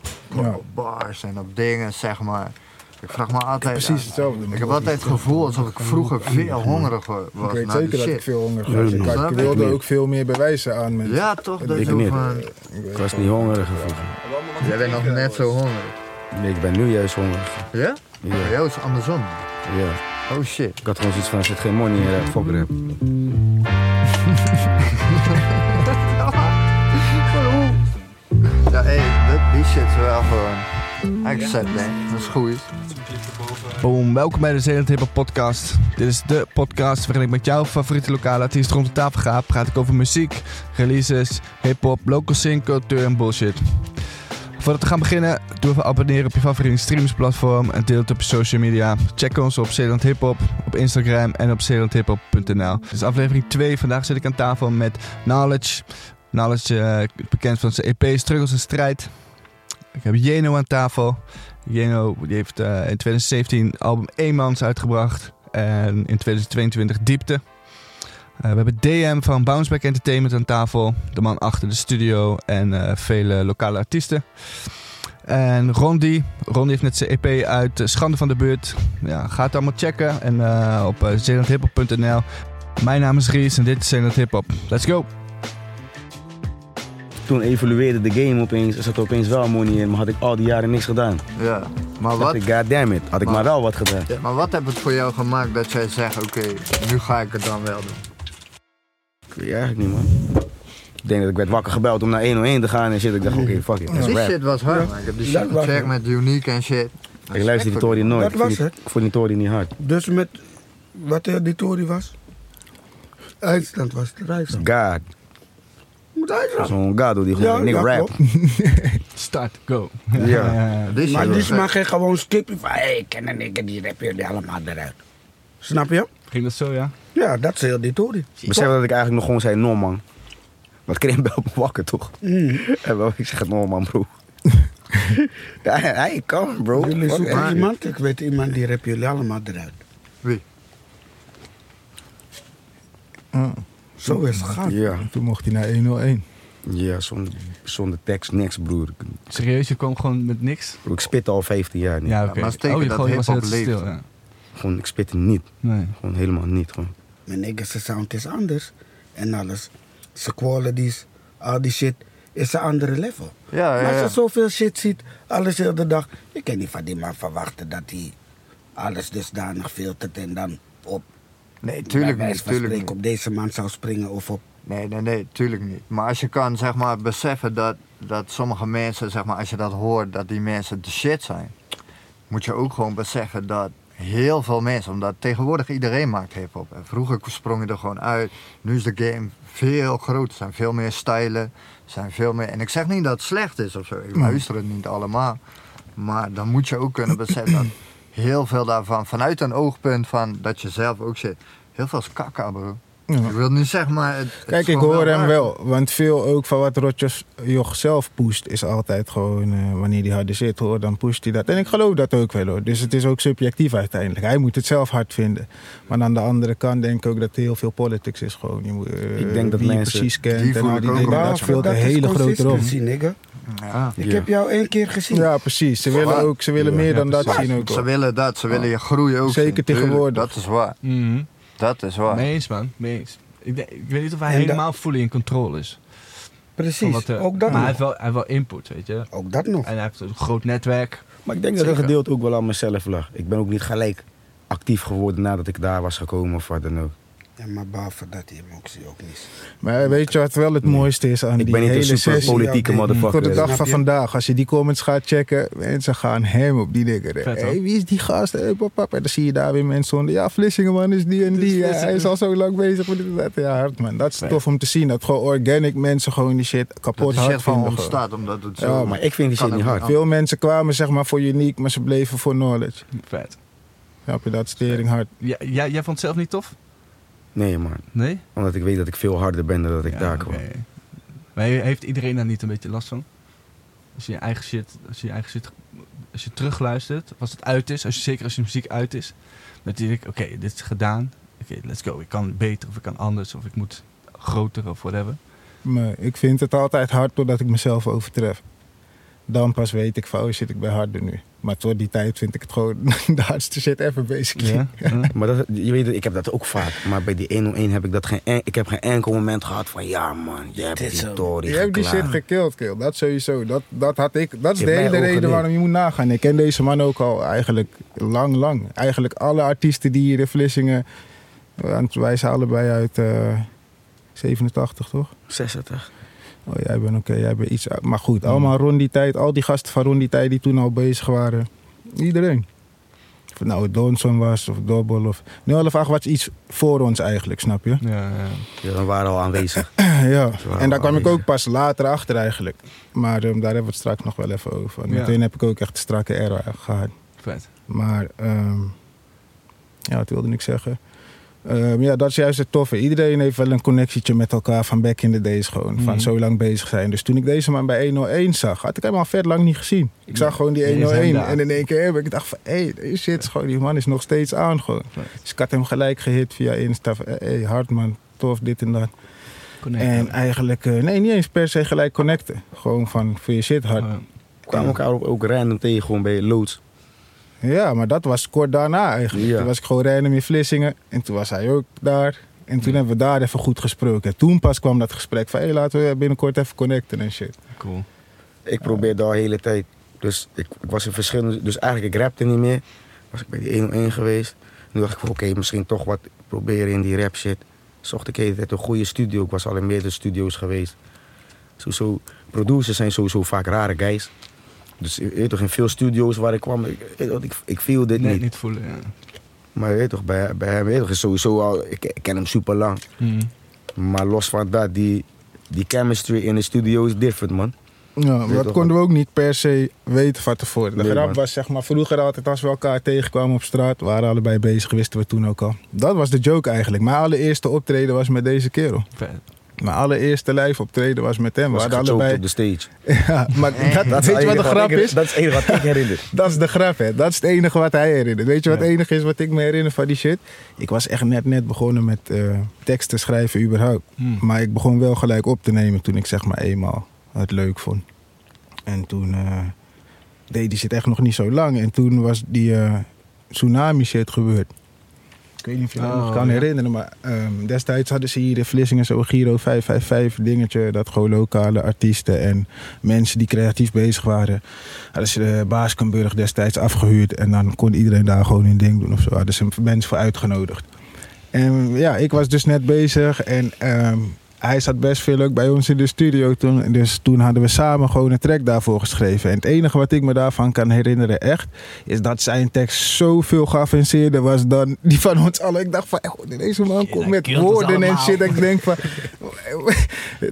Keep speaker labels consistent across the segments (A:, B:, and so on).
A: op,
B: Ja.
A: op bars en op dingen, zeg maar. Ik vraag me altijd.
B: Precies
A: af.
B: hetzelfde.
A: Ik heb altijd het gevoel alsof ik vroeger veel hongeriger was.
B: Ik weet
A: naar die
B: zeker dat
A: shit.
B: ik veel honger
C: Ja,
B: was. Ik, had-
A: snap
B: ik
A: ik
B: wilde
C: niet.
B: ook veel meer bewijzen aan mensen.
A: Ja, toch? Dat
C: Ik
A: je
C: niet.
A: van-
C: Ik was niet hongerig vroeger.
A: Jij bent nog net zo hongerig.
C: Nee, ik ben nu juist hongerig.
A: Ja?
C: Ja.
A: Bij jou is het andersom.
C: Ja.
A: Oh shit.
C: Ik had gewoon zoiets van, er zit geen money in, eh, fokker heb.
A: Ja, hé, dat- die shit is wel gewoon. Accept, denk Dat is goed.
D: Boom, welkom bij de Zeeland Hip Hop Podcast. Dit is de podcast waarin ik met jouw favoriete lokale artiest rond de tafel ga. Praat ik over muziek, releases, hip-hop, local scene, cultuur en bullshit. Voordat we gaan beginnen, doe even abonneren op je favoriete streamingsplatform en deel het op je social media. Check ons op Zeeland Hip Hop, op Instagram en op zeelandhiphop.nl. Dit is aflevering 2. Vandaag zit ik aan tafel met Knowledge. Knowledge, eh, bekend van zijn EP Struggles en Strijd. Ik heb Jeno aan tafel. Jeno die heeft eh, in 2017 album Eemans uitgebracht. En in 2022 Diepte. Eh, we hebben DM van Bounceback Entertainment aan tafel. De man achter de studio en eh, vele lokale artiesten. En Rondi. Rondi heeft net zijn EP uit eh, Schande van de Buurt. Ja, ga het allemaal checken. En eh, op eh, zeelandhiphop.nl. Mijn naam is Ries en dit is Zeeland Hip Hop. Let's go!
C: Toen evolueerde de game opeens, er zat opeens wel money in, maar had ik al die jaren niks gedaan.
A: Ja. Maar
C: Dacht
A: wat,
C: ik, god damn it, had ik
A: Maar-
C: maar wel wat gedaan.
A: maar wat heeft het voor jou gemaakt dat jij zegt: oké, nu ga ik het dan wel doen?
C: Ik weet eigenlijk niet, man. Ik denk dat ik werd wakker gebeld om naar 101 te gaan en shit. Ik dacht, oké, fuck it, dat is
A: Die
C: rap.
A: shit was hard, man. Ik heb die
E: Dat
A: shit
E: was
A: gecheckt
E: het.
A: met Unique en shit.
C: Ik luister die Tory nooit.
E: Dat
C: Ik vond
E: was
C: die-
E: het.
C: Ik vond die Tory niet hard.
E: Dus met wat er die Tory was? IJsland was het, IJsland.
C: God.
E: Moet IJsland.
C: Zo'n gado die gewoon, ik rap.
E: klopt.
D: Start, go!
C: Ja.
A: Die shit
E: Maar
A: was
E: die
A: vet.
E: mag je gewoon skippen van, hé, hey, kennen nikken, die rappen jullie allemaal eruit. Snap je?
D: Ging dat zo, ja?
E: Ja, dat is heel die Tory.
C: Besef dat ik eigenlijk nog gewoon zei, no man. Want Krim belt me wakker toch? En wel, ik zeg het no man bro. ja, hij kan bro.
E: Jullie
C: Fuck
E: zoeken
C: it.
E: iemand, ik weet iemand die rappen jullie allemaal eruit.
A: Wie?
E: Zo is het gegaan.
C: Ja,
B: Toen mocht hij naar 101.
C: ja zonder, zonder tekst niks broer. Ik,
D: Serieus, je kwam gewoon met niks?
C: bro, ik spit al 15 jaar nu.
D: Ja,
A: Ja,
D: oké.
A: maar steken
D: oh, je
A: dat
D: gewoon was
A: hiphop
D: heel stil,
A: leeft.
D: ja.
C: Gewoon, ik spit niet.
D: Nee.
C: Gewoon helemaal niet. Gewoon.
E: Mijn Nederlandse sound is anders en alles. Zijn qualities, al die shit, is een andere level.
A: Ja, Ah, ja,
E: maar als
A: ja.
E: je zoveel shit ziet, alles heel de dag. Je kan niet van die man verwachten dat hij alles dusdanig filtert en dan op,
A: Nee, tuurlijk
E: bij
A: niet.
E: wijze van
A: Tuurlijk
E: spreken,
A: niet.
E: op deze man zou springen of op.
A: Nee, nee, nee, tuurlijk niet. Maar als je kan zeg maar, beseffen dat, dat sommige mensen, zeg maar, als je dat hoort, dat die mensen de shit zijn, moet je ook gewoon beseffen dat heel veel mensen, omdat tegenwoordig iedereen maakt hip-hop. En Vroeger sprong je er gewoon uit. Nu is de game veel groter. Er zijn veel meer stijlen. er Zijn veel meer... En ik zeg niet dat het slecht is of zo. Ik luister het niet allemaal. Maar dan moet je ook kunnen beseffen dat heel veel daarvan, vanuit een oogpunt van dat je zelf ook zit. Heel veel is kakka, bro.
B: Ja.
A: Ik wil niet zeg maar. het- het
B: Kijk,
A: is
B: ik
A: gewoon
B: hoor hem
A: waar.
B: wel. Want veel ook van wat Rotjes Joch zelf pusht, is altijd gewoon eh, wanneer hij harder zit hoor, dan pusht hij dat. En ik geloof dat ook wel hoor. Dus het is ook subjectief uiteindelijk. Hij moet het zelf hard vinden. Maar aan de andere kant denk ik ook dat er heel veel politics is gewoon. Je moet, eh,
C: Ik denk dat
B: wie je
C: mensen-
B: precies kent
A: Die
B: en
A: voel
B: al
A: ik
B: die
A: ook
B: dingen.
A: wel.
B: Dat speelt een
E: is
B: hele grote rol.
E: consistency, nigga.
A: Ja.
E: Ik
C: Ja.
E: heb jou één keer gezien.
B: Ja, precies. Ze willen,
A: Maar-
B: ook, ze willen
C: Ja,
B: meer
C: ja,
B: dan dat
A: Maar
B: zien ook.
A: Ze
B: hoor.
A: willen dat, ze willen je groei ook.
B: Zeker
A: zien. Tuurlijk,
B: tegenwoordig.
A: Dat is waar.
D: Mhm.
A: Dat is waar.
D: Meens, man. Meens. Ik, denk- ik weet niet of hij
E: En dat-
D: helemaal fully in controle is.
E: Precies,
D: Van wat, eh,
E: ook dat
D: maar hij heeft,
E: nog.
D: wel, hij heeft wel input, weet je.
E: Ook dat nog.
D: En hij heeft een groot netwerk.
C: Maar ik denk dat
D: Zeker.
C: dat gedeelte ook wel aan mezelf lag. Ik ben ook niet gelijk actief geworden nadat ik daar was gekomen of wat dan ook.
E: Ja, maar behalve dat emotie ook niet.
B: Maar weet je wat wel het mooiste is aan
C: Ik
B: die
C: ben niet
B: hele
C: een super
B: sessie?
C: politieke
E: ja, die-
B: Tot de
C: motherfucker.
B: dag van
E: Snap je?
B: vandaag, als je die comments gaat checken, mensen gaan hem op die dingen. Hé,
D: Vet, hoor.
B: hey, wie is die gast? Hey, pap, pap. En dan zie je daar weer mensen onder. Ja, Vlissingenman is die en die. Ja, hij is al zo lang bezig met dit en dat. Ja, hard man. Dat is tof om te zien. Dat gewoon organic mensen gewoon die shit
A: dat
B: kapot
A: de
B: hard
A: shit van
B: vinden. gewoon.
A: ontstaat omdat het zo.
B: Ja,
C: Maar ik vind die
A: Kan
C: shit niet
A: ook
C: hard.
A: niet
B: Veel mensen kwamen zeg maar voor uniek, maar ze bleven voor knowledge.
D: Vet.
B: Snap je dat? Stering hard.
D: Ja, jij, jij vond het zelf niet tof?
C: Nee man,
D: Nee?
C: omdat ik weet dat ik veel harder ben dan dat ik
D: Ja,
C: daar
D: oké.
C: kwam.
D: Maar he- heeft iedereen daar niet een beetje last van? Als je je eigen shit, als je, je eigen shit, als je terugluistert, als het uit is, als je, zeker als je muziek uit is, dat je denkt, oké, dit is gedaan. Oké, let's go. Ik kan beter of ik kan anders of ik moet groter of whatever.
B: Maar ik vind het altijd hard totdat ik mezelf overtref. dan pas weet ik van, oh shit, ik ben harder nu. Maar tot die tijd vind ik het gewoon de hardste shit ever, basically.
D: Ja? ja.
C: Maar dat, je weet, het, ik heb dat ook vaak. Maar bij die 101 heb ik dat geen, en- ik heb geen enkel moment gehad van ja man, je hebt
E: Dit is
C: die
E: hem.
C: Tory
B: Je hebt die shit
C: geklaagd.
B: gekild, kill. Dat sowieso. Dat, dat, had ik, dat is
C: Je
B: de
C: hebt mij
B: hele
C: ook
B: reden
C: geleerd.
B: waarom je moet nagaan. Ik ken deze man ook al eigenlijk lang, lang. Eigenlijk alle artiesten die hier in Vlissingen... Want wij zijn allebei uit eh, 87, toch?
C: 60.
B: Oh, jij bent oké, jij bent iets... Maar goed, allemaal rond die tijd. Al die gasten van rond die tijd die toen al bezig waren. Iedereen. Of het nou Donson was, of Dobbel, of... 058 was iets voor ons eigenlijk, snap je?
D: ja.
C: Ja, dan waren we al aanwezig.
B: Ja,
C: Zwaar
B: en daar kwam ik
C: aanwezig.
B: ook pas later achter eigenlijk. Maar ehm, daar hebben we het straks nog wel even over.
D: Ja.
B: Meteen heb ik ook echt een strakke era gehad.
D: Vet.
B: Maar ehm, ja, wat wilde ik zeggen? Ehm, ja, dat is juist het toffe. Iedereen heeft wel een connectietje met elkaar van back in the days gewoon.
D: Mhm.
B: Van zo lang bezig zijn. Dus toen ik deze man bij 101 zag, had ik hem al vet lang niet gezien. Ik zag gewoon die
D: Die is hem
B: 101.
D: daar.
B: En in één keer heb ik dacht van, hé, hey, shit, gewoon, die man is nog steeds aan gewoon.
D: Vet.
B: Dus ik had hem gelijk gehit via Insta. van, hey, Hartman, tof, dit en dat. En eigenlijk, eh, nee, niet eens per se gelijk connecten. Gewoon van, voor je shit hard.
D: Oh, ja.
C: We kwamen elkaar ook, ook random tegen gewoon bij Loods.
B: Ja, maar dat was kort daarna eigenlijk.
C: Ja.
B: Toen was ik gewoon random in Vlissingen. En toen was hij ook daar. En toen hebben we daar even goed gesproken. En toen pas kwam dat gesprek van, hé, laten we binnenkort even connecten en shit.
D: Cool.
C: Ik probeerde al de hele tijd. Dus ik, ik was in verschillende. Dus eigenlijk ik rapte niet meer. Was ik bij die 101 geweest. Nu dacht ik, van, oké, misschien toch wat proberen in die rap shit. Zocht ik de hele tijd een goede studio. Ik was al in meerdere studio's geweest. Sowieso, producers zijn sowieso vaak rare guys. Dus je weet toch, in veel studio's waar ik kwam, ik, je weet toch, ik, ik viel dit
D: Nee,
C: niet.
D: niet voelen, ja.
C: Maar je weet toch, bij, bij hem weet toch, is sowieso al, ik, ik ken hem super lang. Maar los van dat, die, die chemistry in de studio is different, man.
B: Ja, maar
C: Weet
B: dat
C: toch
B: konden we ook niet per se weten van tevoren. De
C: Nee,
B: grap
C: man.
B: was, zeg maar, vroeger altijd als we elkaar tegenkwamen op straat, we waren allebei bezig, wisten we toen ook al. Dat was de joke eigenlijk. Mijn allereerste optreden was met deze kerel.
D: Vet.
B: Mijn allereerste live optreden was met hem.
C: Was
B: we
C: ik
B: hadden
C: gechoked
B: allebei...
C: op de stage.
B: Ja, maar dat,
C: Dat is
B: weet je wat de
C: eigenlijk
B: grap
C: ik-
B: is?
C: Dat is het enige wat ik herinner.
B: Dat is de grap, hè. Dat is het enige wat hij herinnert. Weet je wat het enige is wat ik me herinner van die shit? Ik was echt net, net begonnen met eh teksten schrijven überhaupt.
D: Hmm.
B: Maar ik begon wel gelijk op te nemen toen ik zeg maar eenmaal het leuk vond. En toen eh, deed die shit echt nog niet zo lang. En toen was die eh, tsunami shit gebeurd. Ik weet niet of je dat
D: Oh,
B: nog kan
D: ja.
B: herinneren, maar ehm, destijds hadden ze hier in Vlissingen zo'n Giro 555 dingetje. Dat gewoon lokale artiesten en mensen die creatief bezig waren. Hadden ze de Baaskenburg destijds afgehuurd. En dan kon iedereen daar gewoon hun ding doen of zo. Hadden ze mensen voor uitgenodigd. En ja, ik was dus net bezig en ehm, hij zat best veel ook bij ons in de studio toen. Dus toen hadden we samen gewoon een track daarvoor geschreven. En het enige wat ik me daarvan kan herinneren echt, is dat zijn tekst zoveel geavanceerder was dan die van ons allen. Ik dacht van, eh, deze man komt met woorden en shit. Ik denk van,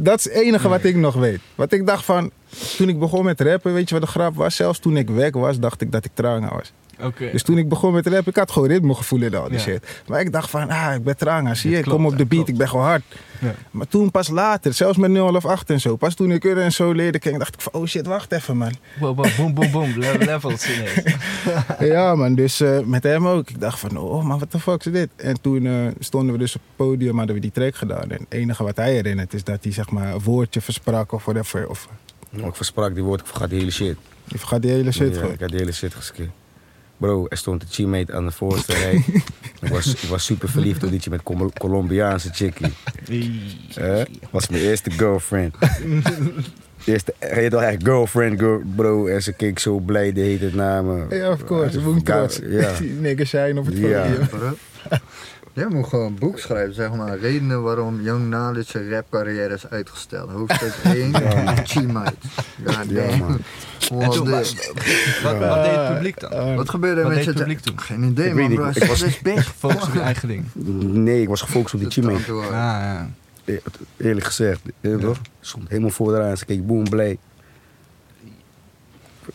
B: dat is het enige wat ik nog weet. Wat ik dacht van, toen ik begon met rappen, weet je wat de grap was? Zelfs toen ik weg was, dacht ik dat ik tranga was.
D: Oké.
B: Dus toen ik begon met rap, ik had gewoon ritmegevoel en al die
D: Ja.
B: shit. Maar ik dacht van, ah, ik ben tranga, zie je,
D: Dit
B: ik
D: klopt,
B: kom op de
D: dit
B: beat,
D: klopt.
B: ik ben gewoon hard.
D: Ja.
B: Maar toen pas later, zelfs met 008 en zo, pas toen ik Urre en zo leerde kennen, dacht ik van, oh shit, wacht even man.
D: Wow, wow, boom, boom, boom. Le- Levels ineens.
B: ja man, dus eh, met hem ook. Ik dacht van, oh man, what the fuck is dit? En toen eh, stonden we dus op het podium, hadden we die track gedaan. En het enige wat hij herinnert is dat hij zeg maar een woordje versprak of whatever. Of,
C: Oh, Ik versprak die woord, ik vergat die hele shit.
B: je vergat die hele shit
C: Ja,
B: gewoon.
C: ik had die hele shit geskipt. Bro, er stond een teammate aan de voorste rij. ik, was, ik was super verliefd op die chick met Col- Colombiaanse chickie. Eh? Was mijn eerste girlfriend. eerste, heet wel echt girlfriend, girl, bro. En ze keek zo blij, die heet het namen.
B: Ja, of course, woon trots.
C: Ja.
B: Die niggas zijn op het
C: Ja.
B: podium.
A: Jij moet gewoon een boek schrijven, zeg maar. Redenen waarom Young Knowledge zijn rapcarrière is uitgesteld. Hoofdstuk 1, G-Mite.
C: Ja, man.
D: En toen, wa- wat, wat deed het publiek dan?
A: Wat gebeurde er
D: Wat
A: met je
D: deed het
A: te-
D: publiek toen?
A: Geen idee,
C: Ik
A: man,
C: weet niet,
A: bro.
C: ik
A: Ze
C: was-
A: is best
D: Focus op je eigen ding.
C: Nee, ik was gefocust op die teammate.
A: eh,
D: Ah, ja.
C: E- Eerlijk gezegd, je weet toch? Ze stond helemaal vooraan. Ze keek boem blij.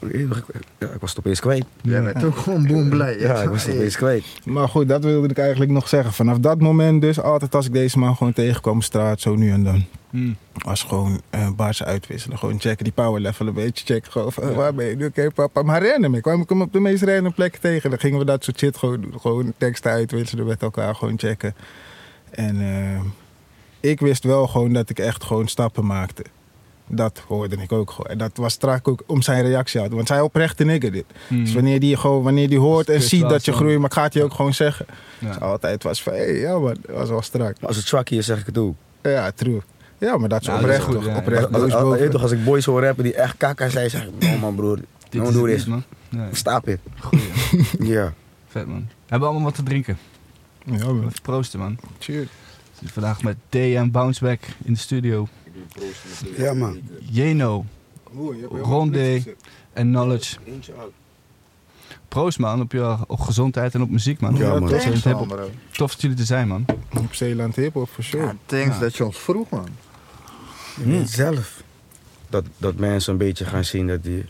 C: Je weet toch, ik- Ja, ik was het opeens kwijt.
A: Jij bent ook gewoon boem blij.
C: Ja, ik was het opeens kwijt.
B: Maar goed, dat wilde ik eigenlijk nog zeggen. Vanaf dat moment dus, altijd als ik deze man gewoon tegenkwam op straat, zo nu en dan.
D: Hmm.
B: Was gewoon eh baars uitwisselen. Gewoon checken die power level een beetje. Checken gewoon van, eh, waar ben je nu? Oké papa, maar random. Ik kwam ik hem op de meest random plekken tegen. Dan gingen we dat soort shit gewoon doen. Gewoon teksten uitwisselen met elkaar. Gewoon checken. En eh, ik wist wel gewoon dat ik echt gewoon stappen maakte. Dat hoorde ik ook gewoon. En dat was strak ook om zijn reactie uit. Want zij oprechte nigger dit. Dus wanneer die, gewoon, wanneer die hoort
D: Dus
B: en
D: het Hmm. is
B: ziet
D: wel
B: dat je
D: zo.
B: groeit, maar gaat hij ook gewoon zeggen.
D: Ja.
B: Dus altijd was van, hey, ja man, dat was wel strak.
C: Maar als het zwak hier is, zeg ik het ook.
B: Ja, true. Ja, maar dat is
D: Nou, dat is
B: oprecht
D: goed,
B: toch?
D: ja.
B: Oprecht.
C: Als, als,
B: boos
C: als-
B: boven.
C: weet toch, als ik boys hoor rappen die echt kaka zijn, zeg ik, no man broer,
D: Dit
C: no
D: is
C: Nou, doe
D: het
C: dit.
D: niet, man. Nee,
C: Stap it.
D: goeie.
C: Ja.
D: Vet, man. Hebben we allemaal wat te drinken?
B: Ja, man.
D: Even proosten, man.
B: Cheers.
D: We zitten vandaag met DM Bounceback in de studio.
E: Ja, man.
D: Jeno Ronde. en Knowledge. Proost, man. Op je op gezondheid en op muziek, man.
C: Ja, man.
D: Tof dat jullie het hebben.
B: man, bro.
D: Tof dat jullie er zijn, man.
B: Op Zeeland hip-hop, for sure.
A: Ja, thanks
D: Ja.
A: dat je ons vroeg, man.
E: Je bent zelf.
C: Dat, dat mensen een beetje gaan zien dat die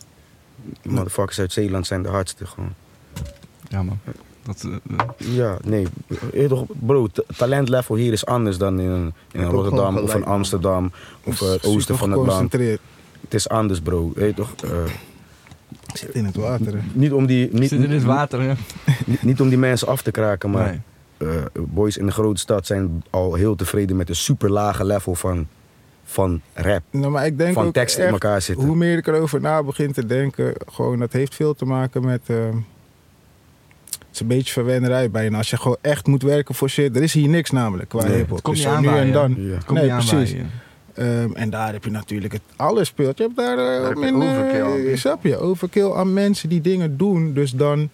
C: motherfuckers uit Zeeland zijn de hardste gewoon.
D: Ja, man. Dat, eh, eh,
C: Ja, nee. Weet toch, bro, t- talentlevel hier is anders dan in, in
A: ook
C: Rotterdam
A: gewoon
C: of in
A: gelijk, man.
C: Amsterdam of eh, het oosten
B: Super
C: van het land.
B: geconcentreerd.
C: Het is anders, bro. Weet toch, eh,
B: Ik zit in het water, hè.
C: niet, om die, niet,
D: zit in het water, hè?
C: niet, niet om die mensen af te kraken, maar
D: Nee.
C: eh, boys in de grote stad zijn al heel tevreden met een super lage level van, van rap.
B: Nou, maar ik denk
C: van
B: ook
C: tekst in
B: echt,
C: elkaar zitten.
B: Hoe meer ik erover na begin te denken, gewoon, dat heeft veel te maken met. ehm, het is een beetje verwennerij bijna. Als je gewoon echt moet werken voor shit, er is hier niks namelijk qua
C: Nee, het
B: hip-hop.
D: komt
B: Dus
D: niet
B: zo nu
D: aanwaaien.
B: en dan.
C: Ja.
D: Kom
B: nee,
D: je aan
B: precies.
D: bij je.
B: Ehm, en daar heb je natuurlijk het alles speelt. Je hebt daar, eh,
A: heb je
B: min, eh,
A: overkill aan.
B: snap je, overkill aan mensen die dingen doen. Dus dan,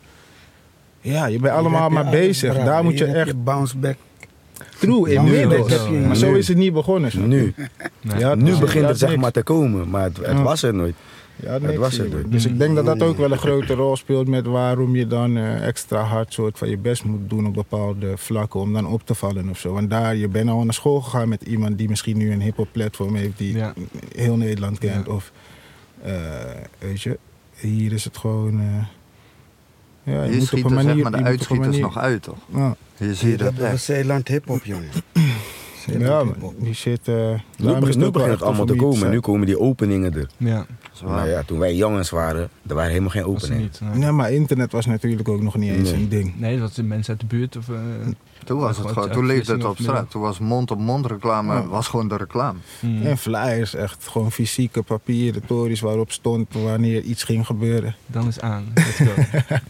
B: ja, je bent allemaal
E: Hier heb
B: maar
E: je alles,
B: bezig.
E: bro.
B: daar moet
E: Hier
B: je
E: heb
B: echt
E: bounce back.
B: true in
E: Ja,
B: willen.
E: dat heb je-
B: Maar zo is het niet begonnen. snap je?
C: Nu,
D: Nee.
B: Ja,
C: nu
B: dus
C: begint het
B: inderdaad
C: zeg
B: niks.
C: maar te komen, maar het, het
B: Ja.
C: was er nooit.
B: Ja,
C: Het was het,
B: joh.
C: hoor.
B: Dus ik denk dat dat ook wel een grote rol speelt met waarom je dan eh, extra hard soort van je best moet doen op bepaalde vlakken om dan op te vallen of zo. Want daar, je bent al naar school gegaan met iemand die misschien nu een hip-hop platform heeft die
D: Ja.
B: heel Nederland kent.
D: Ja.
B: Of eh, weet je, hier is het gewoon. eh, ja, je
A: Hier
B: moet op
A: schieten
B: een manier.
A: zeg maar de
B: je moet op een
A: uitschieters
B: manier-
A: nog uit, toch?
B: Ja,
A: Hier zie je
E: Hier
A: dat
E: hebben we
A: echt.
E: Zeeland hip-hop, jongen. Zeeland
B: ja, maar
E: hip-hop.
B: die shit. eh, daarom is
C: Nu, begint-
B: ook
C: nu
B: wel
C: begint
B: echt
C: het allemaal te
B: om iets,
C: komen,
B: eh,
C: nu komen die openingen er.
D: Ja,
A: Zwaar.
C: Nou ja, toen wij jongens waren, er waren helemaal geen
D: was er
C: openingen.
D: niet. nee.
B: Nee, maar internet was natuurlijk ook nog niet eens
C: Nee.
B: een ding.
D: Nee, dat zijn mensen uit de buurt of... eh,
A: Toen was het
D: Gewoon
A: gewoon,
D: uit
A: toen leefde het
D: Vlissingen
A: op
D: of
A: straat. Toen was mond-op-mond reclame,
B: Ja.
A: was gewoon de reclame.
D: mm.
B: En flyers, echt gewoon fysieke papieren, tories waarop stond wanneer iets ging gebeuren.
D: Dan is aan. Let's go. Ja,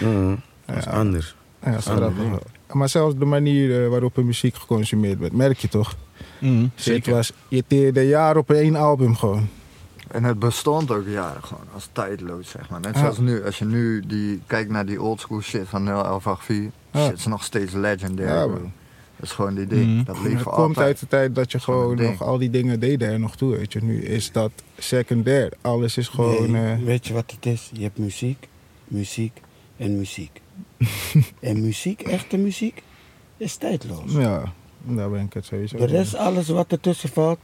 C: Mhm, Dat is anders.
B: Ja, dat is
C: Ah,
B: grappig. Maar zelfs de manier eh, waarop er muziek geconsumeerd werd, merk je toch?
D: mm.
B: Shit was, je teerde jaar op één album gewoon.
A: En het bestond ook jaren gewoon als tijdloos, zeg maar. Net
B: Ja.
A: zoals nu, als je nu die, kijkt naar die oldschool shit van 0184,
B: Ja.
A: shit is nog steeds legendary.
B: Ja,
A: bro.
B: man.
A: dat is gewoon die ding,
D: Mhm.
A: dat
B: Maar
A: leeft
B: Het
A: voor
B: komt uit
A: altijd.
B: de tijd dat je
A: Gewoon
B: gewoon
A: een
B: nog
A: ding.
B: al die dingen deden er nog toe, weet je. Nu is dat secundair. Alles is gewoon...
E: Nee,
B: eh,
E: Weet je wat het is? Je hebt muziek, muziek en muziek. en muziek, echte muziek, is tijdloos.
B: ja, daar ben ik het sowieso.
E: De rest, alles wat ertussen valt,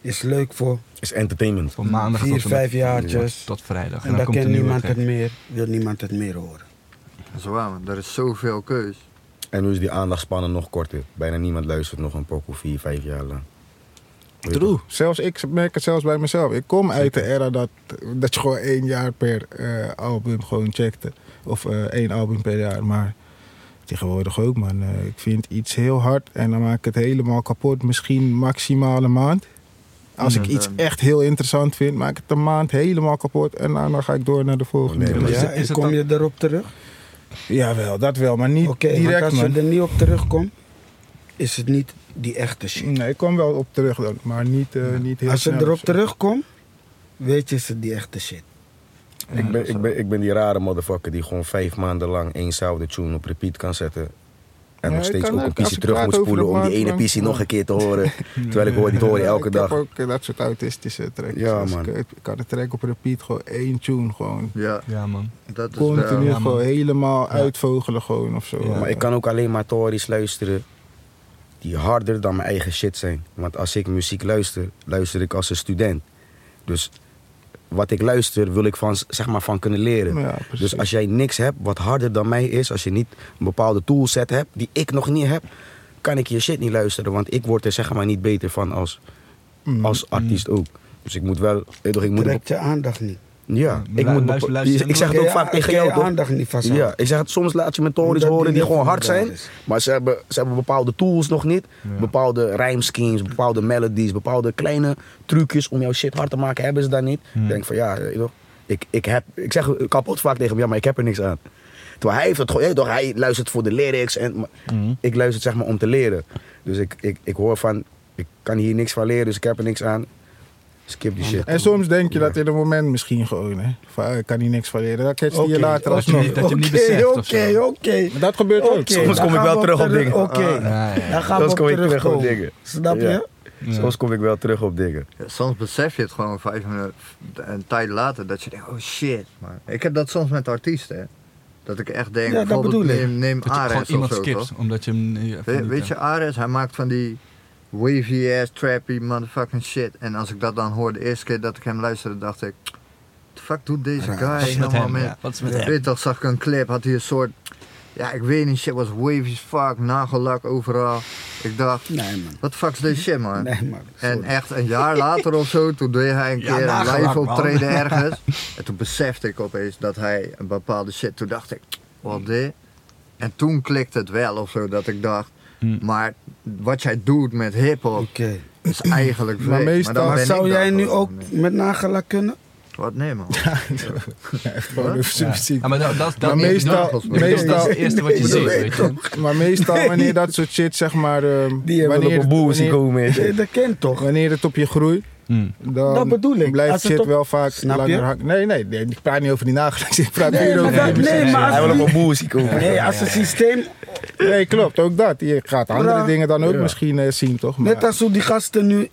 E: is leuk voor
C: Het is entertainment.
D: Van maandag
E: vier,
D: tot, en met-
E: vijf jaartjes.
D: tot vrijdag.
E: En dan
D: komt er
E: kent
D: nieuwe
E: niemand
D: track.
E: het meer, wil niemand het meer horen.
A: Dat is waar, man. Er is zoveel keus.
C: En nu is die aandachtspannen nog korter. Bijna niemand luistert nog een pokoe vier, vijf jaar lang. Weet je
B: True.
C: toch?
B: Zelfs ik merk het zelfs bij mezelf. Ik kom uit de era dat, dat je gewoon één jaar per eh, album gewoon checkte. Of eh, één album per jaar. Maar tegenwoordig ook, man. Eh, ik vind iets heel hard en dan maak ik het helemaal kapot. Misschien maximaal een maand. Als ik
A: Ja,
B: iets
A: dan-
B: echt heel interessant vind, maak ik het een maand helemaal kapot. En daarna ga ik door naar de volgende.
C: Nee, maar
E: Ja,
D: is het- is
E: en
D: het
E: kom
D: dan-
E: je erop terug?
B: Jawel, dat wel. Maar niet
E: Oké, want
B: direct,
E: als
B: man.
E: je er niet op terugkomt, is het niet die echte shit.
B: Nee, ik kom wel op terug dan. Maar niet, eh, niet heel
E: Als je
B: snel
E: erop
B: of zo.
E: terugkomt, weet je, is het die echte shit.
C: Ik ben, ik, ben, ik ben die rare motherfucker die gewoon vijf maanden lang éénzelfde tune op repeat kan zetten. En
B: Ja,
C: nog
B: ik
C: steeds
B: kan
C: ook
B: ook.
C: een
B: Als
C: piece
B: ik
C: terug
B: praat
C: moet
B: over
C: spoelen
B: een
C: om die
B: maand
C: ene
B: lang-
C: piece nog een keer te horen. Terwijl ik hoor, dit hoor je elke
B: ik
C: dag.
B: heb ook eh, dat soort autistische tracks.
C: Ja,
B: Als
C: man.
B: Ik, ik had een track op repeat, gewoon één tune. Gewoon
A: Ja,
D: Ja, man.
A: dat is
B: continu
A: wel-
D: ja, man.
B: gewoon helemaal uitvogelen gewoon of zo.
D: Ja.
C: Maar ik kan ook alleen maar Tories luisteren die harder dan mijn eigen shit zijn. Want als ik muziek luister, luister ik als een student. Dus wat ik luister, wil ik van, zeg maar, van kunnen leren.
B: Ja, precies.
C: dus als jij niks hebt wat harder dan mij is, als je niet een bepaalde toolset hebt die ik nog niet heb, kan ik je shit niet luisteren. Want ik word er zeg maar niet beter van als,
B: Mm.
C: als artiest ook. Dus ik moet wel, weet toch, ik moet
E: Trekt je aandacht niet.
C: Ja, ik,
D: lu-
C: moet
D: luister-
C: bepa-
D: luister-
C: ik zeg het ook vaak tegen jou,
E: je
C: toch?
E: aandacht niet vast
C: Ja, ik zeg het, soms laat je met tories
E: Omdat die
C: horen die
E: niet
C: gewoon hard
E: voelbaar
C: zijn.
E: is.
C: Maar ze hebben, ze hebben bepaalde tools nog niet. Bepaalde rijmschemes, bepaalde melodies, bepaalde kleine trucjes om jouw shit hard te maken hebben ze daar niet. Ik denk van ja, eh, toch, ik, ik, heb, ik zeg kapot vaak tegen hem, ja maar ik heb er niks aan. Terwijl hij heeft het gewoon, eh, toch, hij luistert voor de lyrics en maar ik luister zeg maar om te leren. Dus ik, ik, ik hoor van, ik kan hier niks van leren, dus ik heb er niks aan. Skip die shit.
B: En soms denk je dat in het moment misschien gewoon, hè. Van, ah, ik kan hier niks van leren. Dan catch die je
E: Oké,
B: later
E: oké,
B: alsnog.
D: dat je hem niet beseft of zo.
E: Oké, oké,
B: Maar dat gebeurt ook.
E: oké.
C: Soms
E: daar
C: kom ik
E: gaan
C: wel
E: we
C: terug op
E: terug-
C: dingen.
E: Oké,
D: Ah, ja, ja.
E: daar gaan we
C: Soms
E: op
C: kom ik terug op
E: terugkomen.
C: dingen.
E: Snap je?
C: Ja. Soms kom ik wel terug op dingen.
A: Ja, soms besef je het gewoon vijf minuten een tijd later dat je denkt, oh shit. Maar ik heb dat soms met artiesten. hè. Dat ik echt denk,
E: Ja, dat
A: bijvoorbeeld
E: bedoel ik.
A: neem, neem
D: Dat je gewoon
A: Ares of
D: iemand
A: zo, toch?
D: skipt, omdat je hem... eh, even
A: We-
D: niet
A: weet je,
D: kent.
A: Ares, hij maakt van die wavy ass, trappy motherfucking shit. En als ik dat dan hoorde, de eerste keer dat ik hem luisterde, dacht ik... "The fuck doet deze guy
D: Wat is met
A: helemaal
D: hem?
A: mee?"
D: Ja, Wat is met
A: Ik
D: hem?
A: Weet toch, zag ik een clip, had hij een soort... Ja, ik weet niet, shit was wavy as fuck, nagellak overal. Ik dacht,
E: Nee, man.
A: wat fuck is deze shit, man?
E: Nee, man.
A: Ah. En echt een jaar later of zo, toen deed hij een
D: Ja,
A: keer een
D: nagelak,
A: live
D: man.
A: optreden ergens. En toen besefte ik opeens dat hij een bepaalde shit, toen dacht ik, wat dit? En toen klikte het wel of zo, dat ik dacht,
D: Hmm.
A: maar wat jij doet met hip-hop
E: Oké.
A: is eigenlijk
B: Maar
A: vreemd. dan
B: meestal-
A: ben
E: Maar
A: ik
E: zou
A: daar
E: jij nu
A: gewoon
E: ook
A: mee.
E: met nagelak kunnen?
A: Wat nee, man.
B: Gewoon even
D: Ja.
B: subsidie.
D: Ja, maar dat, dat, dat,
B: Maar
D: ik bedoel-
B: meestal-
D: ik bedoel, dat is
B: meestal-
D: het eerste wat je
E: Nee,
D: ziet,
E: nee,
D: weet je.
B: Maar meestal wanneer dat soort shit, zeg maar... ehm,
C: Die hebben
B: wanneer,
C: op een boel
B: wanneer,
C: zien komen.
E: Eh, Dat kent toch?
B: wanneer het op je groeit,
D: Hmm.
B: dan
E: Dat bedoel ik.
B: blijft
E: Als het
B: shit
E: op-
B: wel vaak
E: Snap je?
B: langer hangen. Nee, nee, nee, ik praat niet over die nagels. Ik praat
E: Nee,
B: hier
E: maar
B: over
E: dat-
B: die muziek.
E: nee, maar
C: Hij
E: als
C: wil op
E: die-
C: een boel zien komen.
E: Nee, als het systeem,
B: Nee, klopt, ook dat. Je gaat andere
E: Bra.
B: dingen dan ook
C: Ja.
B: misschien eh, zien, toch? Maar,
E: net als hoe die gasten nu,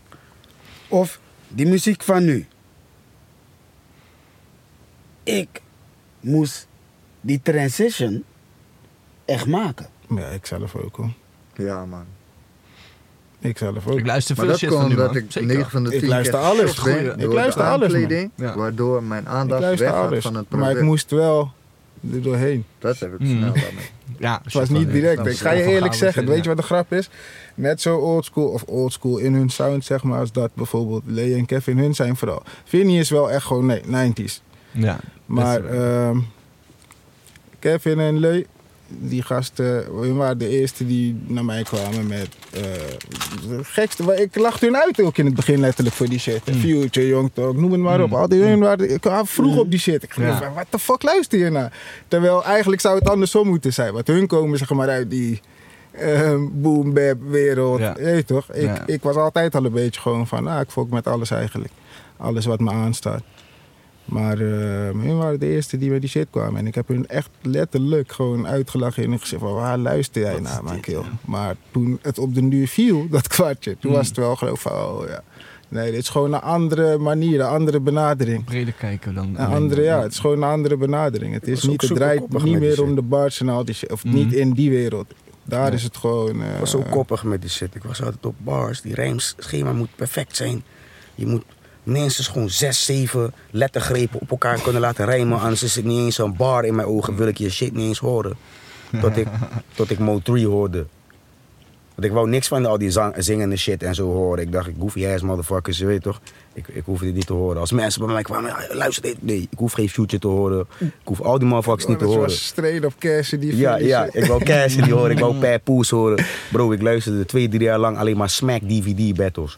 E: of die muziek van nu. Ik moest die transition echt maken.
B: Ja, ik zelf ook, hoor.
A: Ja, man.
B: Ik zelf ook.
D: Ik luister
A: Maar
D: veel
A: dat
D: shit van
A: komt
D: nu, man.
A: omdat ik
D: Zeker.
A: 9 van de 10
B: Ik luister
A: keer
B: alles.
A: gestopt ben
D: Goeie-
A: door
B: ik
A: de
B: luister alles, man.
A: aankleding,
D: Ja.
A: Waardoor mijn
B: Ik
A: aandacht
B: luister
A: weggaat
B: alles.
A: van het
B: Maar
A: product.
B: ik moest wel er doorheen.
A: Dat heb ik
D: Hmm.
A: snel aan me.
D: Ja,
B: Het was niet direct. Ik ga je eerlijk zeggen, weet je wat de grap is? Net zo oldschool of oldschool in hun sound, zeg maar, als dat bijvoorbeeld Lee en Kevin hun zijn vooral. Vinnie is wel echt gewoon, nee, 90s.
D: Ja.
B: Maar
D: Dat is-
B: ehm, Kevin en Lee, die gasten, hun waren de eerste die naar mij kwamen met eh, de gekste. wa- Ik lachte hun uit ook in het begin letterlijk voor die
D: Hmm.
B: shit. Future, Young Talk, noem het maar op.
D: Mm.
B: Al die hun waren, ik kwam vroeg op die shit. Ik
D: Hmm. Ja.
B: dacht, wat de fuck luister je naar? Terwijl eigenlijk zou het andersom moeten zijn. Want hun komen zeg maar uit die ehm boom bap wereld.
D: Ja.
B: Je weet toch? Ik,
D: Ja.
B: ik was altijd al een beetje gewoon van, ah, ik fok met alles eigenlijk. Alles wat me aanstaat. Maar eh hun waren de eerste die met die shit kwamen. En ik heb hun echt letterlijk gewoon uitgelachen in hun gezicht. Van, waar luister jij naar, mijn keel? Maar toen het op de duur viel, dat kwartje, toen
C: Hmm.
B: was het wel geloof van, oh ja. Nee, dit is gewoon een andere manier, een andere benadering.
D: breder kijken dan...
B: Een andere, ja, het is gewoon een andere benadering. Het, is
C: was
B: niet,
C: ook
B: het
C: super
B: draait
C: koppig
B: niet
C: met die
B: meer om
C: shit.
B: de
C: Hmm.
B: bars en al die shit. Of
D: Mhm.
B: niet in die wereld. Daar
D: Ja.
B: is het gewoon... eh,
C: Ik was zo koppig met die shit. Ik was altijd op bars. Die rijmschema moet perfect zijn. Je moet minstens gewoon zes, zeven lettergrepen op elkaar kunnen laten rijmen. Anders is het niet eens een bar in mijn ogen. Wil ik je shit niet eens horen. Tot ik, tot ik Mo 3 hoorde. Want ik wou niks van al die zang, zingende shit en zo horen. Ik dacht, ik hoef ass motherfuckers, je weet toch? Ik, ik hoef dit niet te horen. Als mensen bij mij kwamen, "Ja, luister dit. Nee, ik hoef geen future te horen. Ik hoef al die motherfuckers niet te
B: Het
C: horen.
B: was straight op Cassidy.
C: Ja,
B: Vinnie
C: ja,
B: shit.
C: ik wou Cassidy horen, ik wou Per Poes horen. Bro, ik luisterde twee, drie jaar lang alleen maar Smack DVD battles.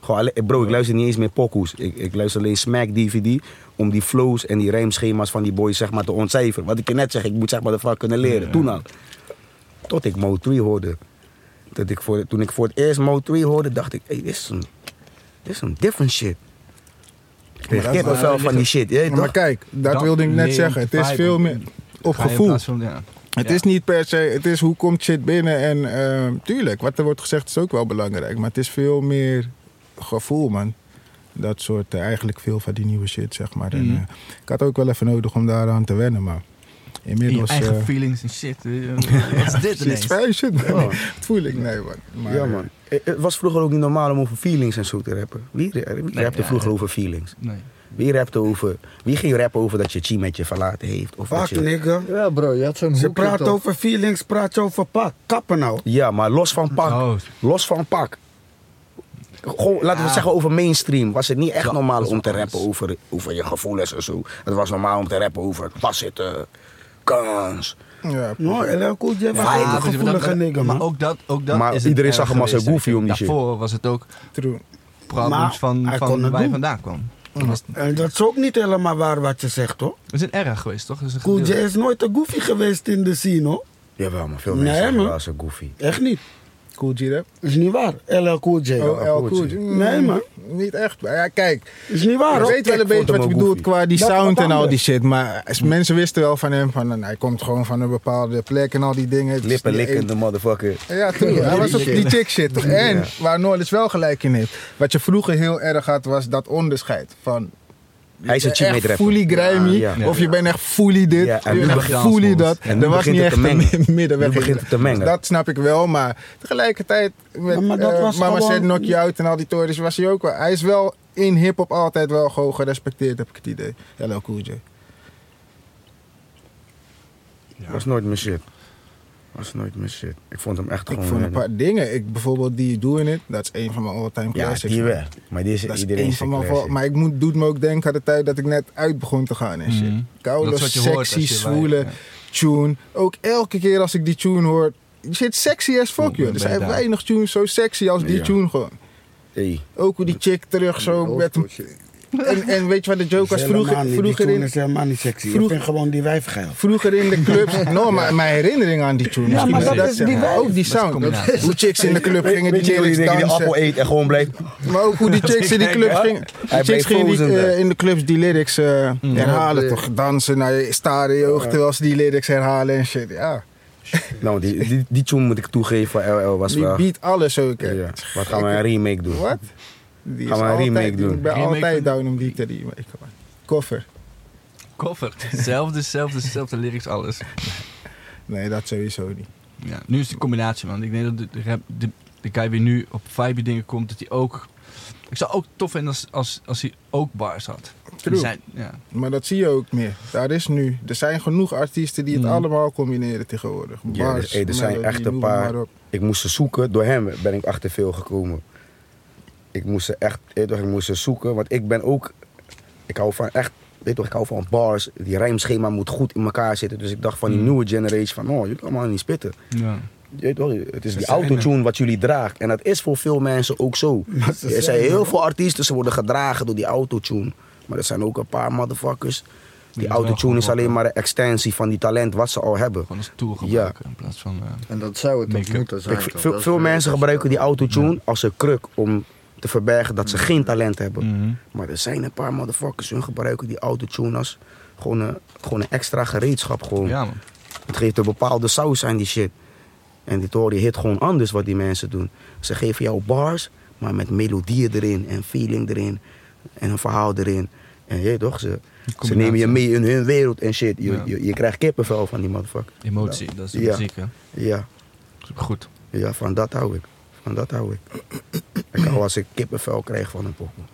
C: Gewoon alle- bro, ik luister niet eens meer pokoes. Ik, ik luister alleen Smack DVD om die flows en die rijmschema's van die boys zeg maar te ontcijferen. Wat ik je net zeg, ik moet zeg maar de vrouw kunnen leren. Toen al. Tot ik Mo 3 hoorde. Dat ik voor, toen ik voor het eerst Mo 3 hoorde, dacht ik, hey, dit is een, dit is een different shit. Ik kreeg
B: dat is-
C: kippenvel van die shit. je weet
B: Maar
C: toch?
B: kijk, dat, wilde ik net zeggen. Het is veel meer op gevoel.
D: ja.
B: Het
D: Ja.
B: is niet per se, het is hoe komt shit binnen. En eh, tuurlijk, wat er wordt gezegd is ook wel belangrijk. Maar het is veel meer gevoel, man. Dat soort, eh, eigenlijk veel van die nieuwe shit, zeg maar. En,
D: Mhm.
B: eh, ik had ook wel even nodig om daaraan te wennen, maar
D: In je
B: inmiddels...
D: eigen
B: eh,
D: feelings en shit. eh, Wat is dit
B: shit,
D: ineens?
B: vrij shit, man.
C: Ja.
B: Dat voel ik, nee, man. Maar,
C: ja, man. Eh, Het was vroeger ook niet normaal om over feelings en zo te rappen. Wie, ra- wie
D: Nee,
C: rapte
D: ja,
C: vroeger
D: ja.
C: over feelings?
D: Nee.
C: Wie rapte over... Wie ging rappen over dat je chi met je verlaten heeft? Of dat
E: Fuck
C: je...
E: nigga.
A: Ja, bro, je had zo'n
E: Ze
A: hoekje
E: praat
A: toch?
E: over feelings, praat je over pak. Kappen nou.
C: Ja, maar los van pak.
D: Oh.
C: Los van pak. gewoon, laten we
D: Ja.
C: zeggen over mainstream, was het niet echt
D: Ja,
C: normaal
D: dat is
C: om te
D: wel
C: rappen
D: anders.
C: over, over je gevoelens en zo. Het was normaal om te rappen over vastzitten, kans.
B: Ja,
E: No, LL Cool J was
C: maar
D: weet je,
E: ook een
D: maar
E: gevoelige
D: dat-
E: nigger,
D: Maar
E: man.
D: ook dat, ook dat
C: Maar
D: is het
C: iedereen
D: erg
C: zag hem als een
D: geweest, denk
C: goofy
D: ik.
C: om die shit.
D: Daarvoor was het ook
B: true.
E: Maar
D: problems van,
E: hij
D: van
E: kon
D: waar
E: het
D: hij
E: doen.
D: vandaan kwam. Dat was-
E: En dat is ook niet helemaal waar wat je zegt, hoor.
D: We zijn erg geweest, toch? Dat is een
E: Cool J
D: gedeelte.
E: is nooit een goofy geweest in de scene, hoor.
C: Jawel, maar veel
E: Nee,
C: mensen zeggen
E: man.
C: wel als een goofy.
E: Echt niet.
B: Cool G rap.
E: Is niet waar. LL Cool J.
B: Oh, El Cool G.
E: Nee, man.
B: Niet echt. Maar Ja, kijk.
E: Is niet waar,
B: Ik
E: hoor.
B: weet wel een
C: vond
B: beetje
C: hem
B: wat je
C: ook
B: bedoelt
C: goofy.
B: qua die
E: Dat is
B: sound
E: wat
B: en al die
E: anders.
B: shit. Maar als mensen wisten wel van hem van nou, hij komt gewoon van een bepaalde plek en al die dingen. Het is
C: Lippen
B: niet één-
C: likkende motherfucker.
B: Ja, true. Hij was op die chick shit. toch? En waar Noordis wel gelijk in heeft. Wat je vroeger heel erg had, was dat onderscheid. Van,
C: Hij is een
B: je bent
C: checkmate
B: echt
C: rapper.
B: fully grimy,
C: Ja, ja.
B: of je bent echt fully dit,
C: Ja, en
B: je
C: nu
B: bent echt
D: begint-
B: fully dat.
C: En nu
B: Er was
C: begint
B: niet
C: het
B: echt
C: te mengen.
B: een middenweg.
C: Nu begint het te mengen.
B: Dus dat snap ik wel, maar tegelijkertijd met
E: Ja, maar dat
B: eh,
E: was
B: Mama
E: gewoon-
B: said knock you out en al die torens was hij ook wel. Hij is wel in hip-hop altijd wel gewoon gerespecteerd, heb ik het idee. Hello Cool J.
C: was nooit mijn shit. Was nooit mijn shit. Ik vond hem echt
B: Ik
C: gewoon...
B: vond een
C: eh,
B: paar dingen. Ik, bijvoorbeeld die Doing It, dat is een van mijn all-time
C: Ja,
B: classics.
C: die wel. Maar die is
B: Dat is
C: iedereen
B: één
C: zijn
B: van mijn
C: classic.
B: val- Maar ik moet, doet me ook denken aan de tijd dat ik net uit begon te gaan en shit.
D: Mhm.
B: Koude,
D: Dat is wat je hoort als
B: sexy,
D: je bij-
B: zwoele
D: ja.
B: tune. Ook elke keer als ik die tune hoor, shit sexy as fuck,
D: Oeh,
B: joh.
D: ben
B: Er
D: je
B: zijn
D: daar.
B: weinig tunes zo sexy als die
C: Ja.
B: tune gewoon.
C: Hey.
B: Ook hoe die chick terug zo met
A: Oh,
B: hem... En, en weet je wat de joke was? Vroeger, vroeger,
E: in...
B: in,
E: is helemaal niet sexy.
B: Vroeg-
E: Ik vind gewoon die wijf geil.
B: vroeger in de clubs... No, maar mijn herinnering aan die tune.
E: Ja,
B: misschien
E: maar dat
B: dat
E: is
B: zeg
E: die vibe.
B: Ook die
D: Dat is een
B: sound.
D: combinatie.
B: Hoe chicks in de club
C: Weet-
B: gingen
C: weet
B: die
C: je hoe
B: chicks
C: die denken die
B: dansen.
C: appel eet en gewoon blijft...
B: Maar ook hoe die chicks in die clubs gingen. Die
C: Hij
B: chicks
C: bleef
B: gingen die,
C: frozen,
B: eh,
C: hè?
B: in de clubs die lyrics eh, herhalen
C: Ja.
B: toch. Dansen naar je staren in je ogen terwijl ze die lyrics herhalen en shit. Ja.
C: Nou, die, die, die tune moet ik toegeven van LL was
B: Die
C: wel...
B: beat alles ook. hè.
C: Ja. Wat gaan we een remake doen?
B: Wat? Die
C: Gaan we een remake
B: altijd,
C: doen?
B: Ik ben
D: Remake
B: altijd
D: van-
B: down om die te remake. man. Koffer.
D: Koffer. Hetzelfde, hetzelfde, hetzelfde lyrics, alles.
B: Nee, dat sowieso niet.
D: Ja, nu is het een combinatie, man. Ik denk dat de, de, rap- de, de guy weer nu op vibe dingen komt, dat hij ook... Ik zou ook tof vinden als, als, als hij ook bars had.
B: True.
D: Zijn, ja.
B: Maar dat zie je ook meer. Daar is nu. Er zijn genoeg artiesten die het
D: Mm.
B: allemaal combineren tegenwoordig.
C: Ja,
B: Bars,
C: dus, hey, er zijn
B: melodie,
C: echt
B: noem
C: een
B: het
C: paar.
B: maar op.
C: Ik moest ze zoeken. Door hem ben ik achter veel gekomen. Ik moest ze echt, weet je toch, ik moest ze zoeken. Want ik ben ook, ik hou van echt, weet je toch, ik hou van bars. Die rijmschema moet goed in elkaar zitten. Dus ik dacht van die
D: Mm.
C: nieuwe generation van, oh, jullie kan allemaal niet spitten.
D: Ja.
C: Je weet toch, het is die
D: zijn er.
C: autotune wat jullie draagt. En dat is voor veel mensen ook zo.
E: ze
C: Er zijn
E: zijn er
C: heel veel artiesten, ze worden gedragen door die autotune. Maar er zijn ook een paar motherfuckers. Die
D: het wel
C: autotune is alleen
D: gewoon rocken.
C: maar een extensie van die talent wat ze al hebben.
D: Gewoon als tool
C: Ja.
D: gebruiken in plaats van... eh,
A: En dat zou het ook
D: Make-up.
A: moeten zijn.
C: Kijk,
A: toch? Dat
C: veel
A: is
C: veel
A: weer-
C: mensen gebruiken die autotune als een kruk om te verbergen dat ze geen talent hebben.
D: mhm.
C: Maar er zijn een paar motherfuckers, hun gebruiken die autotune als gewoon een, gewoon een extra gereedschap. Gewoon.
D: Ja, man.
C: Het geeft een bepaalde saus aan die shit. En dit hoor je hit gewoon anders wat die mensen doen. Ze geven jou bars, maar met melodieën erin en feeling erin en een verhaal erin. En je weet toch, ze, ze nemen je mee in hun wereld en shit. Je,
D: Ja.
C: je, je krijgt kippenvel van die motherfucker.
D: Emotie, dat is de
C: Ja.
D: muziek, hè.
C: Ja.
D: Goed.
C: Ja, van dat hou ik. Van dat hou ik. Ik hou als ik kippenvel krijg van een pokoe.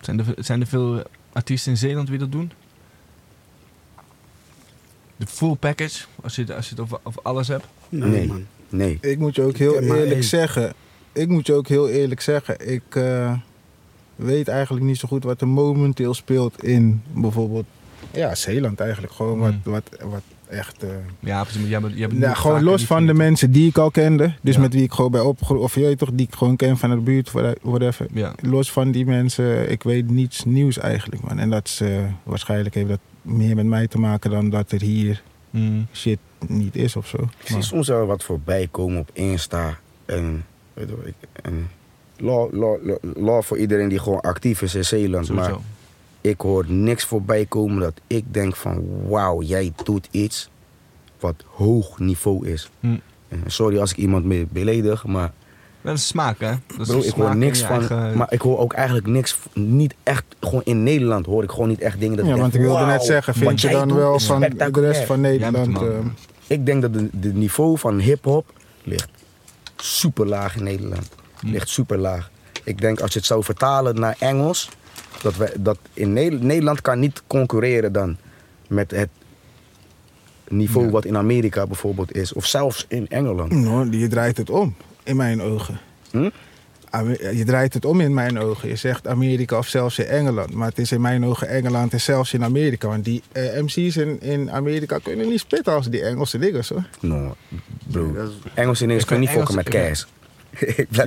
D: Zijn er, zijn er veel artiesten in Zeeland die dat doen? De full package, als je, als je het over, over alles hebt.
C: Nee.
E: man.
C: Nee.
B: Ik moet je ook heel
E: ken maar
B: eerlijk
E: één.
B: zeggen. Ik moet je ook heel eerlijk zeggen. Ik eh, weet eigenlijk niet zo goed wat er momenteel speelt in bijvoorbeeld ja, Zeeland eigenlijk. Gewoon wat,
D: Mm.
B: wat, wat echt. eh,
D: Ja, precies, maar jij bent- jij bent
B: nou,
D: niet
B: gewoon
D: vaak
B: los
D: in
B: van
D: die
B: de
D: buurt.
B: mensen die ik al kende. Dus
D: Ja.
B: met wie ik gewoon bij opgroeid. Of je weet toch, die ik gewoon ken van de buurt, whatever.
D: Ja.
B: Los van die mensen, ik weet niets nieuws eigenlijk, man. En dat is, eh, waarschijnlijk heeft dat meer met mij te maken dan dat er hier
D: Mm.
B: shit niet is of zo.
C: Ik zie soms wel wat voorbij komen op Insta. En, weet je, wel, ik- en law, law, law- law voor iedereen die gewoon actief is in Zeeland. Maar
D: Sowieso.
C: ik hoor niks voorbij komen dat ik denk van... Wauw, jij doet iets wat hoog niveau is.
D: Hm.
C: En Sorry als ik iemand mee beledig, maar
D: Dat is smaak, hè? Dat is
C: Bro, ik
D: smaak
C: hoor
D: en
C: niks
D: je
C: van.
D: eigen-
C: Maar ik hoor ook eigenlijk niks. v- Niet echt. Gewoon in Nederland hoor ik gewoon niet echt dingen. Dat
B: Ja,
C: ik
B: want ik
C: denk,
B: wilde net
C: wauw,
B: zeggen,
C: wat
B: vind je
C: jij
B: dan
C: doet
B: wel
C: is
B: van de
C: spectaculair.
B: rest van
D: Jij bent de
B: Nederland?
D: man.
B: ehm,
C: Ik denk dat het niveau van hip-hop ligt super laag in Nederland. Ligt super laag. Ik denk als je het zou vertalen naar Engels. Dat, we, dat in Ne- Nederland kan niet concurreren dan met het niveau wat in Amerika
B: mm,
C: bijvoorbeeld is. Of zelfs in Engeland.
B: nou, die draait het om, in mijn ogen.
C: Hm?
B: Amer- Je draait het om in mijn ogen. Je zegt Amerika of zelfs in Engeland. Maar het is in mijn ogen Engeland en zelfs in Amerika. Want die eh, MC's in, in Amerika kunnen niet spitten als die Engelse diggers hoor.
C: No, bro.
A: Dat is-
C: Engelse dingen kunnen niet
D: vind
C: fokken met
D: Engelse-
C: keis.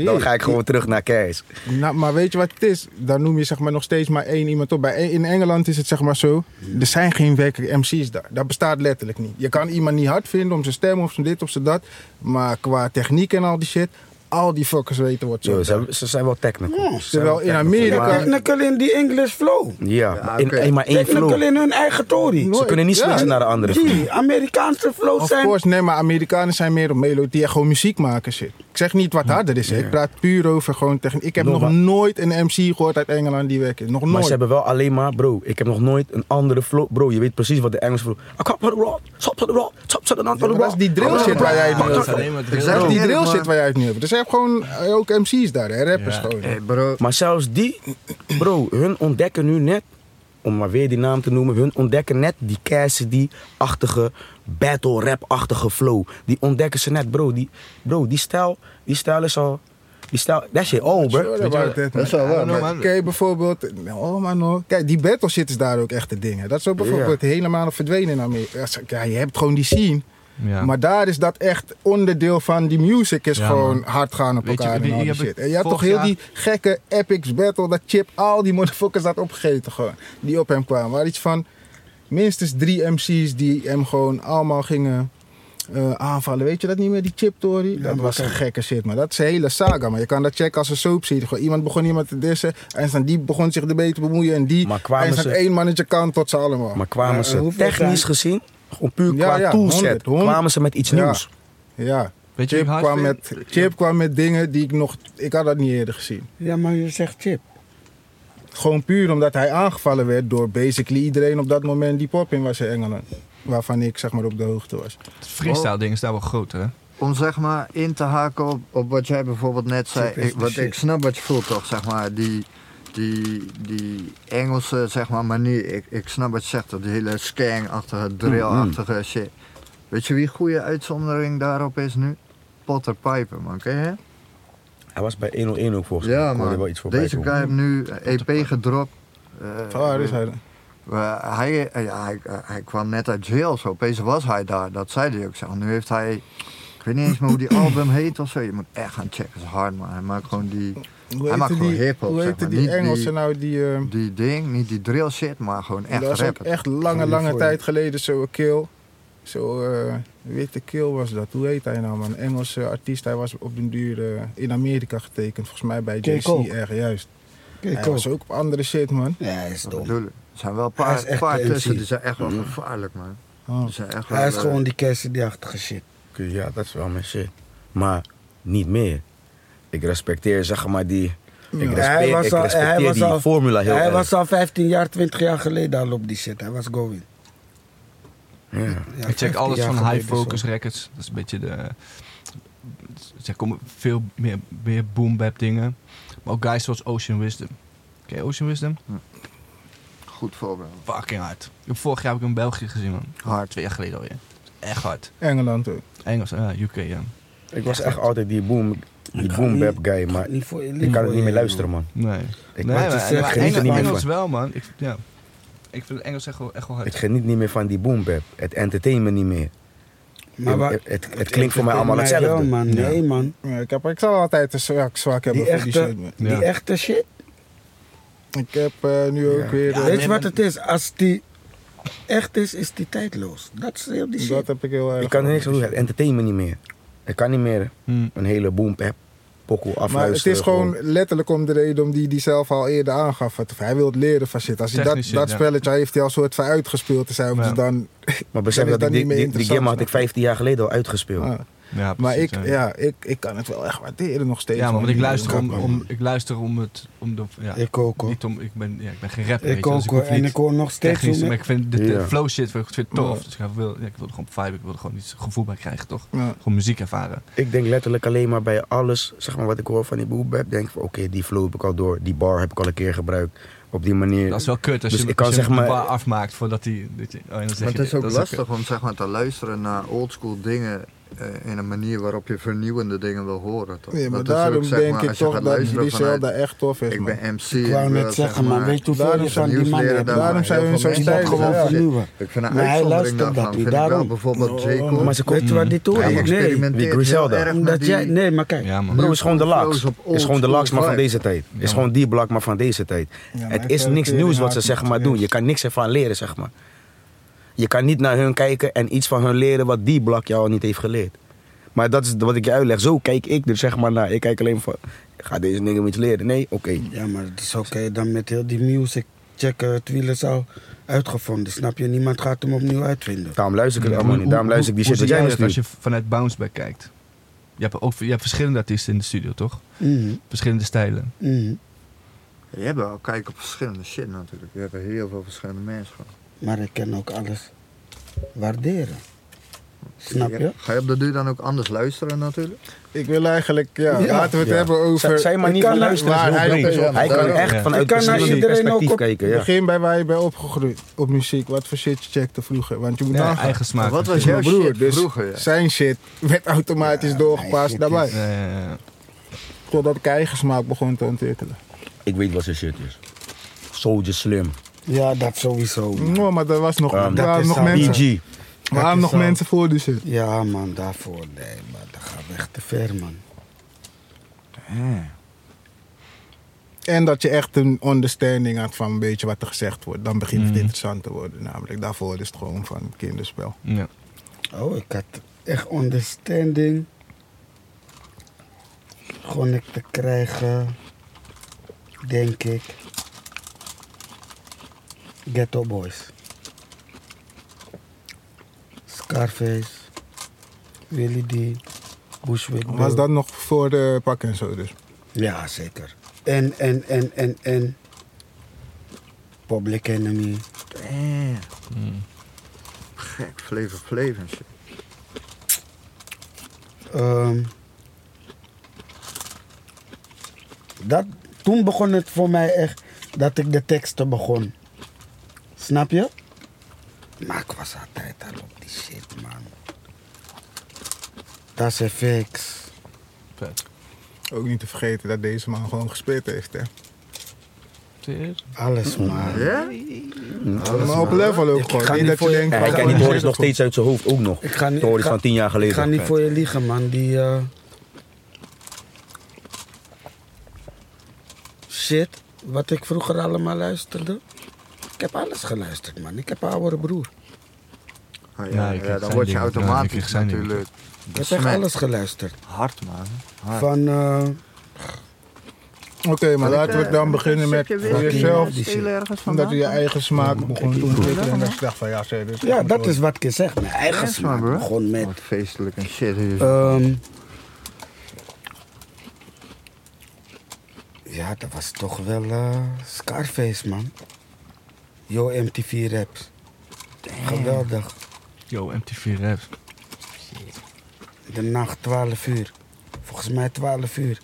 C: Dan ga ik gewoon terug naar keis.
B: Nou, maar weet je wat het is? Dan noem je zeg maar nog steeds maar één iemand op. Bij, in Engeland is het zeg maar zo. Er zijn geen werkelijke MC's daar. Dat bestaat letterlijk niet. Je kan iemand niet hard vinden om zijn stem of zijn dit of zijn dat. Maar qua techniek en al die shit. Al die fuckers weten wat zo.
C: Yo, ze, ze zijn wel technical. Ze
E: Ja,
C: zijn
B: terwijl
C: wel
B: in
C: technical,
B: Amerika-
C: maar-
E: Technical in die English flow.
C: Ja,
A: Ja,
C: in,
A: oké.
C: in maar één
E: Technical
C: flow.
E: in hun eigen tory.
B: Nooit.
C: Ze kunnen niet
B: Ja.
C: switchen naar de andere flow.
E: Die Amerikaanse flows
B: Of
E: zijn...
B: course, nee, maar Amerikanen zijn meer op melodie en gewoon muziek maken shit. Ik zeg niet wat harder is. hè. Ik praat puur over gewoon techniek. Ik heb
C: No,
B: nog
C: maar-
B: nooit een MC gehoord uit Engeland die werkt. Nog
C: Maar ze
B: nooit.
C: hebben wel alleen maar, bro, ik heb nog nooit een andere flow. Bro, je weet precies wat de Engelse flow. I come for the rock, top for the rock, top for the rock.
B: Ja, maar dat is die
C: Ah,
B: drill shit waar jij het nu over hebt.
D: maar
A: Ik zeg
B: Dat is die
A: eerlijk,
B: drill
A: maar-
B: shit waar jij het nu hebt. Dus je hebt gewoon eh, ook MC's daar, hè, rappers
D: Ja.
B: gewoon.
A: Hey bro,
C: Maar zelfs die, bro, hun ontdekken nu net, om maar weer die naam te noemen, hun ontdekken net die Cassidy-achtige, battle rap-achtige flow. Die ontdekken ze net, bro. Die, bro, die stijl, die stijl is al, die stijl, that shit old, bro.
B: Sure about that,
A: dat is wel
B: man.
A: waar,
B: Maar
A: man.
B: Kijk bijvoorbeeld, oh man hoor. Kijk, die battle shit is daar ook echt het ding. hè. Dat is ook bijvoorbeeld helemaal verdwenen in Amerika. Ja, je hebt gewoon die scene.
D: Ja.
B: Maar daar is dat echt onderdeel van. Die music is
D: Ja,
B: gewoon
D: man.
B: hard gaan op
D: Weet je,
B: elkaar
D: die-
B: en al
D: die
B: die
D: heb
B: shit.
D: ik
B: En je had toch
D: vorig
B: heel
D: jaar-
B: die gekke epics battle. Dat Chip al die motherfuckers had opgegeten gewoon. Die op hem kwamen. Waar iets van minstens drie MC's die hem gewoon allemaal gingen eh, aanvallen. Weet je dat niet meer, die Chip Tory? dat was een gekke shit, maar dat is een hele saga. Maar je kan dat checken als een soapserie. Gewoon iemand begon iemand te dissen. En dan die begon zich ermee te bemoeien. En die.
C: Maar kwamen
B: en dan
C: ze-
B: één mannetje kan tot ze allemaal.
C: Maar kwamen
E: Maar, eh,
C: ze
E: hoeveel
C: technisch
E: zijn-
C: gezien, gewoon puur
B: Ja,
C: qua
B: ja,
C: toolset,
B: 100, 100.
C: kwamen ze met iets
B: Ja.
C: nieuws.
B: Ja.
D: Weet je
B: Chip,
D: wie ik
B: kwam
D: hard
B: met,
D: vind?
B: Chip kwam met dingen die ik nog... Ik had dat niet eerder gezien.
E: Ja, maar je zegt chip.
B: Gewoon puur omdat hij aangevallen werd door basically iedereen op dat moment die pop in was in Engeland. Waarvan ik zeg maar op de hoogte was.
D: Het freestyle ding is daar wel groter, hè?
A: om zeg maar in te haken op, op wat jij bijvoorbeeld net zei.
E: Shit is
A: Ik,
E: de
A: wat
E: shit.
A: ik snap wat je voelt toch, zeg maar. Die, die, die Engelse zeg maar, manier. Ik, ik snap wat je zegt, dat die hele
C: Mm-hmm.
A: skank-achtige, drill-achtige shit. Weet je wie goede uitzondering daarop is nu? Potter Piper, man. Ken je hem?
C: Hij was bij 101 ook volgens mij. Ik
A: Ja,
C: hoorde
A: man.
C: wel iets voorbij
A: Deze
C: komen.
A: guy heeft nu een EP gedropt. Eh,
B: Waar is hij dan?
A: eh, hij, eh, ja, hij, eh, hij kwam net uit jail, zo opeens was hij daar. Dat zei hij ook. Zeg. maar, Nu heeft hij, ik weet niet eens meer hoe die album heet of zo. Je moet echt gaan checken, het is hard man. Hij maakt gewoon die,
B: Hoe
A: Hij maakt
B: heette
A: gewoon
B: die,
A: hiphop,
B: Hoe
A: zeg
B: heette
A: maar.
B: die
A: Niet
B: Engelsen
A: die-
B: nou die... eh
A: die ding, niet die drill shit, maar gewoon echt
B: dat was ook
A: rappen.
B: echt lange,
A: Goeie
B: lange
A: voor
B: tijd geleden zo'n kill. Zo eh, witte kill was dat. Hoe heet hij nou man? Een Engelse artiest. Hij was op den duur eh, in Amerika getekend. Volgens mij bij
E: J.
B: JC
E: Cole.
B: erg juist.
E: Kijk
B: hij was ook op andere shit man.
E: Ja, hij is
A: Dat
E: dom.
A: bedoel ik. Er zijn wel een
E: Hij
A: paar,
E: is echt
A: paar
E: de MC.
A: tussen die zijn echt wel gevaarlijk man.
B: Oh.
A: Die zijn echt wel,
E: Hij is
A: eh,
E: gewoon die Cassidy-achtige shit.
C: Oké, Ja, dat is wel mijn shit. Maar niet meer. Ik respecteer zeg maar die. Ik respecteer,
E: Hij was
C: ik
E: al-
C: respecteer
E: hij was
C: die
E: al-
C: formula heel
E: Hij
C: erg.
E: was al 15 jaar, 20 jaar geleden al op die shit. Hij was going.
C: ja.
E: Ja,
D: ik check
E: 15
D: alles
E: jaar
D: van
E: geleden
D: High Focus
E: zo.
D: Records. Dat is een beetje de... Zij komen veel meer, meer boom bap dingen. Maar ook guys zoals Ocean Wisdom. Ken je Ocean Wisdom?
A: Goed voorbeeld.
D: Fucking hard. Ik heb vorig jaar heb ik hem in België gezien, man.
A: Hard.
D: Twee jaar geleden alweer. Echt hard.
B: Engeland ook.
D: Engels, ja, UK, ja.
C: Ik was echt altijd die boom, die
E: ga
C: boom
E: niet-
C: bap guy, maar
E: Niet voor-
C: ik kan het niet
E: voor-
C: meer luisteren, man.
D: Nee.
C: Ik,
D: nee,
E: wou
D: maar,
E: het zeggen,
D: maar
E: geniet er
D: Engels,
E: niet meer
D: Engels
C: van.
D: wel, man. Ik, ja. ik vind Engels echt wel, echt wel
C: ik
D: hard.
C: geniet niet meer van die boom bap. Het entertainment niet meer.
E: Maar waar-
C: het, het, het klinkt voor mij allemaal
E: Maar wel,
C: hetzelfde.
E: man. Nee, man.
B: Ja, ik, heb, ik zal altijd een zwak, zwak hebben
E: Die
B: voor die
E: echte,
B: shit. man.
D: Ja.
E: die echte shit.
B: Ik heb eh, nu ook
C: Ja.
B: weer... eh,
E: Weet je wat het is? Als die echt is, is die tijdloos. Dat is heel die
B: dat
E: shit.
B: heb ik heel erg...
C: Ik kan er niks aan doen. Het entertainment niet meer. Ik kan niet meer
D: Hm.
C: een hele boom bap pokoe afluisteren.
B: Maar het is gewoon letterlijk om de reden om die die zelf al eerder aangaf. Of Hij wil het leren van shit. Als hij dat,
D: Technisch shit,
B: dat
D: ja.
B: spelletje heeft hij al soort van uitgespeeld te zijn.
D: Ja.
B: Dus dan,
C: Maar
B: dan
C: besef
B: is
C: dat
B: dat
C: ik die,
B: niet meer
C: die, die
B: interessant,
C: game had ik
B: snap
C: 15 jaar geleden al uitgespeeld.
B: ah.
D: Ja,
B: Maar
D: precies,
B: ik, ja, ik, ik kan het wel echt waarderen nog steeds.
D: Ja, maar
B: man.
D: want ik luister om,
B: Ja,
D: om, ik luister om het... Om de, ja,
E: Ik ook hoor.
D: niet om, ik, ben, ja, ik ben geen rapper, weet
E: Ik
D: je, dus
E: ook hoor.
D: hoef
E: En
D: niet
E: ik hoor nog steeds
D: technisch,
E: hoe
D: maar
E: me-
D: ik vind de, de
C: Ja.
D: flow shit vind ik vind het tof.
B: Ja.
D: Dus ik wil, ja, ik wil er gewoon vibe, ik wil er gewoon iets gevoel bij krijgen, toch?
B: Ja.
D: Gewoon muziek ervaren.
C: Ik denk letterlijk alleen maar bij alles, zeg maar wat ik hoor van die boebab, denk ik van oké, die flow heb ik al door, die bar heb ik al een keer gebruikt. Op die manier.
D: Dat is wel kut als
C: Dus
D: je,
C: ik kan
D: als je
C: zeg
D: hem
C: maar-
D: een paar afmaakt voordat hij... dit- Oh, en dan zeg
A: Maar
D: je
A: het is
D: dit,
A: ook
D: dat
A: lastig om zeg maar, te luisteren naar oldschool dingen eh, in een manier waarop je vernieuwende dingen wil horen. Toch?
B: Nee, maar
A: Dat is ook,
B: daarom
A: zeg
B: denk
A: maar,
B: ik
A: als je
B: toch
A: gaat
B: dat
A: luisteren
B: Griselda
A: vanuit,
B: echt tof is,
A: Ik
B: man.
A: ben MC.
E: Ik wou
A: wil,
E: net zeggen, maar weet je hoeveel
B: daarom
E: je
B: zijn
E: van die
A: nieuws
E: man
A: leren
E: hebt?
A: daarvan.
E: man?
B: Daarom zijn we
A: Heel
B: zo
A: veel
E: Die moet
A: mensen
B: stijl.
E: gewoon
A: zeggen,
B: Ja.
E: vernieuwen.
A: Ik vind een
E: Maar hij
A: uitzondering
E: luistert dat
A: daarvan.
E: niet,
A: Vind ik wel
E: daarom.
A: bijvoorbeeld J. Cole.
C: Maar ze komt waar dit door.
A: Hij
C: Nee,
A: experimenteert
C: die
A: heel erg
C: Griselda.
A: met
E: Omdat
A: die-
E: jij, nee, maar kijk.
D: Ja, man.
C: Bro, is gewoon de
A: Flows
C: laks.
A: op old
C: Is gewoon de
A: school
C: laks, maar van
A: vibe.
C: deze tijd. Is gewoon die blak, maar van deze tijd.
B: maar
C: het
B: ik
C: is
B: vind
C: niks
B: het
C: nieuws wat ze
B: inderdaad
C: zeg
B: niet
C: maar doen.
B: eens.
C: Je kan niks ervan leren, zeg maar. Je kan niet naar hun kijken en iets van hun leren wat die blak jou niet heeft geleerd. Maar dat is wat ik je uitleg. Zo kijk ik er zeg maar naar. Ik kijk alleen van, ga deze dingen iets leren? Nee? Oké.
E: Ja, maar het is oké dan met heel die music checken. Het wiel is al uitgevonden, snap je? Niemand gaat hem opnieuw uitvinden.
C: Daarom luister ik het allemaal niet.
D: Hoe-
C: Daarom
D: hoe-
C: luister ik die
D: hoe
C: shit wat
D: zie
C: jij dus me
D: dat als
C: stuurt.
D: je vanuit bounceback kijkt? Je hebt, ook, je hebt verschillende artiesten in de studio, toch?
E: Mhm,
D: Verschillende stijlen.
E: mhm.
A: Je hebt wel kijk op verschillende shit natuurlijk. Je hebt heel veel verschillende mensen. gewoon.
E: Maar ik kan ook alles waarderen. Snap je?
A: Ga je op de duur dan ook anders luisteren natuurlijk?
B: Ik wil eigenlijk, ja,
E: Ja.
B: laten we het
C: Ja.
B: hebben
C: Zij-
B: over...
C: Zij maar
B: Ik
C: niet
B: kan
C: van
B: naar-
C: luisteren.
B: waar
C: is heel
B: hij
C: breed.
B: op is
A: op-
C: Hij kan
A: daarom.
C: echt
D: Ja.
E: Ik
C: vanuit
E: kan naar
C: verschillende
E: iedereen ook
C: perspectief
E: op-
C: kijken. Ja.
B: Begin bij waar je bij opgegroeid op muziek. Wat voor shit je checkte vroeger. Want je moet
D: Ja,
B: nagaan.
D: eigen smaak.
A: Wat was
D: natuurlijk.
A: jouw
B: Mijn broer,
A: shit
B: dus
A: vroeger? ja.
B: Zijn shit werd automatisch
E: mijn
B: doorgepast
E: shit
B: daarbij.
E: is-
D: Ja, ja, ja.
B: Totdat ik eigen smaak begon te ontwikkelen.
C: Ik weet wat zijn shit is. Soldier Slim.
E: Ja, dat sowieso.
B: No,
E: man.
B: Nou, maar er was nog,
C: Ja,
B: er
E: dat
B: waren
E: is
B: nog
E: zo.
B: mensen.
C: BG.
B: Er waren
E: is
B: nog
E: zo.
B: mensen voor die shit.
E: Ja, man, daarvoor. Nee, maar dat gaat echt te ver, man.
B: En dat je echt een understanding had van een beetje wat er gezegd wordt. Dan begint het
D: Mhm.
B: interessant te worden. Namelijk daarvoor is het gewoon van kinderspel.
D: Ja.
E: Oh, ik had echt understanding. Gewoon ik te krijgen, denk ik. Ghetto Boys. Scarface. Willy D. Bushwick.
B: Was
E: Bill.
B: dat nog voor de pak en zo dus?
E: Ja, zeker. En, en, en, en, en. Public Enemy.
A: Damn.
D: Hmm.
A: Gek, flavor flavor en shit.
E: Ehm, dat, toen begon het voor mij echt dat ik de teksten begon. Snap je? Maar ik was altijd al op die shit, man. Dat is FX.
D: Vet.
B: Ook niet te vergeten dat deze man gewoon gespeeld heeft. Hè?
E: Alles, man.
A: Ja?
B: Maar op level ook
E: Ik
B: gewoon.
E: ga
B: Niet
E: niet
B: dat je
E: voor je-
B: denkt, oh,
C: Ja, hij
E: Ja,
B: wat
C: kent
B: voor
C: die
B: shit
C: Tories nog
B: dat
C: steeds uit zijn hoofd ook nog.
E: Ik ga niet-
C: Tories
E: ik ga-
C: van tien jaar
E: Ik
C: geleden.
E: ga niet voor je liegen, man. Die eh, shit, wat ik vroeger allemaal luisterde. Ik heb alles geluisterd, man. Ik heb een oudere broer.
A: Oh,
D: Ja,
A: ja,
D: ik
A: ja,
D: krijg
A: dan
D: zijn
A: word je
D: dingen. Ja, ik
A: automatisch
D: krijg zijn dingen.
A: natuurlijk.
E: Ik heb echt
A: besmet.
E: alles geluisterd.
A: Hard man. Hard.
E: Van eh,
B: Oké, maar laten we
F: eh,
B: dan beginnen met voor
E: weer-
B: jezelf.
E: Eh, die shit.
B: Omdat je je eigen smaak begon te ontwikkelen. En dat je dacht van ja, dus zeg, dit
E: ja,
B: echt
E: dat
B: mooi.
E: is wat ik je zeg. Mijn eigen smaak begon met
A: Wat feestelijk en shit. Dus hier.
E: Ehm, ja, dat was toch wel eh, Scarface, man. Yo, MTV Raps. Geweldig.
D: Yo, MTV Raps.
E: De nacht 12 uur. Volgens mij 12 uur.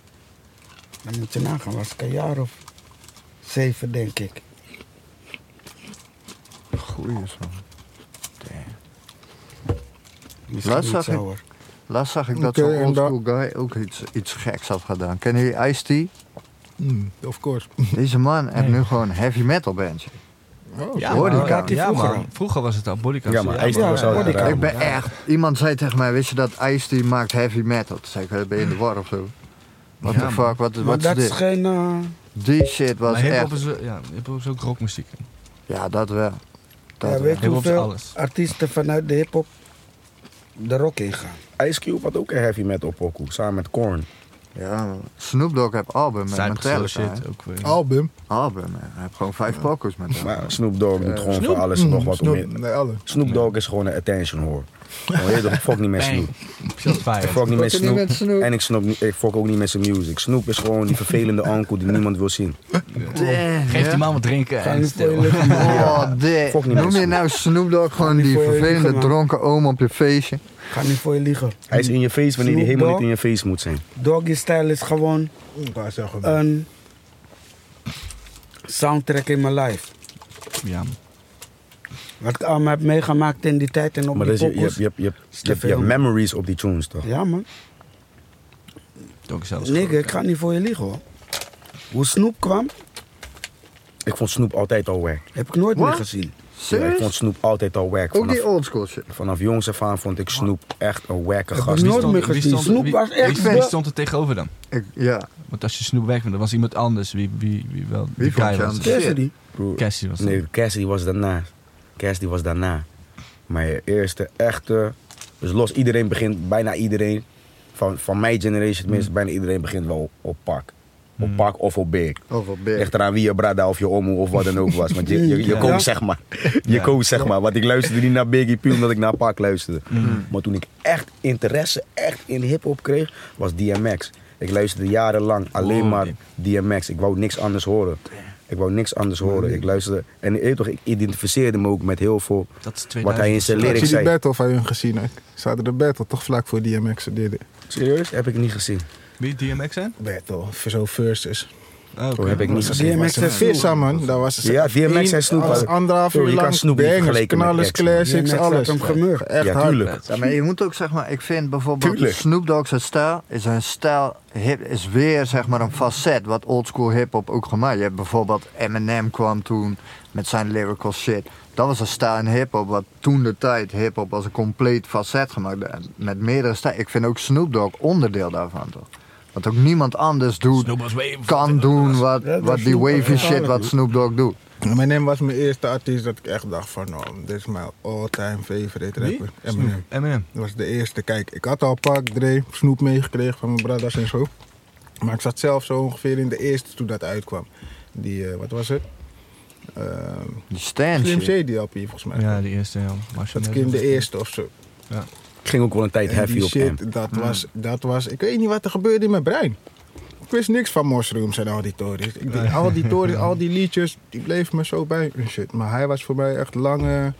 E: Dan moet je nagaan, was ik een jaar of zeven, denk ik.
A: Goeie is man.
E: Misschien
A: Laatst
E: iets
A: zag ik-
E: ouder.
A: Laatst zag ik dat
B: Oké,
A: zo'n
B: en
A: oldschool guy ook iets, iets geks had gedaan. Kennen jullie Ice-T?
B: Mm, of course.
A: Deze man heeft nu gewoon heavy metal bandje.
D: Ja,
A: hoor die
D: man.
A: kaart.
D: Ja,
E: Vroeger
D: man.
E: al.
D: Vroeger was het al bodycast.
C: Ja, maar hij is dus
E: Ja,
C: toch
E: ja,
C: zo
E: hoor, die
C: raar,
E: kan.
A: ik
C: man.
A: ben echt... Iemand zei tegen mij, wist je dat Ice-T maakt heavy metal? Toen zei ik, "Eh, ben je in de war of zo? What
D: Ja,
A: the
D: man.
A: fuck, wat,
E: Maar
A: wat is
E: dat is
A: dit?
E: geen... eh,
A: Die shit was
D: Maar hip-hop
A: echt...
D: is, wel- ja, hip-hop is ook rockmuziek.
A: Ja, dat wel. Dat
E: ja,
A: wel.
E: weet je
D: Hip-hop is
E: hoeveel
D: alles.
E: artiesten vanuit de hip-hop de rock ingaan?
C: Ice Cube had ook een heavy metal pokoe, samen met Korn.
A: Ja, man. Snoop Dogg heeft album met
D: Cypress
A: Metallica.
D: Hill
A: hè?
D: shit. Ook eh. weer.
B: Album.
A: Album, hè. hij heeft gewoon vijf pokus met hem.
C: Maar Snoop Dogg
E: Eh,
C: doet gewoon voor
B: Snoop.
E: Mm,
C: alles en nog wat.
B: Snoop,
C: Snoop,
B: Mm, nee, alle.
C: Snoop Dogg is gewoon een attention hoor. Weet je, ik fok niet met
D: Bang.
C: Snoop.
D: Shot
C: Ik
D: fire.
C: fok niet met
A: Fok je niet
C: Snoop.
A: met Snoop?
C: En ik, snap niet, ik fok ook niet met zijn music. Snoop is gewoon die vervelende uncle die niemand wil zien.
A: Damn,
D: Geef
A: ja.
D: die man wat drinken
E: Ga
D: en
E: niet voor je
D: stil.
E: lichaam.
A: Oh, dit.
C: Fuck
A: Noem
C: niet met
A: je
C: Snoop.
A: nou Snoop Dogg gewoon
E: niet
A: die
E: voor je liegen,
A: vervelende
E: man.
A: dronken oom op je feestje?
E: Ga niet voor je liegen.
C: Hij is in je face wanneer hij
E: Snoop
C: helemaal niet
E: Dogg?
C: in je face moet zijn.
E: Doggy Style is gewoon
B: Ik wou zeggen,
E: een soundtrack in mijn life.
D: Ja, man.
E: Wat ik allemaal heb meegemaakt in die tijd en op
C: Maar
E: die
C: dat is, je, je,
E: pokoes.
C: hebt- je, hebt- je, hebt-
E: is te
C: je hebt- je
E: veel,
C: hebt
E: man.
C: memories op die tunes, toch?
E: Ja, man.
D: Ook zelfs.
E: Nigga, ik ga niet voor je liegen, hoor. Hoe Snoep kwam,
C: Ik vond Snoep altijd al wack.
E: heb ik nooit
A: Wat?
E: meer gezien.
C: Ja, ik vond
A: Serieus?
C: Snoep altijd al wack.
A: Ook die
C: Vanaf,
A: oldschool shit.
C: vanaf jongs af aan vond ik Snoep echt een wacke
E: Heb ik
C: gast.
E: nooit meer gezien. Snoep
D: wie,
E: was echt
D: wie, wie
E: de-
D: stond er tegenover dan?
A: Ik, ja,
D: Want als je Snoep weg vond, dan was iemand anders. Wie, wie, wie wel? die
A: vond
D: guy
A: je
D: was
A: anders?
D: het?
E: Ken je die?
C: Broer,
D: Cassie was het.
C: Nee, Cassidy was daarna. Cassidy was daarna. Maar je eerste echte... Dus los, iedereen begint, bijna iedereen... Van, van mijn generation tenminste, bijna iedereen begint wel op, op pak. Op pak of op big.
A: over Beer.
C: Ligt eraan wie je brada of je omo of wat dan ook was. Want je, je, je
D: Ja.
C: koos zeg maar. Je
D: Ja.
C: koos zeg maar. Want ik luisterde niet naar Biggie puur omdat ik naar Pak luisterde.
B: Mm.
C: Maar toen ik echt interesse echt in hip-hop kreeg, was DMX. Ik luisterde jarenlang alleen
D: Wow.
B: Oh,
C: maar DMX. Ik wou niks anders horen. Ik wou niks anders horen. Ik luisterde. En je weet toch, ik identificeerde me ook met heel veel
D: Dat is
C: wat hij in
B: Had
C: zijn
D: 2000.
C: lyrics
B: je die
C: zei.
B: battle van hun gezien? hè? Ze hadden de battle toch vlak voor DMX deden.
C: Serieus? Heb ik niet gezien.
D: Wie DMX zijn?
B: Battle, voor zo versus.
D: Oh, oké.
C: Oh, heb ik niet
B: Dat
C: gezien.
E: DMX
B: was een
E: en Snoop.
B: vissa, man. Dat was
C: Ja, DMX en
B: één-
C: Snoop
B: alles
C: hadden-
B: Anderhalf
C: Yo,
B: uur
C: je kan
B: lang
C: Snoop niet
B: bangers,
C: vergelijken met
B: knallers,
C: Jackson.
B: classics,
E: DMX had
B: alles.
E: hem gemurkt.
B: Echt
C: Ja,
B: hard.
C: tuurlijk.
A: Ja, maar je moet ook zeg maar, ik vind bijvoorbeeld
C: Tuurlijk.
A: Snoop Dogg zijn stijl is een stijl hip is weer zeg maar een facet wat oldschool hip hop ook gemaakt. Je hebt bijvoorbeeld Eminem kwam toen met zijn lyrical shit. Dat was een stijl in hip hop wat toen de tijd hip hop als een compleet facet gemaakt En met meerdere stijlen. Ik vind ook Snoop Dogg onderdeel daarvan toch. Want ook niemand anders doet,
D: Snoop was way-
A: kan doen wat,
E: Ja, dat
A: wat die
E: Snoop Dogg
A: wavy shit
E: uiteindelijk
A: wat
E: doet.
A: Snoop Dogg doet.
B: Eminem was mijn eerste artiest dat ik echt dacht van, oh, dit is mijn all-time favorite
D: Wie?
B: rapper. Eminem.
D: Eminem.
B: Dat was de eerste. Kijk, ik had al Pak, Dre, Snoep meegekregen van mijn brothers en zo. Maar ik zat zelf zo ongeveer in de eerste toen dat uitkwam. Die, eh, wat was het? Ehm
A: Die stand
B: Slim
A: shit.
B: Shady LP volgens mij.
D: Ja, die eerste. Ja.
B: dat ik in de eerste of zo.
C: Ik ging ook wel een tijd
B: En
C: heavy
B: die
C: op hem.
B: shit, dat was, dat was, ik weet niet wat er gebeurde in mijn brein. Ik wist niks van mushrooms en al die tories. Ik deed al die tories, al die liedjes, die bleef me zo bij. en Shit, maar hij was voor mij echt lange
D: Hm.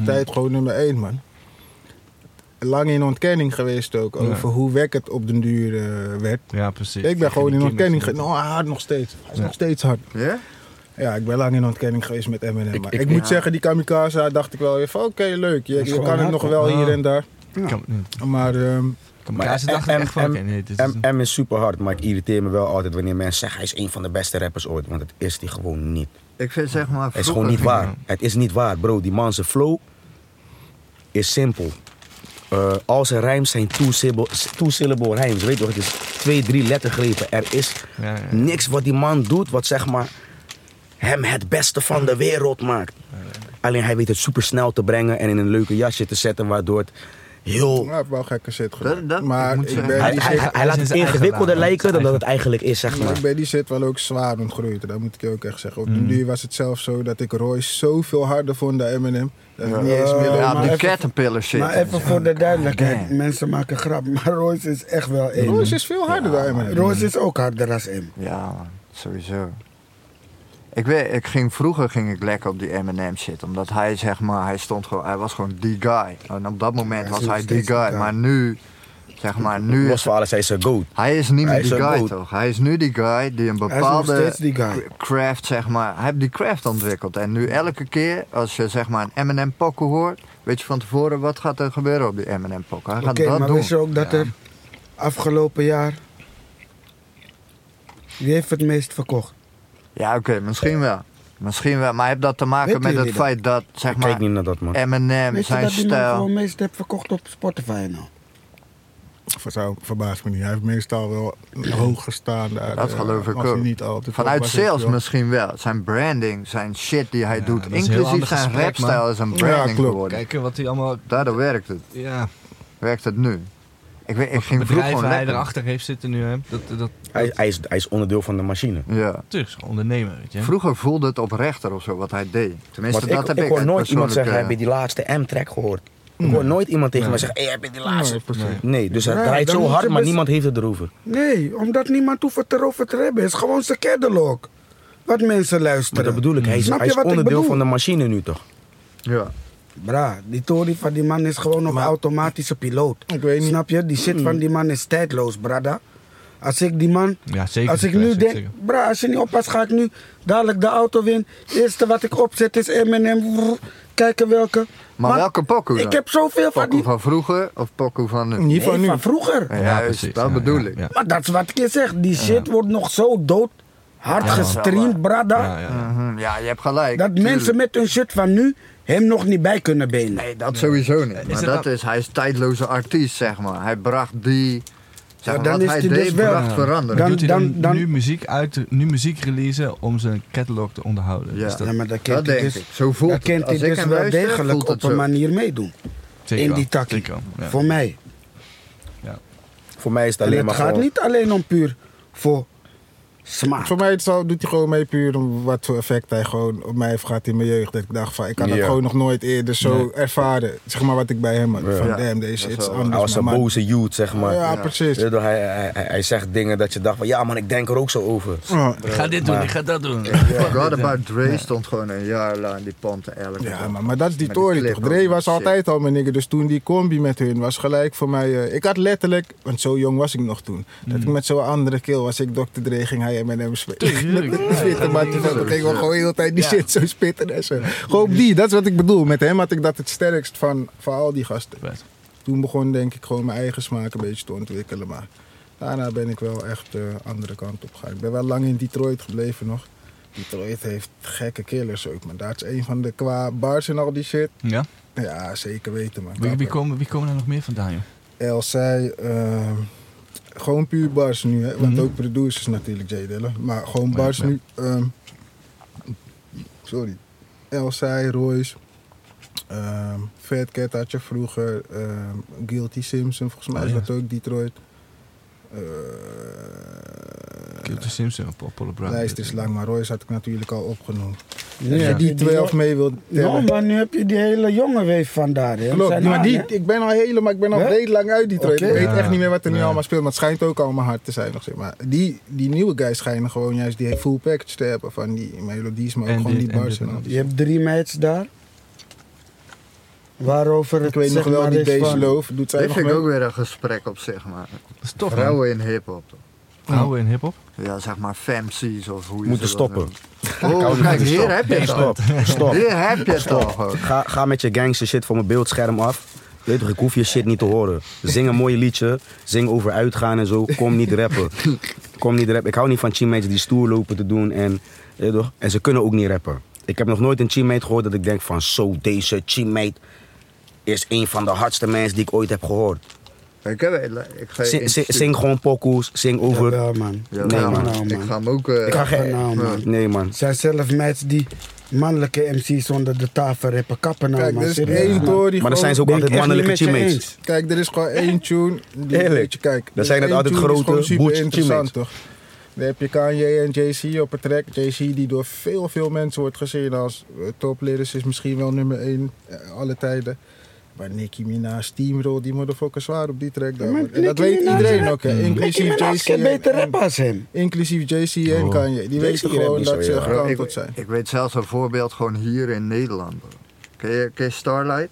D: Mm.
B: tijd gewoon nummer één, man. Lang in ontkenning geweest ook,
D: Ja.
B: over hoe wek het op den duur eh, werd.
D: Ja, precies.
B: Ik ben gewoon in ontkenning
D: genomen.
B: gegaan. Oh, hard nog steeds. Hij is
D: Ja.
B: nog steeds hard.
A: Ja?
B: Ja, ik ben lang in ontkenning geweest met Eminem.
C: Ik-
B: maar
C: ik-
B: ik, moet
A: ja.
B: zeggen, die kamikaze dacht ik wel weer van... Oké, leuk. Je,
E: is
B: je
E: gewoon
B: kan het
E: hard,
B: nog
E: hoor.
B: wel hier
D: Ja.
B: en daar.
D: Kan, nee,
B: Maar ehm,
D: kan
C: Maar
D: elkaar ze dachten
C: M-
D: echt van,
C: M-
D: oké, nee, dit is...
C: M, M is super hard, maar ik irriteer me wel altijd wanneer mensen zeggen hij is een van de beste rappers ooit. Want het is die gewoon niet.
A: Ik vind zeg maar.
C: Het is gewoon niet
A: vroeger-
C: waar. Het is niet waar, bro. Die man zijn flow is simpel. Eh, al zijn rijms zijn two-syllable two rijms. Weet je toch, het is twee, drie lettergrepen. Er is
D: Ja, ja.
C: niks wat die man doet wat zeg maar hem het beste van de wereld maakt. Alleen hij weet het super snel te brengen en in een leuke jasje te zetten, waardoor het heel
B: Ja, ik heb wel gekke shit gedaan.
A: Dat- dat- ik
B: maar
A: moet
B: ik,
A: zeggen,
B: ben
C: Hij,
B: die
C: hij,
B: shit,
C: hij,
D: hij is
C: laat
D: in
C: het
D: zijn eigen
C: ingewikkelder
D: laag,
C: lijken dan
D: man.
C: dat het eigenlijk is, zeg
B: maar
C: maar.
B: ik ben die shit wel ook zwaar ontgroeid. Dat moet ik je ook echt zeggen. Op de duur was het zelf zo dat ik Royce zoveel harder vond dan Eminem. Dat ik niet eens meer
E: Ja,
B: leuk
A: Ja,
E: Oh, maar
A: die
E: even-
A: caterpillar shit.
E: Maar even voor de duidelijkheid,
A: Damn.
E: mensen maken grap, maar Royce is echt wel één.
B: Royce is veel harder dan Eminem.
E: Royce is ook harder dan één.
A: Ja, man, sowieso. Ik weet, ik ging, vroeger ging ik lekker op die Eminem shit. Omdat hij zeg maar, hij stond gewoon, hij was gewoon die guy. En op dat moment
E: hij is
A: was
E: nog
A: hij die
E: steeds die
A: guy.
E: guy.
A: Maar nu, zeg maar, nu
C: Los
A: is,
C: van alles, hij is een goat.
A: hij is niet meer
C: Hij is
A: die
C: een
A: guy
C: goat.
A: toch? Hij is nu die guy die een
E: Hij is nog
A: bepaalde
E: steeds die guy.
A: craft, zeg maar, hij heeft die craft ontwikkeld. En nu elke keer als je zeg maar een Eminem pokken hoort, weet je van tevoren wat gaat er gebeuren op die Eminem pokken. Hij gaat
E: Oké,
A: dat
E: maar
A: doen.
E: wist je ook dat er afgelopen jaar... Wie heeft het meest verkocht?
A: Ja, oké, misschien wel. Misschien wel, maar heeft dat te maken
E: Weten
A: met het
E: jullie dat?
A: feit dat, zeg
C: Ik
A: maar,
C: kijk niet naar dat, man.
E: eh,
A: Eminem,
E: Weet je
A: zijn
E: dat die man
A: stijl.
E: gewoon het meest heeft verkocht op Spotify nou?
B: Ver- Zou, verbaast me niet. Hij heeft meestal wel hoog gestaan daar.
A: Dat
B: eh,
A: geloof ik
B: als hij
A: ook.
B: Niet al te
A: Vanuit
B: was, weet je
A: sales
B: wel.
A: misschien wel. Zijn branding, zijn shit die hij
D: Ja,
A: doet.
D: dat is een heel ander
A: Inclusief zijn
D: gesprek,
A: rapstijl
D: man.
A: is een
B: Ja,
A: branding
B: klopt.
A: geworden.
D: Kijken wat hij allemaal...
A: Daardoor werkt het.
D: Ja,
A: Werkt het nu. Ik, weet, ik ging vroeger
D: bedrijven
A: gewoon
D: hij
A: lekker.
D: erachter heeft zitten nu, hè. Dat, dat, dat
C: Hij, hij, is, hij is onderdeel van de machine.
A: Ja.
D: natuurlijk is gewoon ondernemen, weet je.
A: Vroeger voelde het oprechter of zo wat hij deed. Tenminste,
C: Want
A: dat
C: ik,
A: heb ik
C: ik
A: eh,
C: hoor
A: uit
C: nooit iemand zeggen,
E: eh,
C: heb je
A: persoonlijke-
C: die laatste M-track gehoord? Ik hoor nooit iemand tegen mij zeggen, hey, heb je die laatste?
B: precies.
C: Nee, dus hij
E: Ja,
C: draait
E: dan
C: zo
E: moet je
C: hard, maar
E: best-
C: niemand heeft het erover.
E: Nee, omdat niemand hoeft het erover te hebben. Het is gewoon zijn catalog. Wat mensen
C: Maar
E: luisteren.
C: dat bedoel ik, hij is,
E: Snap
C: hij
E: je
C: is
E: wat ik
C: onderdeel
E: bedoel?
C: van de machine nu toch?
A: Ja.
E: Bra, die tory van die man is gewoon op automatische piloot.
B: Ik weet niet.
E: Snap je? Die shit van die man is tijdloos, brada. Als ik die man...
D: Ja, zeker.
E: Als ik
D: Ja,
E: nu
D: zeker,
E: denk...
D: zeker.
E: Bra, als je niet oppast ga ik nu dadelijk de auto win. Het eerste wat ik opzet is M&M. kijken welke.
A: Maar welke pokoe dan?
E: Ik heb zoveel van
A: Pokoe
E: die.
A: van vroeger of pokoe van nu?
B: Niet
E: Nee,
B: van nu.
E: van vroeger.
A: Ja, juist, dat
D: ja,
A: bedoel
D: ja,
A: ik.
D: Ja,
E: Maar dat is wat ik je zeg. Die shit wordt nog zo dood. Hard
A: Ja.
E: gestreamd, brada.
D: ja, ja, ja.
A: Mhm, ja, je hebt gelijk.
E: Dat
A: tuurlijk.
E: mensen met hun shit van nu hem nog niet bij kunnen benen.
A: Nee, dat sowieso niet. Maar
D: het
A: dat
D: dan-
A: is, hij is tijdloze artiest, zeg maar. Hij bracht die... Zeg maar,
E: dan
A: wat
E: is
A: hij
E: hij
A: deed,
E: dus wel-
A: bracht verandering.
E: Dan-
D: Doet hij dan,
E: dan- dan-
D: nu muziek uit, nu muziek releasen om zijn catalog te onderhouden?
A: Ja.
D: Dus dat
E: Ja, maar dat
A: Dat
E: kent
A: denk
E: hij dus,
A: ik. Zo voelt
E: dat
A: het.
E: kent hij
A: Als ik
E: dus
A: hem
E: wel
A: luister,
E: degelijk
A: voelt het
E: op
A: zo.
E: een manier meedoen.
D: zeker
E: in
D: wel,
E: die takkie.
D: zeker wel, ja.
E: Voor mij.
C: Voor mij is het
E: En
C: alleen
E: het
C: maar
E: gaat
C: gewoon-
E: niet alleen om puur voor smaak.
B: Voor mij is het al- doet hij gewoon mee puur om wat voor effect hij gewoon op mij heeft gehad in mijn jeugd. Dat ik dacht van, ik had dat
C: Ja.
B: gewoon nog nooit eerder zo ervaren. Zeg maar wat ik bij hem had. Van
A: Ja.
B: damn,
A: Dat is
B: deze shit is
A: wel-
B: anders.
C: Hij was een
B: man.
C: boze youth, zeg maar.
B: Ja, precies.
C: Weet je wel, Hij, hij, hij- hij zegt dingen dat je dacht van, ja man, ik denk er ook zo over.
E: Mm.
B: Ja.
D: Ik ga dit doen, ik ga dat doen.
A: God About Dre stond gewoon een jaar lang in die panten elke
B: Ja,
A: dag.
B: maar, maar dat is die
A: Met die
B: Tory
A: clip
B: toch?
A: ook,
B: Dre was
A: shit.
B: altijd al mijn nigger. Dus toen die combi met hun was gelijk voor mij... eh, ik had letterlijk, want zo jong was ik nog toen...
A: Mm.
B: dat ik met zo'n andere keel was. Ik Dr. Dre ging hij en hem spitten. Met
D: Tuurlijk.
B: die spitten, maar toen gingen we gewoon de hele tijd die shit zo spitten en zo. Gewoon op die, dat is wat ik bedoel. Met hem had ik dat het sterkst van, van al die gasten.
D: Best.
B: Toen begon denk ik gewoon mijn eigen smaak een beetje te ontwikkelen. Maar daarna ben ik wel echt de andere kant op gegaan. Ik ben wel lang in Detroit gebleven nog. Detroit heeft gekke killers ook, maar daar is een van de qua bars en al die shit.
D: Ja?
B: Ja, zeker weten man.
D: Wie, wie, komen, wie komen er nog meer vandaan, joh?
B: El Zij, ehm, gewoon puur bars nu, hè? want
D: Mhm.
B: ook producers natuurlijk J Dilla, maar gewoon
D: Ja,
B: bars
D: ja.
B: nu. ehm, sorry, El Zij, Royce, ehm Fat Cat had je vroeger, ehm, Guilty Simpson, volgens mij
D: Oh,
B: is
D: ja.
B: dat ook Detroit. Eh,
D: Guilty Simpson op Apollo
B: de
D: Brown.
B: lijst is lang, maar Royce had ik natuurlijk al opgenoemd.
E: Nu
B: Als
E: heb
B: je
E: je
B: die 12 mee wil
E: No,
B: tellen.
E: maar nu heb je die hele jonge weef vandaar. hè.
B: Klopt,
E: Zijn
B: maar
E: aan,
B: die,
E: hè.
B: ik ben al helemaal, ik ben al
E: Ja?
B: redelijk lang uit Detroit.
E: Oké.
B: Ik weet
D: Ja.
B: echt niet meer wat er nu
D: Ja.
B: allemaal speelt, maar het schijnt ook allemaal hard te zijn nog zeg maar. Die, die nieuwe guys schijnen gewoon juist die full package te hebben van die melodies, maar ook
D: En
B: gewoon
D: dit,
B: die
D: en
B: bars
D: dit
B: en
D: en
B: al.
D: dat.
E: Je hebt drie meids daar. Waarover het
B: Ik weet
E: zeg
B: nog wel
E: maar
B: die
E: is
B: Days
E: van-
B: Love doet zij
A: Dit
B: nog
A: vind ik
B: mee.
A: ook weer een gesprek op zich, maar.
D: Dat is tof, man.
A: Vrouwen in hip-hop.
D: Vrouwen in hiphop.
A: Ja, zeg maar femcies of hoe je
C: Moeten
A: ze dat
C: stoppen.
A: noemt. Oh, kijk, hier heb je het al.
C: Stop, stop.
A: Hier heb je het al. gewoon.
C: Ga, ga met je gangster shit van mijn beeldscherm af. Weet toch, ik hoef je shit niet te horen. Zing een mooi liedje. Zing over uitgaan en zo. Kom niet rappen. Kom niet rappen. Ik hou niet van teammates die stoer lopen te doen. En, weet toch, en ze kunnen ook niet rappen. Ik heb nog nooit een teammate gehoord dat ik denk van... Zo, deze teammate is een van de hardste mensen die ik ooit heb gehoord.
A: Ik, heb, ik ga je
C: Zing, zing,
A: insturen.
C: zing gewoon pokoes. Zing over...
E: Jawel, man.
A: Ja,
C: Nee,
A: nou,
C: man.
E: Nou,
A: Ik
E: man.
A: ga hem ook. eh,
C: Ik ga
E: Ach,
C: geen...
E: nou, man.
C: Nee, man.
E: Het zijn zelf meids die mannelijke MC's onder de tafel rappen. Kappen nou,
B: Kijk, dus-
E: man.
B: er is
E: Serieus,
B: één
E: man.
B: Tory
C: Maar
B: gewoon-
C: dan zijn ze ook
E: Ben ik
C: altijd
E: echt niet
C: mannelijke
E: met je
C: teammates.
E: eens.
B: Kijk, er is gewoon één tune. Die,
C: Eerlijk.
B: weet je, kijk, er
C: Dan
B: is
C: zijn het
B: één
C: altijd
B: tune die is
C: grote
B: gewoon super
C: boertje
B: interessant,
C: teammates.
B: toch? Dan heb je Kanye en Jay-Z op een track. Jay-Z die door veel, veel mensen wordt gezien als eh, top lyricist. Misschien wel nummer één eh, alle tijden. Maar Nicki Minaj, Steamroll, die motherfucker zwaar op die track. daar,
E: maar
B: man. En dat
E: Nicki
B: weet
E: Minaj
B: iedereen
E: rapt-
B: ook, hè.
E: Nicki
B: Inclusief
E: Minaj
B: Jay-Z
E: kan beter
B: en,
E: rappen als hem.
B: inclusief Jay-Z en
D: Oh.
B: Kanye. Die
C: Jay-Z
B: weten
C: rapt
B: gewoon
C: niet
B: dat
C: zo,
B: ze
C: ja.
A: Bro,
B: gekant tot
A: ik,
B: zijn.
A: ik weet zelfs een voorbeeld gewoon hier in Nederland. bro. Ken je, ken je Starlight?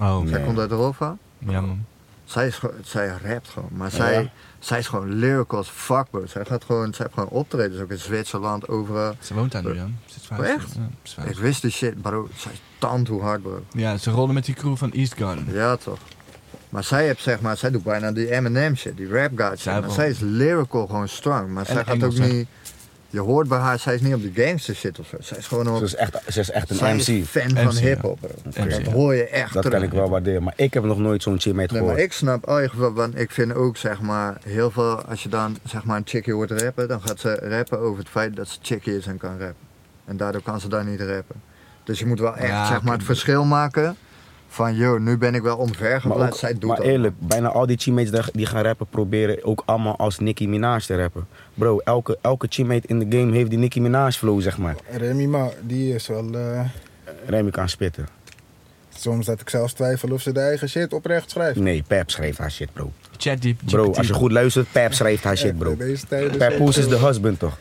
D: Oh,
A: Zij komt uit Europa.
D: ja, man.
A: Zij, is, gewoon- zij rapt gewoon, maar zij, zij is gewoon lyrical als fuck, bro. Zij, gaat gewoon, zij heeft gewoon optredens, ook in Zwitserland, overal.
D: Ze woont daar nu, ja. Ze is vijf-
A: Echt?
D: Ja, ze is vijf.
A: Ik wist die shit, bro. Zij is tand hoe hard, bro.
D: Ja, ze rollen met die crew van East Garden.
A: Ja, toch. Maar zij heeft, zeg maar, zij doet bijna die Eminem shit, die rap god shit.
D: Zij
A: Maar
D: wel.
A: zij is lyrical gewoon strong, maar zij gaat
D: Engels,
A: ook
D: hè?
A: niet... Je hoort bij haar, zij is niet op die gangster shit of zo. Zij is gewoon op...
C: Ze is echt, ze is echt
A: zij
C: een
A: is
C: MC.
A: fan
D: MC,
A: van
D: ja.
A: hip-hop, bro.
D: MC,
A: dat
D: ja.
A: hoor je echt
C: Dat
A: terug.
C: kan ik wel waarderen. Maar ik heb nog nooit zo'n teammate
A: Nee, maar
C: gehoord.
A: ik snap eigenlijk, want ik vind ook zeg maar heel veel, als je dan zeg maar een chickie hoort rappen, dan gaat ze rappen over het feit dat ze chickie is en kan rappen. En daardoor kan ze daar niet rappen. Dus je moet wel echt
D: Ja,
A: zeg maar
D: oké.
A: het verschil maken van, joh, nu ben ik wel
C: Maar,
A: omvergeplaatst,
C: ook-
A: zij doet
C: maar
A: dat.
C: eerlijk, bijna al die teammates die- die gaan rappen proberen ook allemaal als Nicki Minaj te rappen. Bro, elke, elke teammate in de game heeft die Nicki Minaj flow, zeg maar.
B: Remy Ma, die is wel... eh,
C: Remy kan spitten.
B: soms dat ik zelfs twijfel of ze de eigen shit oprecht schrijft.
C: Nee, Pep schreef haar shit, bro.
D: Chat Deep.
C: Bro, als je goed luistert, Pep schrijft haar shit, bro.
B: Deze tijden
C: Pep
B: zijn-
C: Poes is de husband, toch?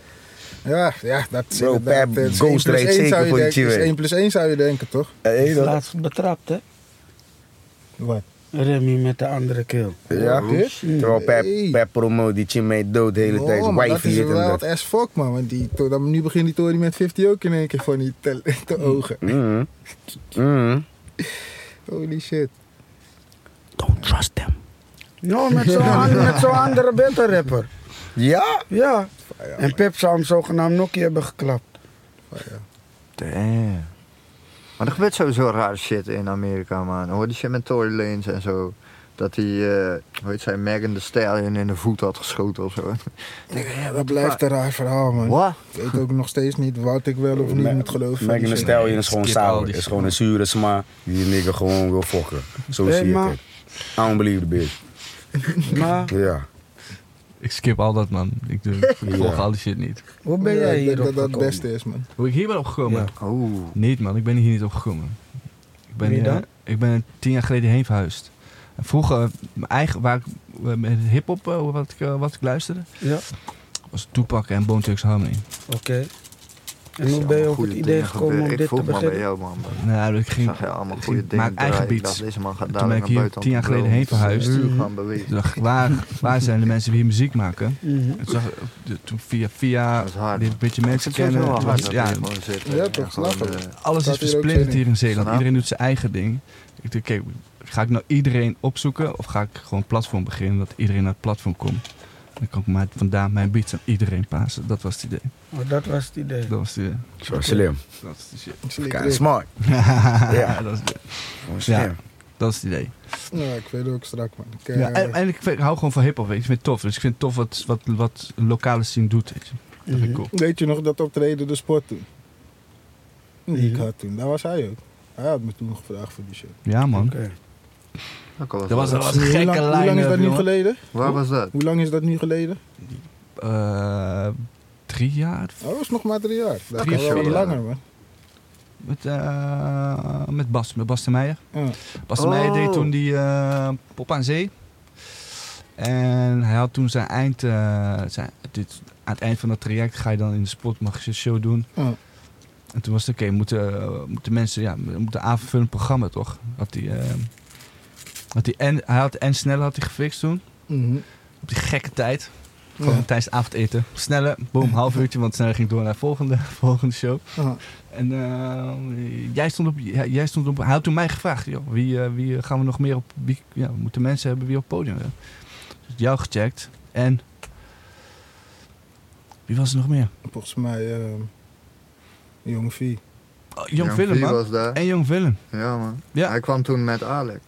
B: Ja, ja, dat is
C: Bro,
B: inderdaad,
C: Pep
B: het is 1
C: goes
B: plus
C: straight
B: 1 zou
C: zeker
B: je
C: voor die
B: denken, het is
C: Chile.
B: 1 plus 1 zou je denken, toch?
E: Laatst betrapt, hè?
B: Wat?
E: Remy met de andere keel.
C: Ja?
B: dit?
C: Terwijl Pep,
B: Nee.
C: Pep promo die Chimay dood de hele tijd.
B: Oh, maar dat
C: Wife
B: is
C: dit en
B: wild
C: dat.
B: as fuck, man. Want die, to- dan, nu begint die Tory met 50 ook in één keer van die te, te ogen.
C: Mhm. Mhm.
B: Holy shit.
C: Don't trust them.
E: No, Nou, met zo'n an- met zo'n andere better rapper.
C: Ja?
E: Ja. En Pep zou hem zogenaamd Nokkie hebben geklapt.
A: Damn. Maar er gebeurt sowieso raar shit in Amerika, man. Hoor die shit met Tory Lanez en zo. Dat hij, eh hoe heet zij, Megan de Stallion in de voet had geschoten of zo.
B: dat blijft een raar verhaal, man.
A: Wat?
B: Ik weet ook nog steeds niet wat ik wel of niet moet geloven. van die
C: Megan Thee
B: shit.
C: Stallion is gewoon
D: skip al
C: sour.
D: die
C: Is
D: shit,
C: gewoon
D: man.
C: een zure sma die die nigger gewoon wil fokken. Zo
E: Hey,
C: zie ik
E: maar-
C: het. I don't believe the bitch.
E: Maar
C: Ja.
D: Ik skip al dat, man. Ik, doe, ik
C: Ja.
D: volg al die shit niet.
E: hoe ben
B: Ja,
E: jij
B: ik denk
E: hierop
B: dat dat het
E: gekomen?
B: beste is, man.
D: Hoe ik hier ben opgekomen?
A: Oh,
E: Ja.
A: Oeh.
D: Niet, man. Ik ben hier niet opgekomen. Ik ben,
E: Wie
D: eh,
E: dan?
D: ik ben tien jaar geleden heen verhuisd. En vroeger, mijn eigen, waar ik eh, met hip-hop eh, wat, ik, eh, wat ik luisterde,
E: Ja,
D: was Tupac en Bone Thugs Harmony.
E: oké. En hoe ben je op
A: Goede
E: het idee
A: dingen
E: gekomen
A: gebeuren.
E: om
A: ik
E: dit te
A: voel me bij
E: beginnen?
A: jou, man.
D: Nou, ik
A: Ik
D: ging,
A: zag je allemaal
D: ik
A: goede
D: ging-
A: dingen
D: maak eigen
A: draaien. Ik
D: beats.
A: dacht, Deze man gaat
D: En toen ben
A: dadelijk
D: ik hier
A: naar buiten om
D: tien jaar
A: te
D: geleden
A: brullen, want
D: heen
A: ze
D: verhuisd.
A: nu gaan bewegen.
D: Toen dacht ik, waar, waar zijn de mensen die hier muziek maken?
E: Mhm.
D: En toen zag ik, eh, toen via, via
A: Dat is hard.
D: dit een beetje
A: Ik
D: mensen
A: vind het sowieso
D: kennen.
A: wel
D: toen
A: hard
D: was-
A: dat
D: ja,
A: je gewoon zit.
B: Ja,
A: en
B: toch,
A: gewoon,
B: snap ik.
A: eh,
D: alles
B: Staat hier
D: is
B: ook
D: versplinterd
B: geen-
D: hier in Zeeland.
A: Snap.
D: Iedereen doet zijn eigen ding. Ik denk, oké, ga ik nou iedereen opzoeken of ga ik gewoon een platform beginnen dat iedereen naar het platform komt? Dan kan ik maar vandaan mijn beats aan iedereen passen. Dat was het idee.
E: Oh, dat was het idee.
D: Dat was de,
C: Zo slim.
D: dat is de shit.
C: Kijk, smart. Ja.
D: dat, is de-
C: Gewoon slim.
D: dat is het idee.
B: Ja, ik weet het ook strak, man. Ik, eh,
D: Ja, en, en ik, vind- ik hou gewoon van hip-hop. weet je. Ik vind het tof. Dus ik vind het tof wat, wat, wat een lokale scene doet. weet je. Dat vind ik
E: Mhm.
D: cool.
B: Weet je nog dat optreden de sport toen? Die ik
E: Mhm.
B: had toen. Daar was hij ook. Hij had me toen gevraagd voor die shit.
D: Ja, man.
E: Oké.
A: dat kan wel
D: Dat was,
A: zo.
D: dat was een
B: Hoe
D: gekke
B: lang, hoe lang is dat
D: line-up,
B: nu
D: jongen.
B: geleden?
A: Waar was dat?
B: Hoe lang is dat nu geleden?
D: Eh, drie jaar?
B: Oh, dat is nog maar drie jaar. Dat
D: Drie,
B: kan wel
A: vier
B: wat
A: jaar.
B: langer, man.
D: Met, eh, met Bas, met Bas de Meijer.
B: Ja.
D: Bas de Meijer
A: Oh.
D: deed toen die eh, Pop aan Zee. En hij had toen zijn eind, eh, zijn, dit, aan het eind van dat traject ga je dan in de spot, mag je een show doen.
B: Ja.
D: En toen was het oké, moeten, eh, moeten mensen, ja, we moeten aanvullend programma toch? Had hij, eh, had hij, en, hij had en sneller had hij gefixt toen,
B: Mhm.
D: op die gekke tijd.
B: Ja.
D: Gewoon tijdens het avondeten. Sneller, boom, half uurtje, want sneller ging door naar de volgende, volgende show.
B: Ja.
D: En eh, jij, stond op, jij, jij stond op. Hij had toen mij gevraagd: joh, wie, eh, wie gaan we nog meer op. Wie, ja, we moeten mensen hebben wie op het podium hebben. Dus jou gecheckt. En. Wie was er nog meer?
B: Volgens mij, ehm Jong V.
D: Oh, Jong
A: Ja,
D: Willem,
A: wie
D: man.
A: was daar?
D: En Jong Willem.
A: Ja, man.
D: Ja.
A: Hij kwam toen met Alec. Ik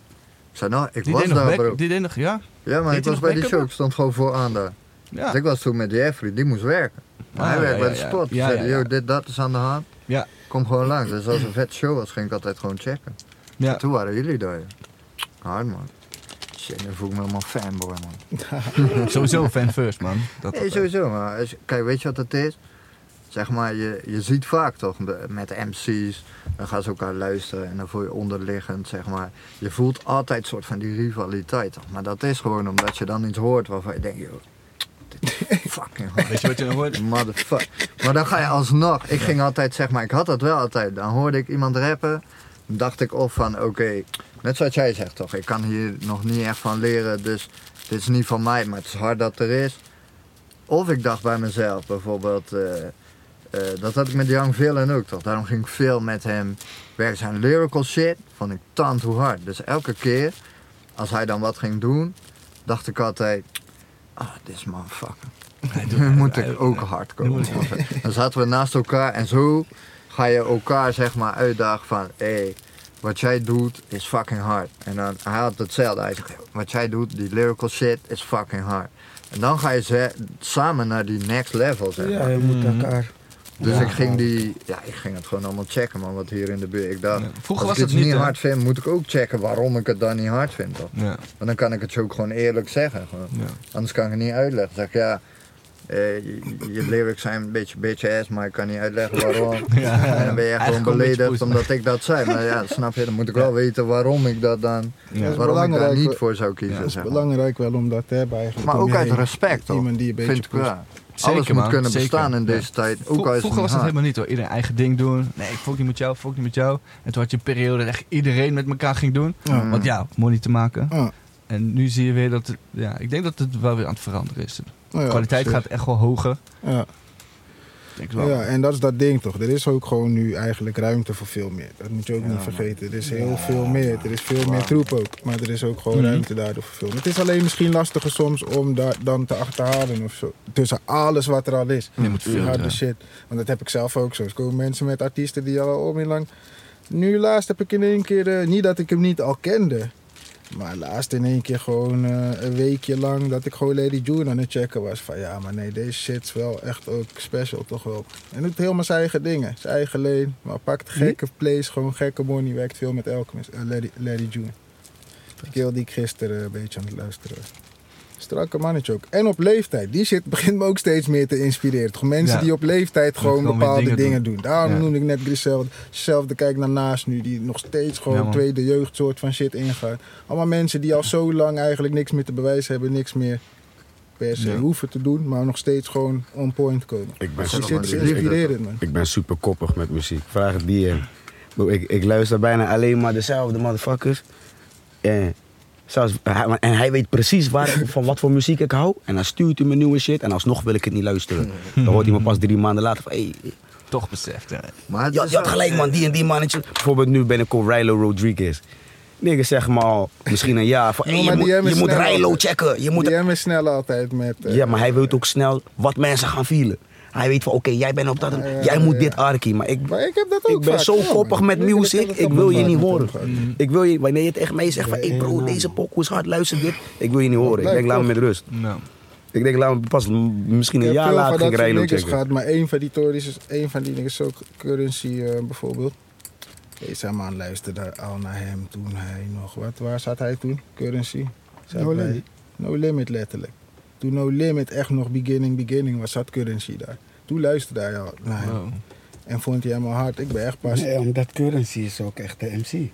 A: zei, nou, ik
D: Die
A: was
D: deed, nog
A: daar,
D: back-
A: bro.
D: die deed nog, ja.
A: Ja, maar
D: Deed
A: ik
D: hij
A: was
D: nog
A: bij die
D: backup
A: show.
D: ook?
A: Ik stond gewoon vooraan daar.
D: Ja.
A: Dus ik was toen met Jeffrey. Die moest werken. Maar
D: Ah,
A: hij werkt
D: ja,
A: bij
D: ja,
A: de
D: ja.
A: spot.
D: Ja,
A: Zei,
D: ja,
A: yo,
D: ja.
A: dit, dat is aan de hand.
D: Ja.
A: Kom gewoon langs. Dus als een vet show was, ging ik altijd gewoon checken.
D: ja.
A: Toen waren jullie daar. ja. Hard, man. Shit, nu voel ik me helemaal fanboy, man.
D: Sowieso fan first, man. Dat,
A: Nee,
D: dat, eh,
A: sowieso. Maar als- kijk, weet je wat het is? Zeg maar, je, je ziet vaak toch de- met MC's, dan gaan ze elkaar luisteren en dan voel je onderliggend, zeg maar. Je voelt altijd een soort van die rivaliteit. Toch? Maar dat is gewoon omdat je dan iets hoort waarvan je denkt, joh, dit is fucking hard.
D: Weet je wat je nog hoort?
A: Motherfuck. Maar dan ga je alsnog. Ik ging altijd, zeg maar, ik had dat wel altijd. Dan hoorde ik iemand rappen. Dan dacht ik of van, oké, net zoals jij zegt toch. Ik kan hier nog niet echt van leren. Dus dit is niet van mij, maar het is hard dat er is. Of ik dacht bij mezelf bijvoorbeeld. eh, eh, dat had ik met Young Villain ook toch. Daarom ging ik veel met hem werken. Zijn lyrical shit vond ik tant hoe hard. Dus elke keer als hij dan wat ging doen, dacht ik altijd. Ah, dit is motherfucker.
D: Hij doet-
A: Nu moet
D: hij-
A: ik ook hard komen.
D: Nu moet
A: Dan zaten we naast elkaar en zo ga je elkaar zeg maar uitdagen van... hé, wat jij doet is fucking hard. En dan, hij had hetzelfde. Hij zegt, wat jij doet, die lyrical shit, is fucking hard. En dan ga je ze- samen naar die next level, zeg maar.
E: Ja, je moet
D: Mhm.
E: elkaar.
A: Dus
E: Ja.
A: ik ging die... Ja, ik ging het gewoon allemaal checken, man. Wat hier in de buurt... Ik dacht,
D: Ja. Vroeger
A: als ik
D: was het
A: iets
D: niet,
A: niet
D: hè?
A: hard vind, moet ik ook checken waarom ik het dan niet hard vind, toch?
D: Ja,
A: Want dan kan ik het je ook gewoon eerlijk zeggen. Gewoon.
D: ja.
A: Anders kan ik het niet uitleggen. Dan zeg ik, ja, eh, je, je lyrics zijn een beetje bitch-ass, maar ik kan niet uitleggen waarom.
D: Ja, ja, ja.
A: En dan ben je
D: Eigenlijk
A: gewoon
D: gewoon een beetje
A: beledigd
D: poes.
A: omdat ik dat zei. Maar ja, snap je, dan moet ik wel weten waarom ik dat dan,
D: Ja.
B: is
A: waarom ik daar
B: belangrijk,
A: niet
B: hoor.
A: voor zou
D: Ja,
A: kiezen.
D: dat
B: Dat is
A: zeg maar.
B: belangrijk wel om dat te hebben eigenlijk.
A: Maar
B: om
A: ook
B: je
A: uit
B: heen.
A: respect, toch?
B: Iemand die een beetje
A: Vind ik
B: pusht.
A: wel.
D: Zeker,
A: Alles moet
D: man.
A: kunnen
D: Zeker.
A: bestaan in
D: Ja.
A: deze tijd. Ook
D: Vro-
A: al is het
D: Vroeger
A: niet
D: was dat
A: hard.
D: helemaal niet hoor. Iedereen eigen ding doen. Nee, ik fok niet met jou, fok niet met jou. En toen had je een periode dat echt iedereen met elkaar ging doen.
A: Mm.
D: Want ja, money te maken.
B: Ja.
D: En nu zie je weer dat het, ja, ik denk dat het wel weer aan het veranderen is. De
B: Ja,
D: kwaliteit
B: precies.
D: gaat echt wel hoger.
B: Ja.
D: Ik Denk wel.
B: Ja, en dat is dat ding toch. Er is ook gewoon nu eigenlijk ruimte voor veel meer. Dat moet je ook niet vergeten. Er is heel veel meer. Er is veel meer troep ook. Maar er is ook gewoon
D: Mhm.
B: ruimte daardoor voor veel meer. Het is alleen misschien lastiger soms om daar dan te achterhalen of zo. Tussen alles wat er al is.
D: Je moet
B: Die harde
D: filteren.
B: shit. Want dat heb ik zelf ook zo. Er komen mensen met artiesten die al om in lang... Nu laatst heb ik in één keer... eh, niet dat ik hem niet al kende. Maar laatst in één keer gewoon eh, een weekje lang dat ik gewoon Lady June aan het checken was. Van ja, maar nee, deze shit is wel echt ook special, toch wel. En doet helemaal zijn eigen dingen. Zijn eigen lane. Maar pakt gekke plays, gewoon gekke money. Werkt veel met Alchemist. eh, Lady, Lady June. Die keel die ik gisteren een beetje aan het luisteren was. Strakke mannetje ook. En op leeftijd. Die shit begint me ook steeds meer te inspireren. Toch mensen
D: Ja.
B: die op leeftijd gewoon
D: gewoon weer
B: bepaalde
D: dingen
B: dingen,
D: doen.
B: doen. Daarom
D: Ja.
B: noem ik net Griselda. Zelfde kijk naar Naast nu, die nog steeds gewoon
D: Ja, man.
B: tweede jeugd soort van shit ingaat. Allemaal mensen die al zo lang eigenlijk niks meer te bewijzen hebben, niks meer per se
D: Ja.
B: hoeven te doen, maar nog steeds gewoon on point komen. Dus
C: Ik ben,
B: Die
A: zelf
C: super,
B: shit is
A: maar liefde.
B: inspirerend, man.
C: ik ben super koppig met muziek. Vraag het die hem. Bro, Ik, ik luister bijna alleen maar dezelfde motherfuckers. En, zelfs, hij- en hij weet precies waar, van wat voor muziek ik hou. En dan stuurt hij me nieuwe shit. En alsnog wil ik het niet luisteren. Dan hoort hij me pas drie maanden later van... Hey,
D: Toch beseft. hè.
A: Maar het
C: je, had-
A: is
C: je had
A: wel-
C: gelijk man, die en die mannetje. Bijvoorbeeld nu ben ik op Rilo Rodriguez. Nigga zeg maar al misschien een jaar van...
B: Ja,
C: hey, je
B: maar
C: moet,
B: die hebben
C: je moet
B: snel-
C: Rilo checken. Je moet
B: Die hebben snel altijd met... eh,
C: ja, maar hij weet ook snel wat mensen gaan vielen. Hij weet van, oké, jij bent op dat,
B: Ja, ja,
C: jij moet
B: ja.
C: dit arkie. Maar ik,
B: Maar ik heb dat ook
C: ik ben
B: vaak,
C: zo
B: ja, man.
C: koppig met
B: Ik heb
C: muziek,
B: dat
C: ik
B: ook
C: wil
B: vaak
C: je niet
B: met hem
C: horen. Mm.
B: gehad.
C: Ik wil je, wanneer je tegen mij zegt van, hey bro, deze pokoe is hard, luister dit. Ik wil je niet horen. Ik
B: blijft
C: denk, laat me
B: toch.
C: met rust.
D: Nou,
C: Ik denk, laat me pas m- misschien een
B: Ik heb
C: jaar
B: veel
C: later
B: van
C: ging
B: dat soort
C: Rijlo
B: niggas
C: checken.
B: gehad, maar één van die tories is één van die niggas is ook currency eh, bijvoorbeeld. Deze man luisterde al naar hem toen hij nog wat waar zat hij toen? Currency. Zat
E: No
B: bij-
E: Limit.
B: No limit letterlijk. Toen No Limit echt nog beginning beginning was, zat currency daar. Toen luisterde hij al naar hem
D: wow.
B: en vond hij hem al hard. Ik ben echt pas.
E: Nee, omdat Currency is ook echt de MC.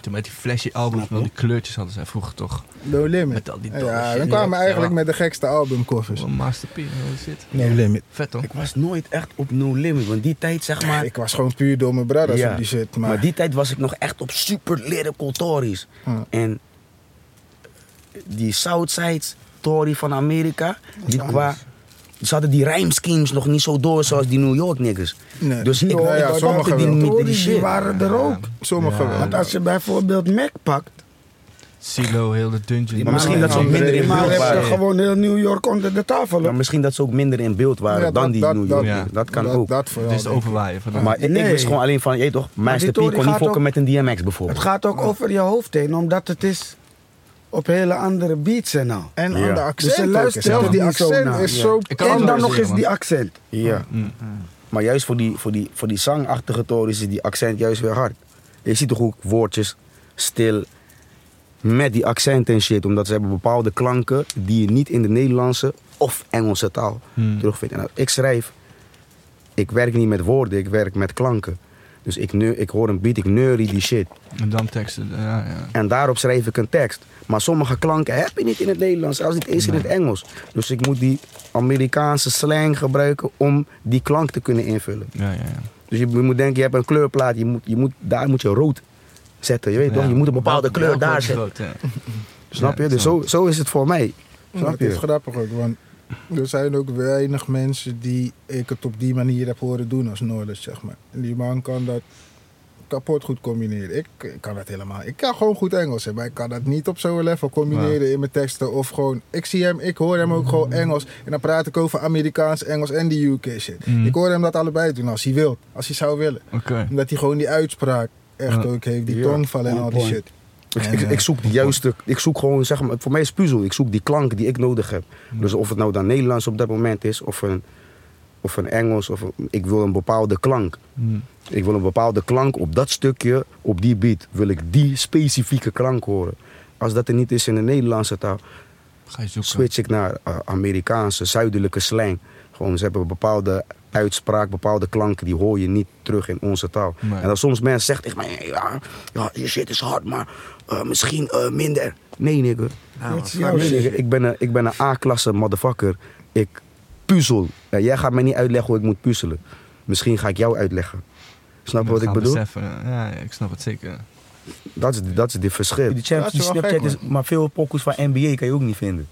D: Toen met die flashy albums, wel die kleurtjes hadden zij vroeger toch.
B: No Limit.
D: Met al die dolle
B: ja,
D: shit.
B: dan kwamen
D: Ja,
B: we eigenlijk
D: ja.
B: met de gekste albumcovers.
D: Een masterpiece, hoe zit.
B: No Limit.
D: Vet toch?
C: Ik was nooit echt op No Limit, want die tijd zeg maar...
B: Ik was gewoon puur door mijn brothers
C: Ja.
B: op die shit.
C: Maar,
B: Maar,
C: die tijd was ik nog echt op super lyrical Tories.
B: Ja.
C: En die Southside Tory van Amerika, die qua, ze hadden die rijmschemes nog niet zo door zoals die New York niggas.
B: Nee.
C: Dus ik
B: Nou ja,
C: ik
B: sommigen
C: pakte die
B: wel.
C: niet in die
E: Tories die
C: shit.
E: waren er ook.
B: Sommigen wel.
E: Want als je bijvoorbeeld Mac pakt,
D: Silo, heel de dungeon.
C: Maar misschien dat ze ook minder in
E: maar
C: beeld
E: heb je
C: waren.
E: gewoon heel New York onder de tafel. hoor.
C: Maar Nou, misschien dat ze ook minder in beeld waren
B: Ja,
C: dan
B: dat-
C: die
B: dat-
C: New
B: dat-
C: York.
D: ja.
C: niggas. Dat kan
B: dat,
C: ook.
B: Dat vooral.
D: Het is de
B: denk ik.
D: overwaaien van
C: maar ik- ik
E: Nee.
C: wist gewoon alleen van, je toch, Master P
E: Tory
C: kon niet
E: gaat
C: fokken
E: ook-
C: met een DMX
E: Het
C: bijvoorbeeld.
E: gaat ook over je hoofd heen, omdat het is op hele andere beats en al.
B: En
C: Ja.
B: aan de
E: Dus
B: accent.
E: je
B: ook.
E: luistert
B: Zelfs
E: er
B: die
E: niet zo
B: accent
E: naar.
B: is
E: Ja.
B: zo.
D: Ik kan het
E: En
D: wel
E: dan nog
D: zeggen,
E: eens die accent.
C: Ja.
D: Mm.
C: Maar juist voor die, voor die, voor die zangachtige tories is die accent juist weer hard. Je ziet toch ook woordjes stil met die accent en shit. Omdat ze hebben bepaalde klanken die je niet in de Nederlandse of Engelse taal
D: Hmm.
C: terugvindt. En als ik schrijf, ik werk niet met woorden, ik werk met klanken. Dus ik, neu- ik hoor een beat, ik neurie die shit.
D: En dan teksten, ja, ja.
C: En daarop schrijf ik een tekst. Maar sommige klanken heb je niet in het Nederlands, zelfs niet eens in het Engels. Dus ik moet die Amerikaanse slang gebruiken om die klank te kunnen invullen.
D: Ja, ja, ja.
C: Dus je, je moet denken, je hebt een kleurplaat, je moet, je moet, daar moet je rood zetten. Je weet
D: Ja.
C: toch, je moet een bepaalde
D: Welk-
C: kleur
D: welk
C: daar
D: wordt
C: zetten.
D: groot, hè?
C: Snap
D: Ja,
C: je? Dus
D: snap
C: zo, zo is het voor mij. Snap
B: Dat is
C: je?
B: grappig ook, want er zijn ook weinig mensen die ik het op die manier heb horen doen als Noorders, zeg maar. En die man kan dat kapot goed combineren. Ik, ik kan dat helemaal. Ik kan gewoon goed Engels, hè, maar ik kan dat niet op zo'n level combineren in mijn teksten. Of gewoon, ik zie hem, ik hoor hem ook gewoon Engels. En dan praat ik over Amerikaans, Engels en die UK shit.
D: Mhm.
B: Ik hoor hem dat allebei doen als hij wil, als hij zou willen.
D: Oké.
B: Omdat hij gewoon die uitspraak echt
D: Ja.
B: ook heeft, die
C: Ja.
B: tongval en
E: On
B: al die
E: point.
B: shit.
C: Ik, ik, ik zoek de juiste, ik zoek gewoon, zeg maar, voor mij is puzzel. Ik zoek die klank die ik nodig heb. Dus of het nou dan Nederlands op dat moment is, of een, of een Engels, of een- ik wil een bepaalde klank.
D: Hm.
C: Ik wil een bepaalde klank op dat stukje, op die beat, wil ik die specifieke klank horen. Als dat er niet is in de Nederlandse taal,
D: Ga je zoeken.
C: switch ik naar eh, Amerikaanse, zuidelijke slang. Gewoon, ze hebben een bepaalde uitspraak, bepaalde klanken, die hoor je niet terug in onze taal.
D: Nee.
C: En dan soms mensen zeggen tegen mij, ja, ja, je shit is hard, maar eh, misschien eh, minder. Nee, nigger.
E: Dat is
C: Nee,
E: jouw shit.
C: nigger. Ik ben een, ik ben een A-klasse motherfucker. Ik puzzel. Ja, jij gaat mij niet uitleggen hoe ik moet puzzelen. Misschien ga ik jou uitleggen. Snap je wat ik
D: gaan
C: bedoel?
D: beseffen. Ja, ik snap het zeker.
C: Dat is, dat is dit verschil. Die,
B: Champions- die Snapchat
C: Snapchat is maar veel pokus van NBA kan je ook niet vinden.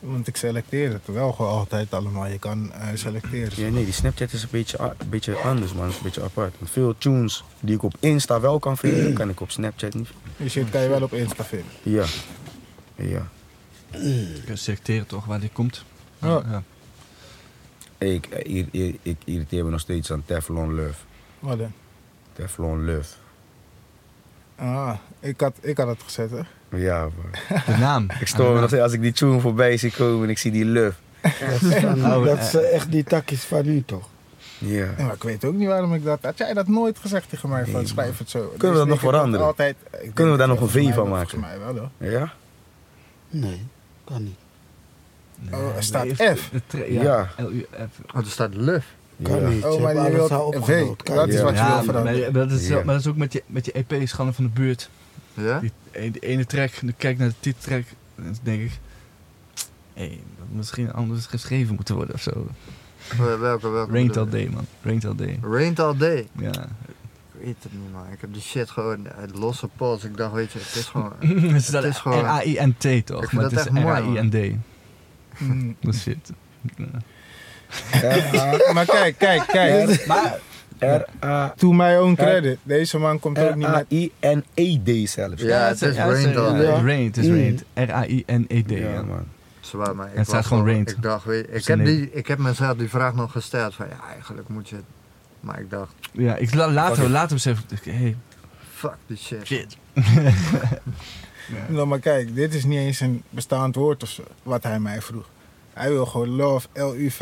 B: Want ik selecteer het wel gewoon altijd allemaal. Je kan eh, selecteren.
C: Ja, nee, die Snapchat is een beetje, a- een beetje anders, man. Is een beetje apart. Want veel tunes die ik op Insta wel kan vinden, kan ik op Snapchat niet vinden.
B: Die shit kan je wel op Insta vinden.
C: Ja. Ja.
D: Je kunt selecteren toch waar die komt.
B: Ja.
C: Ik, ik, ik, ik irriteer me nog steeds aan Teflon Love.
B: Wat dan?
C: Teflon Love.
B: Ah, ik had, ik had het gezet, hè?
C: Ja, man.
D: De naam.
C: Ik stoor me nog steeds als ik die tune voorbij zie komen en ik zie die Love.
E: Dat is, van-
D: Oh,
E: dat
D: eh.
E: is eh, echt die takjes van nu toch?
C: Ja.
B: Ja, maar ik weet ook niet waarom ik dat... Had jij dat nooit gezegd tegen mij? Van,
C: Nee,
B: schrijf het zo. Dus Kunnen
C: we dat nog veranderen?
B: Altijd, ik denk
C: we daar
B: dat
C: nog een
B: volgens
C: V van
B: mij-
C: maken?
B: Volgens mij wel, hoor.
C: Ja?
E: Nee, kan niet.
B: Oh, er staat
D: Nee,
B: F.
D: de tre-
C: Ja.
D: Ja. LUF.
A: Oh, er staat luf.
E: Kan
C: Ja.
E: niet.
B: Oh,
E: Je
B: maar
E: hebt
B: je
E: alles
B: wilt
E: al
B: een
E: opgenomen.
B: V. Dat is
C: Ja.
B: wat je
D: Ja,
B: wil
D: maar,
B: veranderen.
D: maar dat is,
C: Ja.
D: maar dat is ook met die, met die E EP's, Schande van de Buurt.
A: Ja?
D: Die, die ene track, dan kijk ik naar de titeltrack, dan denk ik... hey, dat misschien anders geschreven moeten worden of zo.
A: Welke, welke?
D: Rained
A: bedoel
D: all
A: je?
D: day, man. Rained all day.
A: Rained all day.
D: Ja.
A: Ik weet het niet, man. Ik heb die shit gewoon uit losse pols. Ik dacht, weet je, het is gewoon... eh,
D: Het
A: Het is
D: is
A: gewoon-
D: R-A-I-N-T
A: Ik vind
D: toch? Maar
A: dat
D: het is
A: echt mooi, man.
D: R-A-I-N-D.
B: Mm.
D: Dat is shit.
B: Ja, maar kijk, kijk, kijk.
D: Maar...
C: R-A-
B: To my own credit. Deze man komt
C: Eh,
B: ook
C: ah,
B: niet met...
C: R-A-I-N-E-D E zelfs.
A: Ja, het is rained all
D: Het
A: day.
D: is rained, het
B: Mm.
D: is rained. R-A-I-N-E-D. E ja.
C: man.
A: Zwaar, maar ik
D: Het staat
A: was
D: gewoon rained.
A: Ik dacht, weet je, ik,
D: is een
A: heb
D: nee.
A: die, ik heb mezelf die vraag nog gesteld van, ja, eigenlijk moet je... het- Maar ik dacht,
D: Ja, ik la- later, later besef ik, hey,
A: fuck die shit.
D: shit.
B: Nou, maar kijk, dit is niet eens een bestaand woord of zo, wat hij mij vroeg. Hij wil gewoon love, L-U-V.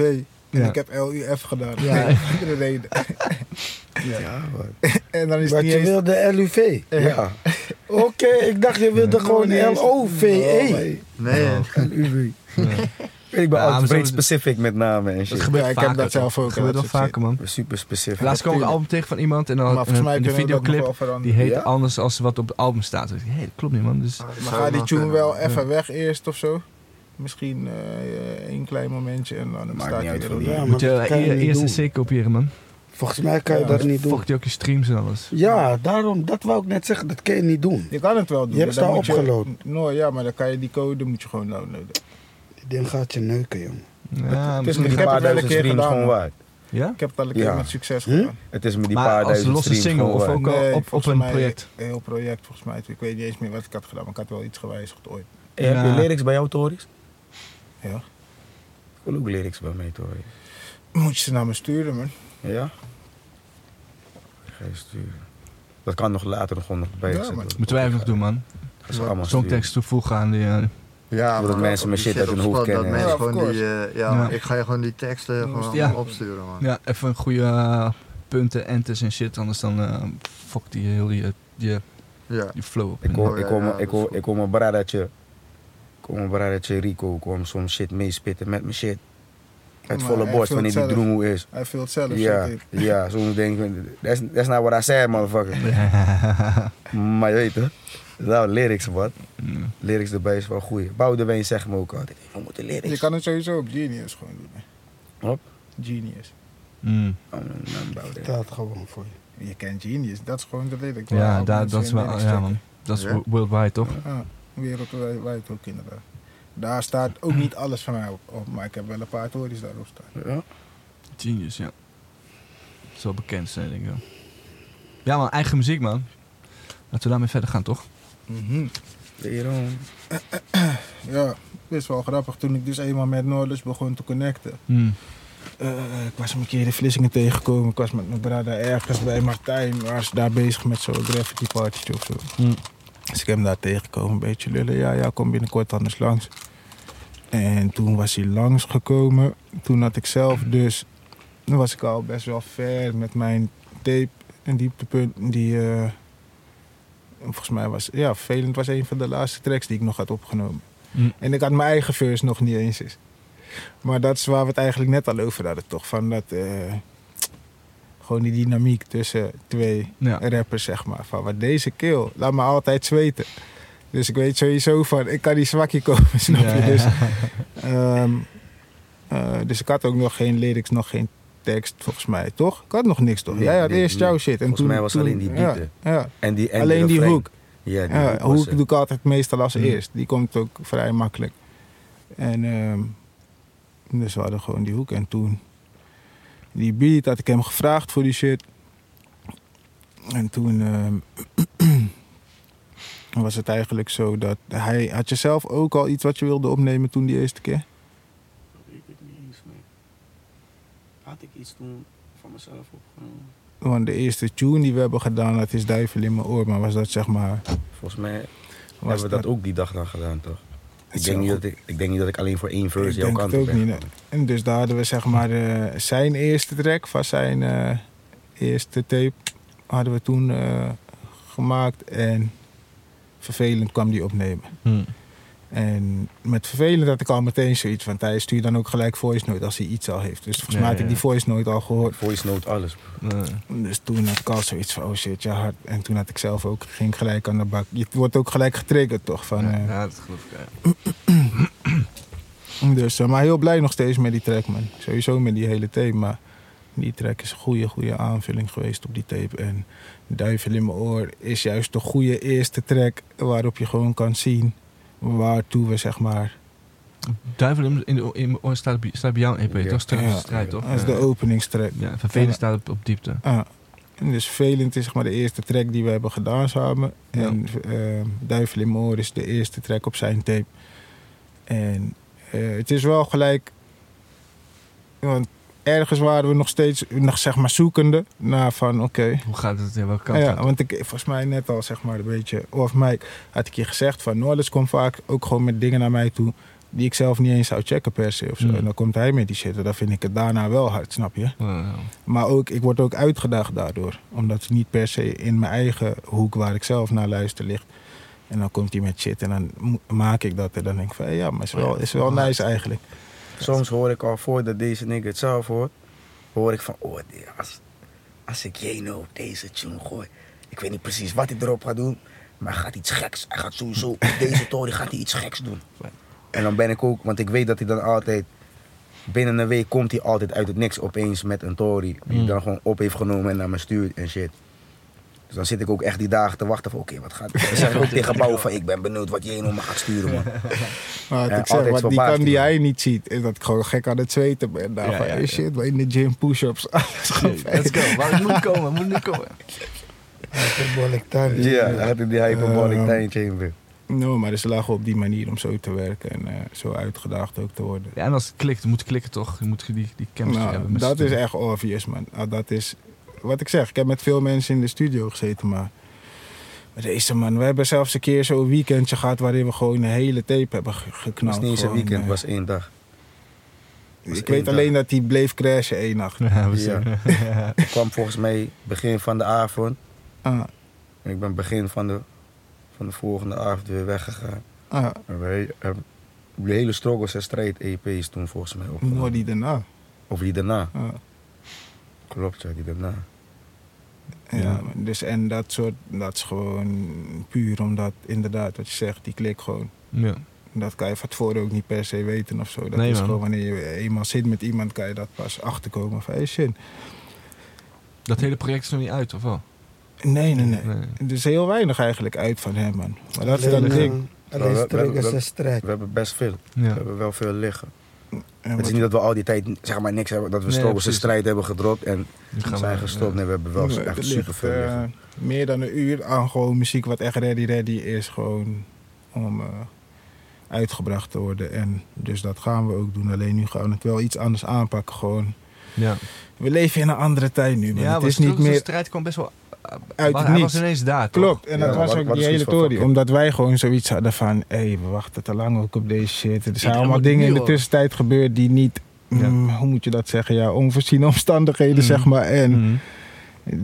B: En
D: Ja.
B: ik heb L-U-F gedaan.
D: Ja.
B: Ja. de reden.
C: Ja, man.
B: En dan is het
E: Wat
B: niet
E: je
B: eens...
E: wilde LUV.
C: Ja.
E: Oké, ik dacht je wilde gewoon
B: niet eens-
E: L-O-V-E.
A: Nee,
D: Oh.
E: LUV.
C: Ik ben
D: Ja, maar
C: altijd
D: zo-
C: breed specific met namen en
D: Dat
C: shit.
D: gebeurt
B: Ja, ik heb
D: vaker.
B: dat zelf ook,
D: Dat gebeurt
B: dat
D: wel
B: soort
D: vaker, man.
C: Super specific.
D: Laatst kwam ik een album tegen van iemand en
B: Maar
D: dan
B: volgens mij
D: in de
B: kunnen we dat nog
D: videoclip,
B: wel veranderen. Ah,
D: die heet
C: Ja?
D: anders als wat op het album staat. Hé, hey, dat klopt niet, man. Dus,
A: dat
B: Maar
A: zou
B: ga die
A: nog
B: tune
A: kunnen,
B: wel
A: man.
B: even weg eerst of zo. Misschien eh een klein momentje en dan
C: Maakt
B: staat
C: niet
B: hij
C: uit
B: er
C: voor
B: ook
C: die.
B: bij.
E: Ja, maar
D: moet je
E: dat kan je
D: eh,
E: niet
D: eerst
E: doen.
D: een C kopiëren, man.
E: Volgens mij kan je
B: Ja,
E: dat
D: Dan
E: niet doen.
D: Fuck je ook je streams en alles.
E: Ja, daarom, dat wou ik net zeggen. Dat kan je niet doen.
B: Je kan het wel doen.
E: Je hebt
B: maar dan
E: daar
B: moet
E: opgelopen.
B: Nou ja, maar dan kan je die code moet je gewoon downloaden.
E: Dit ding gaat je neuken, jongen.
D: Ja,
B: het is ik
D: misschien-
C: Die
B: heb het
C: paar
B: wel een
C: duizend
B: keer
C: streams
B: gedaan,
C: gewoon
B: man.
C: waard.
D: ja?
B: Ik heb het al een keer
C: Ja.
B: met succes
E: Hm?
B: gedaan.
C: Het is met die
D: Maar
C: paar
D: als
C: duizend
D: losse
C: streams
D: single
C: gewoon
D: of
C: waard.
D: ook al op, op
B: volgens
D: een
B: mij
D: project.
B: Een heel project volgens mij. Ik weet niet eens meer wat ik had gedaan, maar ik had wel iets gewijzigd ooit.
C: Hey, Heb
D: Ja.
C: je lyrics bij jou, Toris?
B: Ja.
C: Ik wil ook lyrics bij mij, Toris.
B: Moet je ze naar me sturen, man.
C: Ja? Ik Ga je sturen. Dat kan nog later nog gewoon nog bij
B: Ja,
C: gezet
B: maar-
C: worden.
D: Moeten wij even nog doen, man.
C: Dat is allemaal
D: Songtekst toevoegen aan die... eh,
A: Ja,
C: Zodat
A: man,
C: mensen
A: die
C: mijn shit uit hun
A: op
C: hoofd
A: spot,
C: kennen.
A: Dat mensen
B: Ja, of
A: gewoon die, eh, ja,
D: Ja.
A: maar ik ga je gewoon die teksten gewoon
D: Ja.
A: opsturen, man.
D: ja, even een goede eh, punten, entes en shit. Anders dan eh, fuck die heel die, eh, die,
A: Ja.
D: die flow op.
C: Ik
D: En-
A: Oh,
C: hoor,
A: ja,
C: ik hoor,
A: ja,
C: mijn-
A: dat
C: ik
A: is goed.
C: hoor, ik hoor mijn bradertje. Ik hoor mijn bradertje Rico kwam soms shit meespitten met mijn shit. Uit
B: Maar
C: volle
B: hij
C: borst
B: vult
C: wanneer die
B: zelf.
C: droemoe is.
B: Hij vult zelf
C: Ja,
B: shit in.
C: ja, soms denk ik, that's, that's not what I said, motherfucker. maar je weet het, nou, lyrics wat.
D: Mm.
C: Lyrics erbij is wel goeie. Boudewijn zegt me ook altijd, we moeten lyrics.
B: Je kan het sowieso op Genius gewoon doen. hè.
C: Op?
B: Genius.
D: Mm.
C: Oh, nou, nou, Boudewijn.
E: Staat gewoon voor je.
B: Je kent Genius, dat is gewoon de lyric.
D: Ja,
B: waar al
D: daar-
B: mensen
D: dat is
B: hun
D: wel...
B: lyrics
D: Ja,
B: checken.
D: man. Dat is
A: Ja.
D: wo- worldwide, toch?
B: Ja, wereldwijd ook inderdaad. Daar staat ook niet alles van mij op, op, maar ik heb wel een paar tories daarop staan.
C: Ja?
D: Genius, ja. Zo bekend zijn, denk ik wel. Ja, man. Eigen muziek, man. Laten we daarmee verder gaan, toch?
B: Mhm.
C: Daarom.
B: Ja, best wel grappig. Toen ik dus eenmaal met Noordus begon te connecten.
D: Mm.
B: Eh, ik was hem een keer in Vlissingen tegengekomen. Ik was met mijn brada ergens bij Martijn. Was daar bezig met zo'n graffiti party of zo.
D: Mm.
B: Dus ik heb hem daar tegengekomen, een beetje lullen. Ja, ja, kom binnenkort anders langs. En toen was hij langsgekomen. Toen had ik zelf dus... Toen was ik al best wel ver met mijn tape. en dieptepunt die... eh, volgens mij was... Ja, Velend was een van de laatste tracks die ik nog had opgenomen.
D: Mm.
B: En ik had mijn eigen verse nog niet eens eens. Maar dat is waar we het eigenlijk net al over hadden, toch? Van dat... eh, gewoon die dynamiek tussen twee
D: Ja.
B: rappers, zeg maar. Van wat deze keel, laat me altijd zweten. Dus ik weet sowieso van, ik kan die zwakje komen, snap je?
D: Ja.
B: Dus, ehm, Eh, dus ik had ook nog geen lyrics, nog geen tekst, volgens mij, toch? Ik had nog niks, toch?
C: Nee,
B: Jij had
C: nee,
B: eerst
C: nee.
B: jouw shit. En
C: Volgens
B: toen,
C: mij was
B: toen-
C: alleen die
B: ja,
C: beat,
B: ja.
C: En die, en
B: Alleen die
C: refrein.
B: hoek.
C: Ja, die
B: Ja,
C: hoek was eh,
B: hoek
C: het.
B: doe ik altijd meestal als
D: Mm.
B: eerst. Die komt ook vrij makkelijk. En ehm, dus we hadden gewoon die hoek. En toen die beat had ik hem gevraagd voor die shit. En toen ehm, was het eigenlijk zo dat hij had je zelf ook al iets wat je wilde opnemen toen die eerste keer.
G: Ik weet niet eens meer. Had ik iets toen van mezelf opgenomen?
B: Want de eerste tune die we hebben gedaan, dat is Duivel in mijn oor. Maar was dat zeg maar...
C: Volgens mij
B: Was
C: hebben we dat ook die dag dan gedaan, toch? Ik denk, niet dat ik, ik denk niet dat ik alleen voor één verse
B: Ik
C: jouw
B: denk
C: kant
B: het
C: op
B: ook
C: ben.
B: niet, nee. En dus daar hadden we zeg maar eh, zijn eerste track van zijn eh, eerste tape hadden we toen eh, gemaakt en vervelend kwam die opnemen.
D: Hmm.
B: En met vervelend had ik al meteen zoiets, want hij stuurt dan ook gelijk voice note als hij iets al heeft. Dus volgens
D: Ja,
B: mij had
D: ja.
B: ik die voice note al gehoord.
C: Voice note, alles. bro.
D: Nee.
B: Dus toen had ik al zoiets van, oh shit, ja hard. En toen had ik zelf ook, ging gelijk aan de bak. Je wordt ook gelijk getriggerd toch? Van, eh,
D: Ja, dat geloof ik. ja.
B: Dus, eh, maar heel blij nog steeds met die track, man. Sowieso met die hele tape, maar die track is een goede, goede aanvulling geweest op die tape. En Duivel in mijn oor is juist de goede eerste track waarop je gewoon kan zien waartoe we, zeg maar...
D: Duivel in, in, in mijn oor staat, bij- staat bij jou een EP,
C: Ja.
D: toch? Sterke
B: Ja.
D: strijd, toch? Eh,
B: Dat is de openingstrack.
D: Ja, vervelend
B: Ja.
D: staat op, op diepte.
B: Ah. En dus Velend is zeg maar de eerste track die we hebben gedaan samen.
D: Ja.
B: En eh, Duivel in mijn oor is de eerste track op zijn tape. En eh, het is wel gelijk... Want ergens waren we nog steeds nog, zeg maar, zoekende naar van oké...
D: Hoe gaat het? Ja, welke kant
B: Ja,
D: gaat het?
B: want ik, volgens mij net al zeg maar een beetje off mic had ik je gezegd van Noorders komt vaak ook gewoon met dingen naar mij toe die ik zelf niet eens zou checken per se of zo.
D: Mm.
B: En dan komt hij met die shit en dan vind ik het daarna wel hard, snap je?
D: Ja, ja.
B: Maar ook, ik word ook uitgedaagd daardoor. Omdat het niet per se in mijn eigen hoek waar ik zelf naar luister ligt. En dan komt hij met shit en dan mo- maak ik dat. En dan denk ik van, hé, ja, maar is wel, is wel nice eigenlijk.
C: Soms hoor ik al voordat deze nigger het zelf hoort, hoor ik van, oh, die- als, als ik Jeno op deze tune gooi, ik weet niet precies wat hij erop gaat doen, maar hij gaat iets geks. Hij gaat sowieso, op deze toren gaat hij iets geks doen. En dan ben ik ook, want ik weet dat hij dan altijd, binnen een week komt hij altijd uit het niks opeens met een tory. Die hij
D: Mm.
C: dan gewoon op heeft genomen en naar me stuurt en shit. Dus dan zit ik ook echt die dagen te wachten van oké, wat gaat... Dan zeg ik ook tegen Bouw van ik ben benieuwd wat Jeno me gaat sturen man.
B: Maar wat
C: Ja,
B: ik zeg,
C: altijd
B: wat die
C: verbaasd,
B: kan die
C: man.
B: hij niet ziet, is dat ik gewoon gek aan het zweten ben. Daar
D: Ja,
B: van,
D: ja,
B: hey,
D: ja.
B: shit, maar in de gym push-ups, alles gewoon fijn.
D: Let's go. Maar het moet komen, het moet nu komen.
E: Hyperbolic time.
C: Ja, hij had in die hyperbolic
B: Ehm.
C: time chamber.
B: No, maar ze lagen op die manier om zo te werken en eh, zo uitgedaagd ook te worden.
D: Ja, en als het klikt, dan moet het klikken toch? Je moet die, die chemistry
B: Nou,
D: hebben. met
B: dat
D: z'n
B: is
D: tweeën.
B: echt obvious, man. Ah, dat is wat ik zeg. Ik heb met veel mensen in de studio gezeten, maar met deze man. We hebben zelfs een keer zo'n weekendje gehad waarin we gewoon een hele tape hebben ge-
C: Het was
B: geknald.
C: niet eens een
B: Gewoon,
C: weekend, het
B: eh,
C: was één dag. was
B: ik
C: één
B: weet
C: dag.
B: alleen dat hij bleef crashen één nacht.
D: Ja, we zien.
C: Ik kwam volgens mij begin van de avond.
B: Ah,
C: En ik ben begin van de, van de volgende avond weer weggegaan.
B: ah,
C: En wij hebben de hele Struggles en Strijd EP is toen volgens mij opgenomen.
B: Noor die daarna.
C: Of die daarna.
B: Ah,
C: Klopt ja, die daarna.
B: ja,
D: Ja.
B: man. Dus, en dat soort, dat is gewoon puur omdat inderdaad wat je zegt, die klik gewoon.
D: Ja.
B: Dat kan je van tevoren ook niet per se weten of zo. Dat
D: Nee,
B: is
D: man.
B: gewoon wanneer je eenmaal zit met iemand, kan je dat pas achterkomen van hey, shit.
D: Dat hele project is nog niet uit, of wel?
B: Nee, nee, nee.
D: Nee.
B: Er is heel weinig eigenlijk uit van hem, man. Maar dat is dan het
E: Alleen,
B: ding.
E: eh, Alleen
C: Ja, we-
E: strikkers
C: we- we-
E: en strijd.
C: We hebben best veel. We
D: Ja.
C: hebben wel veel liggen.
B: En
C: Het is
B: wat-
C: niet dat we al die tijd zeg maar niks hebben, dat we
D: Nee,
C: Struggles en
D: precies.
C: Strijd hebben gedropt en
D: Nu gaan we- eh,
C: zijn gestopt. Nee, we hebben wel
B: Nee,
C: echt
B: er
C: super veel
B: ligt,
C: liggen.
B: eh, meer dan een uur aan gewoon muziek wat echt ready-ready is. Gewoon om eh, uitgebracht te worden. En dus dat gaan we ook doen. Alleen nu gaan we het wel iets anders aanpakken. Gewoon.
D: Ja,
B: We leven in een andere tijd nu, man.
D: ja
B: het
D: want
B: is niet meer...
D: strijd kwam best wel... eh,
B: het
D: maar Hij
B: niets.
D: was ineens daar, toch?
B: Klopt, en
C: Ja,
B: dat was
C: wat-
B: ook
C: wat
B: die
C: is
B: hele
C: iets van
B: tory.
C: fucking-
B: Omdat wij gewoon zoiets hadden van... hé, we wachten te lang ook op deze shit. Er zijn
D: Iedereen
B: allemaal
D: moet
B: dingen in
D: nu
B: de
D: al.
B: tussentijd gebeurd die niet...
D: Ja.
B: mm, hoe moet je dat zeggen? Ja, onvoorziene omstandigheden,
D: Mm.
B: zeg maar. En
D: Mhm.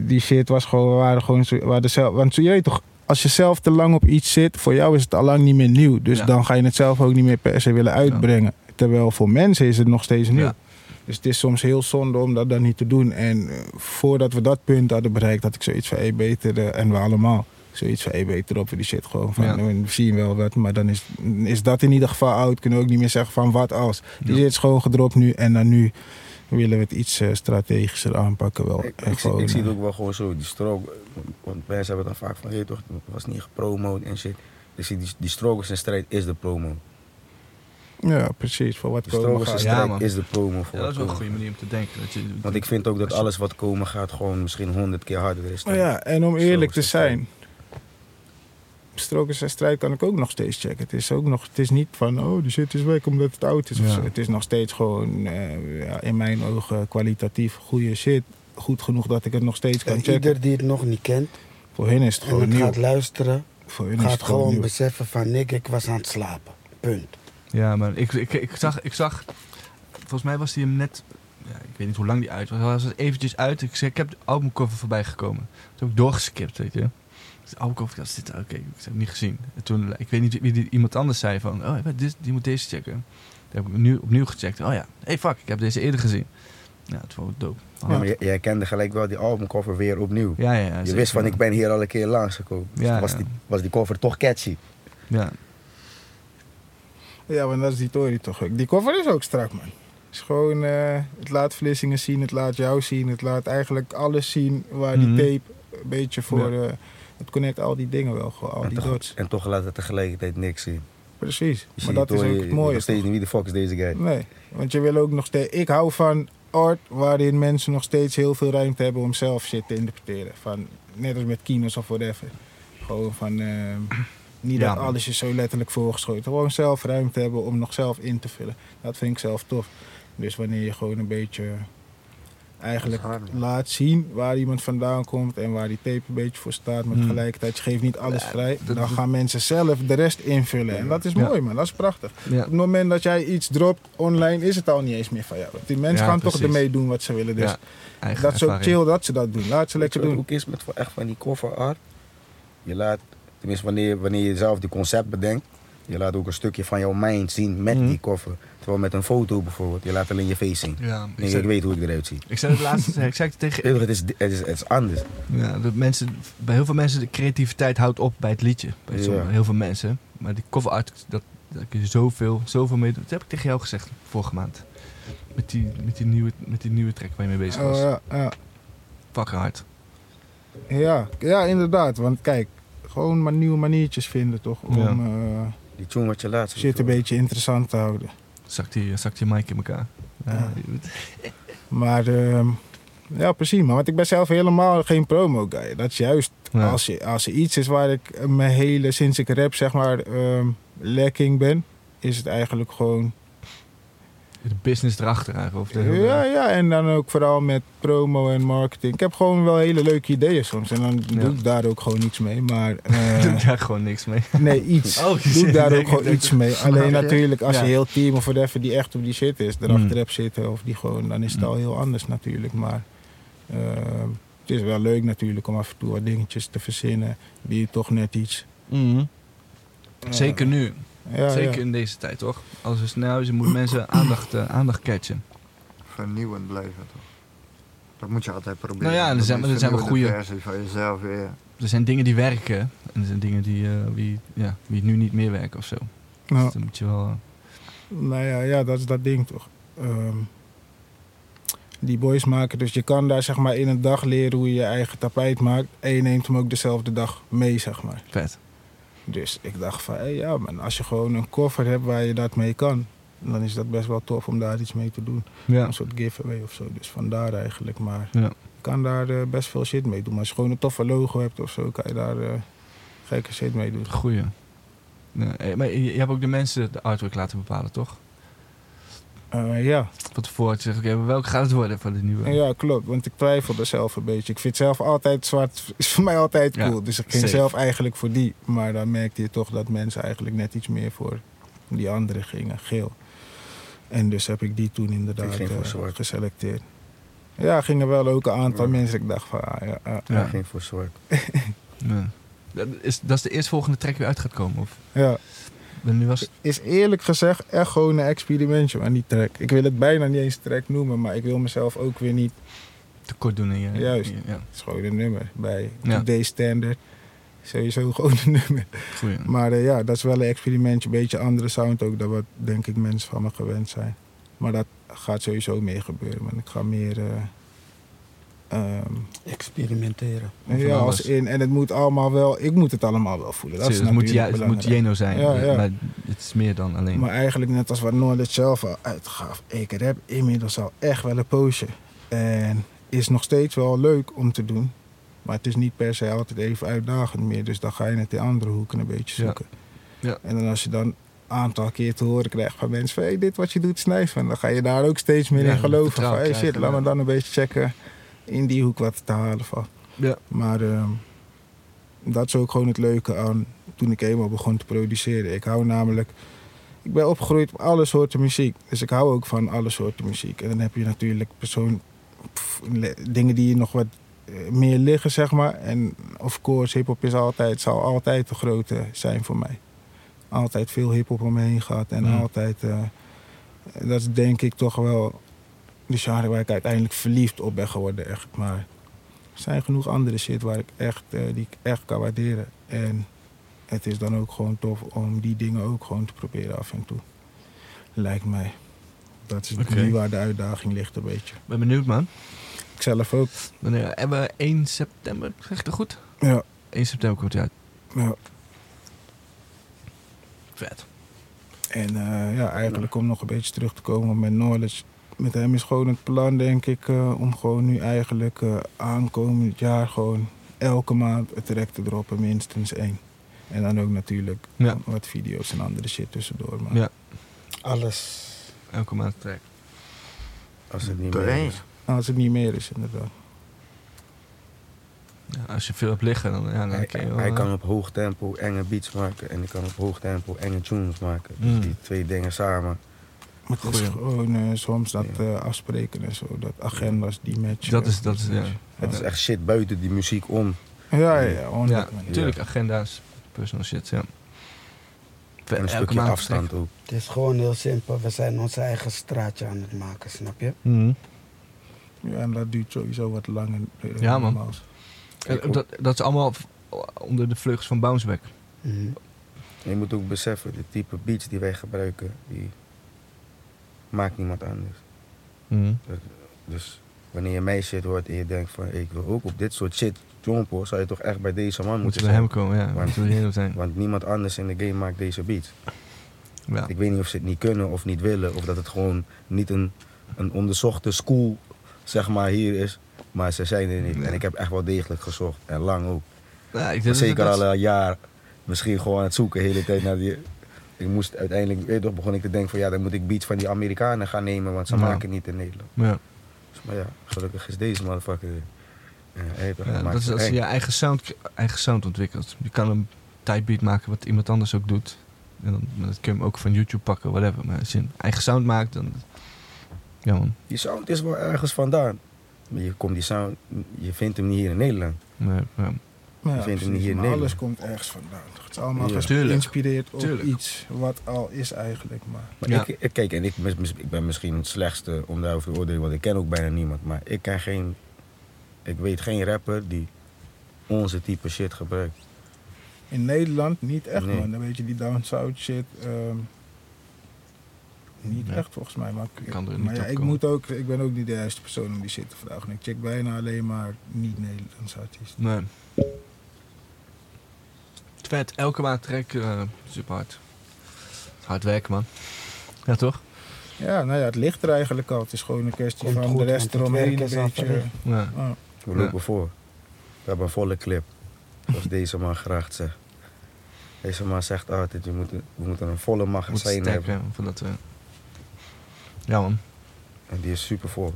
B: die shit was gewoon... We waren gewoon zo, we hadden zelf, want zo, je weet toch... Als je zelf te lang op iets zit, voor jou is het al lang niet meer nieuw. Dus
D: Ja.
B: dan ga je het zelf ook niet meer per se willen uitbrengen. Terwijl voor mensen is het nog steeds nieuw.
D: Ja.
B: Dus het is soms heel zonde om dat dan niet te doen. En eh, voordat we dat punt hadden bereikt, had ik zoiets van... hé, beter eh, en we allemaal. Zoiets van, hey, beter op voor die shit gewoon. Van, nou,
D: Ja.
B: We zien wel wat, maar dan is, is dat in ieder geval oud. Kunnen we ook niet meer zeggen van wat als. Die
D: Ja.
B: shit is gewoon gedropt nu en dan nu willen we het iets eh, strategischer aanpakken wel.
C: Ik,
B: En
C: ik, zie,
B: gewoon,
C: ik zie
B: eh,
C: het ook wel gewoon zo, die stroke. Want mensen hebben dan vaak van, hé toch, het was niet gepromoot en shit. Ik zie die, die strokers en strijd is de promo.
B: Ja, precies. Voor wat
C: De
B: komen
C: strokers en
B: gaat.
D: Ja,
C: strijd
D: man.
C: is de promo. Voor
D: Ja, dat
C: wat
D: is wel een
C: komen.
D: goede manier om te denken. Dat je,
C: Want ik vind ook dat alles wat komen gaat gewoon misschien honderd keer harder is. dan-
B: Oh ja, en om eerlijk te
C: Strokers en
B: zijn. Strokers en strijd kan ik ook nog steeds checken. Het is, ook nog, het is niet van, oh, die shit is weg omdat het oud is. of
D: Ja.
B: zo. Het is nog steeds gewoon, eh, ja, in mijn ogen, kwalitatief goede shit. Goed genoeg dat ik het nog steeds kan
E: En
B: checken.
E: Eh, ieder die het nog niet kent
B: Voor hen is het
E: en
B: gewoon
E: het
B: nieuw.
E: gaat luisteren,
B: Voor hun is
E: gaat
B: het gewoon
E: gewoon
B: nieuw.
E: beseffen van Nick, ik was aan het slapen. Punt.
D: Ja, man. Ik, ik, ik, zag, ik zag... Volgens mij was die hem net... Ja, ik weet niet hoe lang die uit was. Hij was eventjes uit. Ik, zei, ik heb de albumcover voorbij gekomen. Toen heb ik doorgeskipt, weet je. Dus de albumcover, ik dacht, is dit... Oké, ik heb het niet gezien. En toen, ik weet niet wie die, iemand anders zei van... Oh, wat, dit, die moet deze checken. Toen heb ik nu opnieuw gecheckt. Oh ja, hey fuck, ik heb deze eerder gezien. Ja, het was dope.
C: Ja, maar jij, jij kende gelijk wel die albumcover weer opnieuw.
D: ja, ja, ja,
C: je
D: zeker,
C: wist van,
D: man.
C: ik ben hier al een keer langsgekomen. Dus
D: Ja,
C: dan was,
D: ja.
C: die, was die cover toch catchy.
D: Ja.
B: Ja, want dat is die Tory toch ook. Die cover is ook strak, man. Het is gewoon, eh, het laat Vlissingen zien, het laat jou zien. Het laat eigenlijk alles zien waar die
D: Mhm.
B: tape een beetje voor... eh, het connect al die dingen wel, gewoon, al
C: En
B: die
C: toch-
B: dots.
C: En toch laat het tegelijkertijd niks zien.
B: Precies.
C: Je
B: Maar
C: ziet
B: dat is
C: door
B: ook
C: je-
B: het
C: Nog
B: mooie.
C: steeds niet wie de fuck is deze guy.
B: Nee, want je wil ook nog steeds... Ik hou van art waarin mensen nog steeds heel veel ruimte hebben om zelf shit te interpreteren. Van, net als met kino's of whatever. Gewoon van... ehm, niet
D: Ja,
B: dat
D: man.
B: alles is zo letterlijk voorgeschoten. Gewoon zelf ruimte hebben om nog zelf in te vullen. Dat vind ik zelf tof. Dus wanneer je gewoon een beetje... Eigenlijk
A: Dat is hard, man.
B: laat zien waar iemand vandaan komt en waar die tape een beetje voor staat. Maar
D: Hmm.
B: tegelijkertijd, je geeft niet alles vrij.
D: dat-
B: Dan
D: dat-
B: gaan mensen zelf de rest invullen. En dat is
D: Ja.
B: mooi, man. Dat is prachtig.
D: ja.
B: Op het moment dat jij iets dropt online, is het al niet eens meer van jou. Want Die mensen
D: Ja,
B: gaan toch
D: precies.
B: ermee doen wat ze willen. Dus
D: Ja, eigen
B: dat is ook
D: ervaring.
B: chill dat ze dat doen. Laat ze
C: Weet je
B: lekker
C: wat
B: doen.
C: ook is met voor echt van die cover art? Je laat, tenminste wanneer, wanneer je zelf die concept bedenkt, je laat ook een stukje van jouw mind zien met
D: Mhm.
C: die cover. Terwijl met een foto bijvoorbeeld, je laat alleen je face zien.
D: Ja, ik
C: Nee,
D: zei-
C: ik weet hoe ik eruit zie.
D: ik zei het laatst, ik zei het tegen
C: Het is, het is, het is anders.
D: Ja, dat mensen, bij heel veel mensen de creativiteit houdt op bij het liedje. Bij
C: Ja.
D: sommige- heel veel mensen. Maar die cover art, dat, daar kun je zoveel, zoveel mee doen. Dat heb ik tegen jou gezegd vorige maand. Met die, met die, nieuwe, met die nieuwe track waar je mee bezig was.
B: Oh, ja, ja.
D: Fucking hard.
B: Ja. ja, inderdaad. Want kijk, gewoon maar nieuwe maniertjes vinden toch. Om
D: Ja.
B: eh,
C: Die tune wat je laat zien.
B: shit een
C: toch?
B: beetje interessant te houden.
D: Zakt die, zakt die mic in elkaar. Ja.
B: Ja. Maar ehm, ja, precies. Maar want ik ben zelf helemaal geen promo guy. Dat is juist
D: Ja.
B: als, je, als er iets is waar ik eh, mijn hele sinds ik rap zeg maar ehm, lekking ben, is het eigenlijk gewoon
D: De business erachter eigenlijk. Of de hele-
B: Ja, ja, en dan ook vooral met promo en marketing. Ik heb gewoon wel hele leuke ideeën soms. En dan
D: Ja.
B: doe ik daar ook gewoon niets mee. Maar eh,
D: Doe ik daar gewoon niks mee.
B: nee, iets.
D: Oh, je
B: doe ik
D: zit-
B: daar
D: ik
B: ook gewoon
D: denk-
B: iets mee. Alleen
A: je?
B: natuurlijk als
D: Oh, Ja.
B: je heel team of whatever die echt op die shit is, erachter
D: Mm.
B: hebt zitten of die gewoon, dan is het
D: Mm.
B: al heel anders natuurlijk. Maar eh, het is wel leuk natuurlijk om af en toe wat dingetjes te verzinnen die toch net iets.
D: Zeker nu.
B: Mhm. Ja,
D: Zeker
B: ja.
D: in deze tijd, toch? Als we snel is, moeten mensen aandacht, eh, aandacht catchen.
A: vernieuwend blijven toch? Dat moet je altijd proberen.
D: Nou ja, en er
A: Dat
D: zijn-
A: is
D: er zijn wel
A: vernieuwende
D: goeie-
A: versie van jezelf weer.
D: Er zijn dingen die werken. En er zijn dingen die, eh, wie, ja, die nu niet meer werken of zo.
B: Ja.
D: Dus dan moet je wel... eh,
B: Nou ja, ja, dat is dat ding toch. Ehm, die boys maken, dus je kan daar zeg maar in een dag leren hoe je je eigen tapijt maakt. En je neemt hem ook dezelfde dag mee, zeg maar.
D: Vet.
B: Dus ik dacht van, hé, ja man, als je gewoon een koffer hebt waar je dat mee kan, dan is dat best wel tof om daar iets mee te doen.
D: Ja.
B: Een soort giveaway of zo, dus vandaar eigenlijk. Maar
D: Ja.
B: je kan daar eh, best veel shit mee doen. Maar als je gewoon een toffe logo hebt of zo, kan je daar eh, gekke shit mee doen.
D: Goeie. Ja, eh, maar je, je hebt ook de mensen de artwork laten bepalen, toch?
B: Eh, ja.
D: Van tevoren te zeggen, oké, maar welke gaat het worden van de nieuwe?
B: Ja, klopt. Want ik twijfelde zelf een beetje. Ik vind zelf altijd zwart, is voor mij altijd
D: Ja,
B: cool. dus ik ging
D: safe.
B: zelf eigenlijk voor die. Maar dan merkte je toch dat mensen eigenlijk net iets meer voor die andere gingen, geel. En dus heb ik die toen
C: Ik
B: inderdaad
C: ging voor
B: eh,
C: zwart.
B: geselecteerd. Ja, gingen wel ook een aantal
C: Ja.
B: mensen. Ik dacht van, ah, ja, ah,
C: Ja,
D: Ja.
C: geen voor zwart.
D: Ja. Dat, is, dat is de eerstvolgende track die uit gaat komen? Of
B: ja.
D: Maar nu was het-
B: is eerlijk gezegd echt gewoon een experimentje aan die track. Ik wil het bijna niet eens track noemen, maar ik wil mezelf ook weer niet
D: tekort doen in je...
B: Juist.
D: in je- ja.
B: Het is gewoon een nummer bij
D: Ja.
B: Today's Standard. Sowieso gewoon een nummer.
D: Goeie.
B: Maar eh, ja, dat is wel een experimentje. Een beetje andere sound ook dan wat denk ik mensen van me gewend zijn. Maar dat gaat sowieso meer gebeuren. Want ik ga meer... eh, ehm,
E: Experimenteren.
D: Van
B: ja, als
D: alles.
B: in. En het moet allemaal wel... Ik moet het allemaal wel voelen. Dat
D: Zie
B: is
D: je, Dus het moet, ja,
B: natuurlijk
D: het moet
B: belangrijk.
D: Jeno zijn.
B: Ja, ja.
D: Maar het is meer dan alleen.
B: Maar eigenlijk net als wat Noordert zelf al uitgaf. Ik rap inmiddels al echt wel een poosje. En is nog steeds wel leuk om te doen. Maar het is niet per se altijd even uitdagend meer. Dus dan ga je het in andere hoeken een beetje
D: Ja.
B: zoeken.
D: Ja.
B: En dan als je dan een aantal keer te horen krijgt van mensen van... Hey, dit wat je doet is nice. En dan ga je daar ook steeds meer
D: Ja,
B: in geloven. Van,
D: vertrouwen
B: hey, shit,
D: krijgen,
B: laat me
D: ja.
B: dan een beetje checken in die hoek wat te halen van.
D: Ja.
B: Maar ehm, dat is ook gewoon het leuke aan toen ik eenmaal begon te produceren. Ik hou namelijk... Ik ben opgegroeid op alle soorten muziek. Dus ik hou ook van alle soorten muziek. En dan heb je natuurlijk persoon... pff, le- dingen die je nog wat eh, meer liggen, zeg maar. En of course, hiphop is altijd, zal altijd de grote zijn voor mij. Altijd veel hiphop om me heen gehad. En
D: Mm.
B: altijd... eh, dat is denk ik toch wel de genre waar ik uiteindelijk verliefd op ben geworden, echt. Maar er zijn genoeg andere shit waar ik echt, eh, die ik echt kan waarderen. En het is dan ook gewoon tof om die dingen ook gewoon te proberen af en toe. Lijkt mij. Dat is
D: Oké.
B: nu waar de uitdaging ligt een beetje.
D: Ik ben benieuwd, man.
B: Ik zelf ook.
D: Wanneer hebben we 1 september? Zeg ik dat goed?
B: Ja,
D: 1 september komt hij uit.
B: ja.
D: Vet.
B: En eh, ja, eigenlijk om nog een beetje terug te komen met Knowledge. Met hem is gewoon het plan, denk ik, eh, om gewoon nu eigenlijk eh, aankomend jaar gewoon elke maand het track te droppen, minstens één. En dan ook natuurlijk
D: Ja.
B: wat video's en andere shit tussendoor. Maar
D: Ja.
E: Alles.
D: Elke maand track.
C: Als het niet meer
A: Doorheen.
C: is.
B: Nou, als het niet meer is, inderdaad.
D: Ja, als je veel hebt liggen, dan, ja, dan
C: Hij,
D: kun je wel,
C: hij
D: eh,
C: kan op hoog tempo enge beats maken en ik kan op hoog tempo enge tunes maken. Dus
D: Mm.
C: die twee dingen samen.
B: Maar het is
D: Goeie.
B: gewoon eh, soms dat
C: Ja.
B: eh, afspreken en zo, dat agendas die matchen.
D: Dat is- dat is- ja.
C: Het is echt shit buiten die muziek om.
B: Ja, ja, ja,
D: Ja,
B: 100 man.
D: natuurlijk. Agenda's, personal shit, ja. Vet,
C: En een
D: elke
C: stukje
D: maand
C: afstand
D: track.
C: ook.
E: Het is gewoon heel simpel. We zijn ons eigen straatje aan het maken, snap je?
D: Mhm.
B: Ja, en dat duurt sowieso wat langer. eh,
D: Ja, man.
B: normaal.
D: En ook Eh, dat, dat is allemaal v- onder de vleugels van Bounceback.
E: Mhm.
C: En je moet ook beseffen, de type beats die wij gebruiken, die maakt niemand anders. Dus wanneer je mijn shit hoort en je denkt van ik wil ook op dit soort shit jumpen, zou je toch echt bij deze man
D: Moeten
C: moeten
D: we bij hem
C: zijn.
D: komen, ja.
C: Maar-
D: Moeten we heel zijn.
C: Want niemand anders in de game maakt deze beats.
D: Ja.
C: Ik weet niet of ze het niet kunnen of niet willen, of dat het gewoon niet een, een onderzochte school zeg maar hier is. Maar ze zijn er niet.
D: Ja.
C: En ik heb echt wel degelijk gezocht en lang ook.
D: Ja, ik denk dat-
C: Zeker
D: dat-
C: al een jaar, misschien gewoon aan het zoeken de hele tijd naar die. Ik moest uiteindelijk, weet je toch, begon ik te denken van ja, dan moet ik beats van die Amerikanen gaan nemen, want ze
D: Ja.
C: maken niet in Nederland.
D: Ja,
C: Dus, maar ja, gelukkig is deze motherfucker er. Ja, hij heeft
D: ja,
C: gemaakt
D: dat is
C: voor
D: als je
C: eng.
D: je eigen sound, eigen sound ontwikkelt. Je kan een typebeat maken wat iemand anders ook doet. En dan, maar dat kun je hem ook van YouTube pakken, whatever. Maar als je een eigen sound maakt, dan... Ja, man.
C: Die sound is wel ergens vandaan. Maar je komt die sound, je vindt hem niet hier in Nederland.
D: Nee, ja.
B: Ja,
C: vindt hem
B: precies,
C: niet hier
B: maar
C: in Nederland.
B: alles komt ergens vandaan. Het is allemaal
C: Ja.
B: geïnspireerd op
D: Tuurlijk.
B: iets wat al is eigenlijk. Maar
C: Maar
D: Ja.
C: ik, ik- kijk, en ik, mis- mis- ik ben misschien het slechtste om daarover te oordelen, want ik ken ook bijna niemand. Maar ik ken geen, ik weet geen rapper die onze type shit gebruikt.
B: in Nederland niet echt,
C: Nee.
B: man. Dan weet je, die down south shit. ehm, niet
D: Nee.
B: echt volgens mij. Maar, ik,
D: Kan er niet
B: maar ja,
D: op
B: ik,
D: komen.
B: moet ook, ik ben ook niet de juiste persoon om die shit te vragen. Ik check bijna alleen maar niet-Nederlandse artiesten.
D: Nee. Vet, elke maand trek eh super hard. Hard werken, man. Ja, toch?
B: Ja, nou ja, het ligt er eigenlijk al. Het is gewoon een kwestie
E: Komt
B: van
E: goed,
B: de
E: want
B: rest
E: het
B: eromheen een
E: werk is af en
B: beetje.
E: weg.
D: Ja.
B: Ja.
C: We
D: Ja.
C: lopen voor. We hebben een volle clip. Zoals deze man graag zegt. Deze man zegt altijd, je moet, we moeten een volle
D: Moet
C: magazijn
D: sterk
C: hebben.
D: hebben van dat... eh, Ja, man.
C: En die is super vol.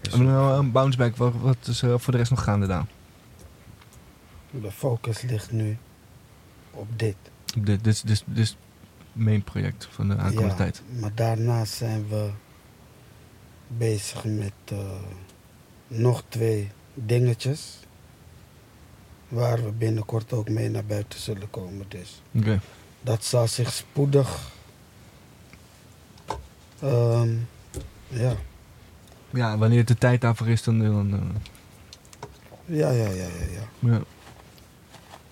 C: Dus
D: We hebben nou een bounceback. Wat, wat is er voor de rest nog gaande daar?
E: De focus ligt nu op dit.
D: Op Dit, dit, is- dit, is- dit is het main project van de aankomende
E: Ja,
D: tijd.
E: Maar daarnaast zijn we bezig met eh, nog twee dingetjes. Waar we binnenkort ook mee naar buiten zullen komen. Dus
D: Oké.
E: dat zal zich spoedig. ehm, ja.
D: Ja, wanneer de tijd daarvoor is, dan... dan eh,
E: Ja, ja, ja, ja, ja.
D: ja.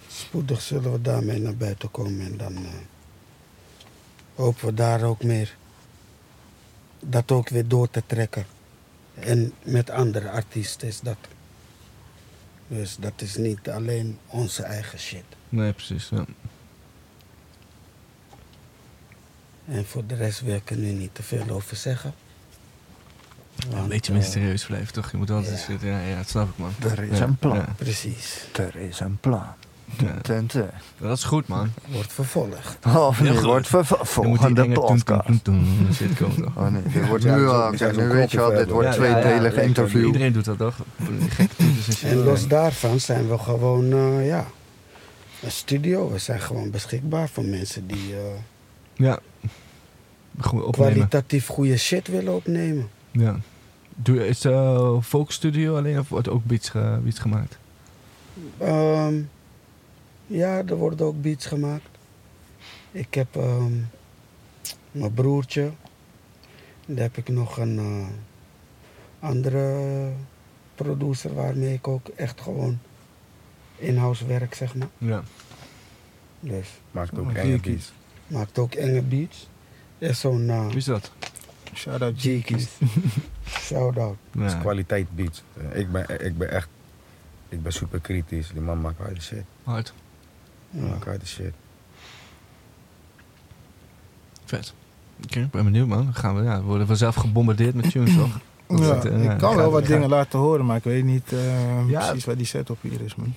E: spoedig zullen we daarmee naar buiten komen en dan eh, hopen we daar ook meer dat ook weer door te trekken. En met andere artiesten is dat. Dus dat is niet alleen onze eigen shit.
D: Nee, precies. Ja.
E: En voor de rest wil ik er nu niet te veel over zeggen.
D: een
E: Want,
D: beetje
E: eh,
D: mysterieus blijven, toch? Je moet altijd
E: ja.
D: zitten. Ja, ja, dat snap ik, man.
A: Er is
D: Ja,
A: een plan.
D: ja,
E: Precies.
A: Er is een plan.
D: ja.
A: Ten, ten.
D: Dat is goed, man.
E: Wordt vervolgd.
A: Of
D: Heel
A: niet,
D: goed.
A: Oh, wordt vervo- volgende podcast.
D: Zit komen, toch?
A: Oh nee, dit wordt
C: Ja,
A: nu
C: zo-
A: al.
C: zo-
A: kijk,
C: zo'n
A: Nu weet je wel, dit
C: knoppenvelder.
A: wordt
D: Ja,
A: een
D: ja, ja,
A: tweedelig
D: ja,
A: interview.
D: Iedereen doet dat, toch? Gekke titels en shit.
E: En los daarvan zijn we gewoon, eh, ja, een studio. We zijn gewoon beschikbaar voor mensen die eh,
D: Ja. Goed opnemen.
E: kwalitatief goede shit willen opnemen.
D: Ja. Doe je, is eh Folk Studio alleen of wordt ook beats, ge- beats gemaakt?
E: Ehm, ja, er worden ook beats gemaakt. Ik heb ehm, mijn broertje. Daar heb ik nog een eh, andere producer waarmee ik ook echt gewoon in-house werk, zeg maar.
D: Ja.
E: Dus
C: Maakt
B: Oh,
C: ook enge
B: Kiki.
C: beats.
E: maakt ook enge beats. Er is zo'n eh,
D: Wie is dat?
B: Shout-out
E: Jeekies. Shout-out.
C: Het is
D: Ja.
C: kwaliteit beats. Eh, Ik ben, ik ben echt, ik ben super kritisch. Die man maakt harde shit.
D: Hard.
E: Ja.
C: Maakt harde shit.
D: Vet. Oké, ik ben benieuwd man. Dan gaan we, ja, we worden vanzelf gebombardeerd met tunes toch? Dat is
B: Ja,
D: het, eh,
B: ik kan
D: ja.
B: wel wat
D: Ja.
B: dingen laten horen, maar ik weet niet eh,
D: Ja.
B: precies waar die setup hier is, man.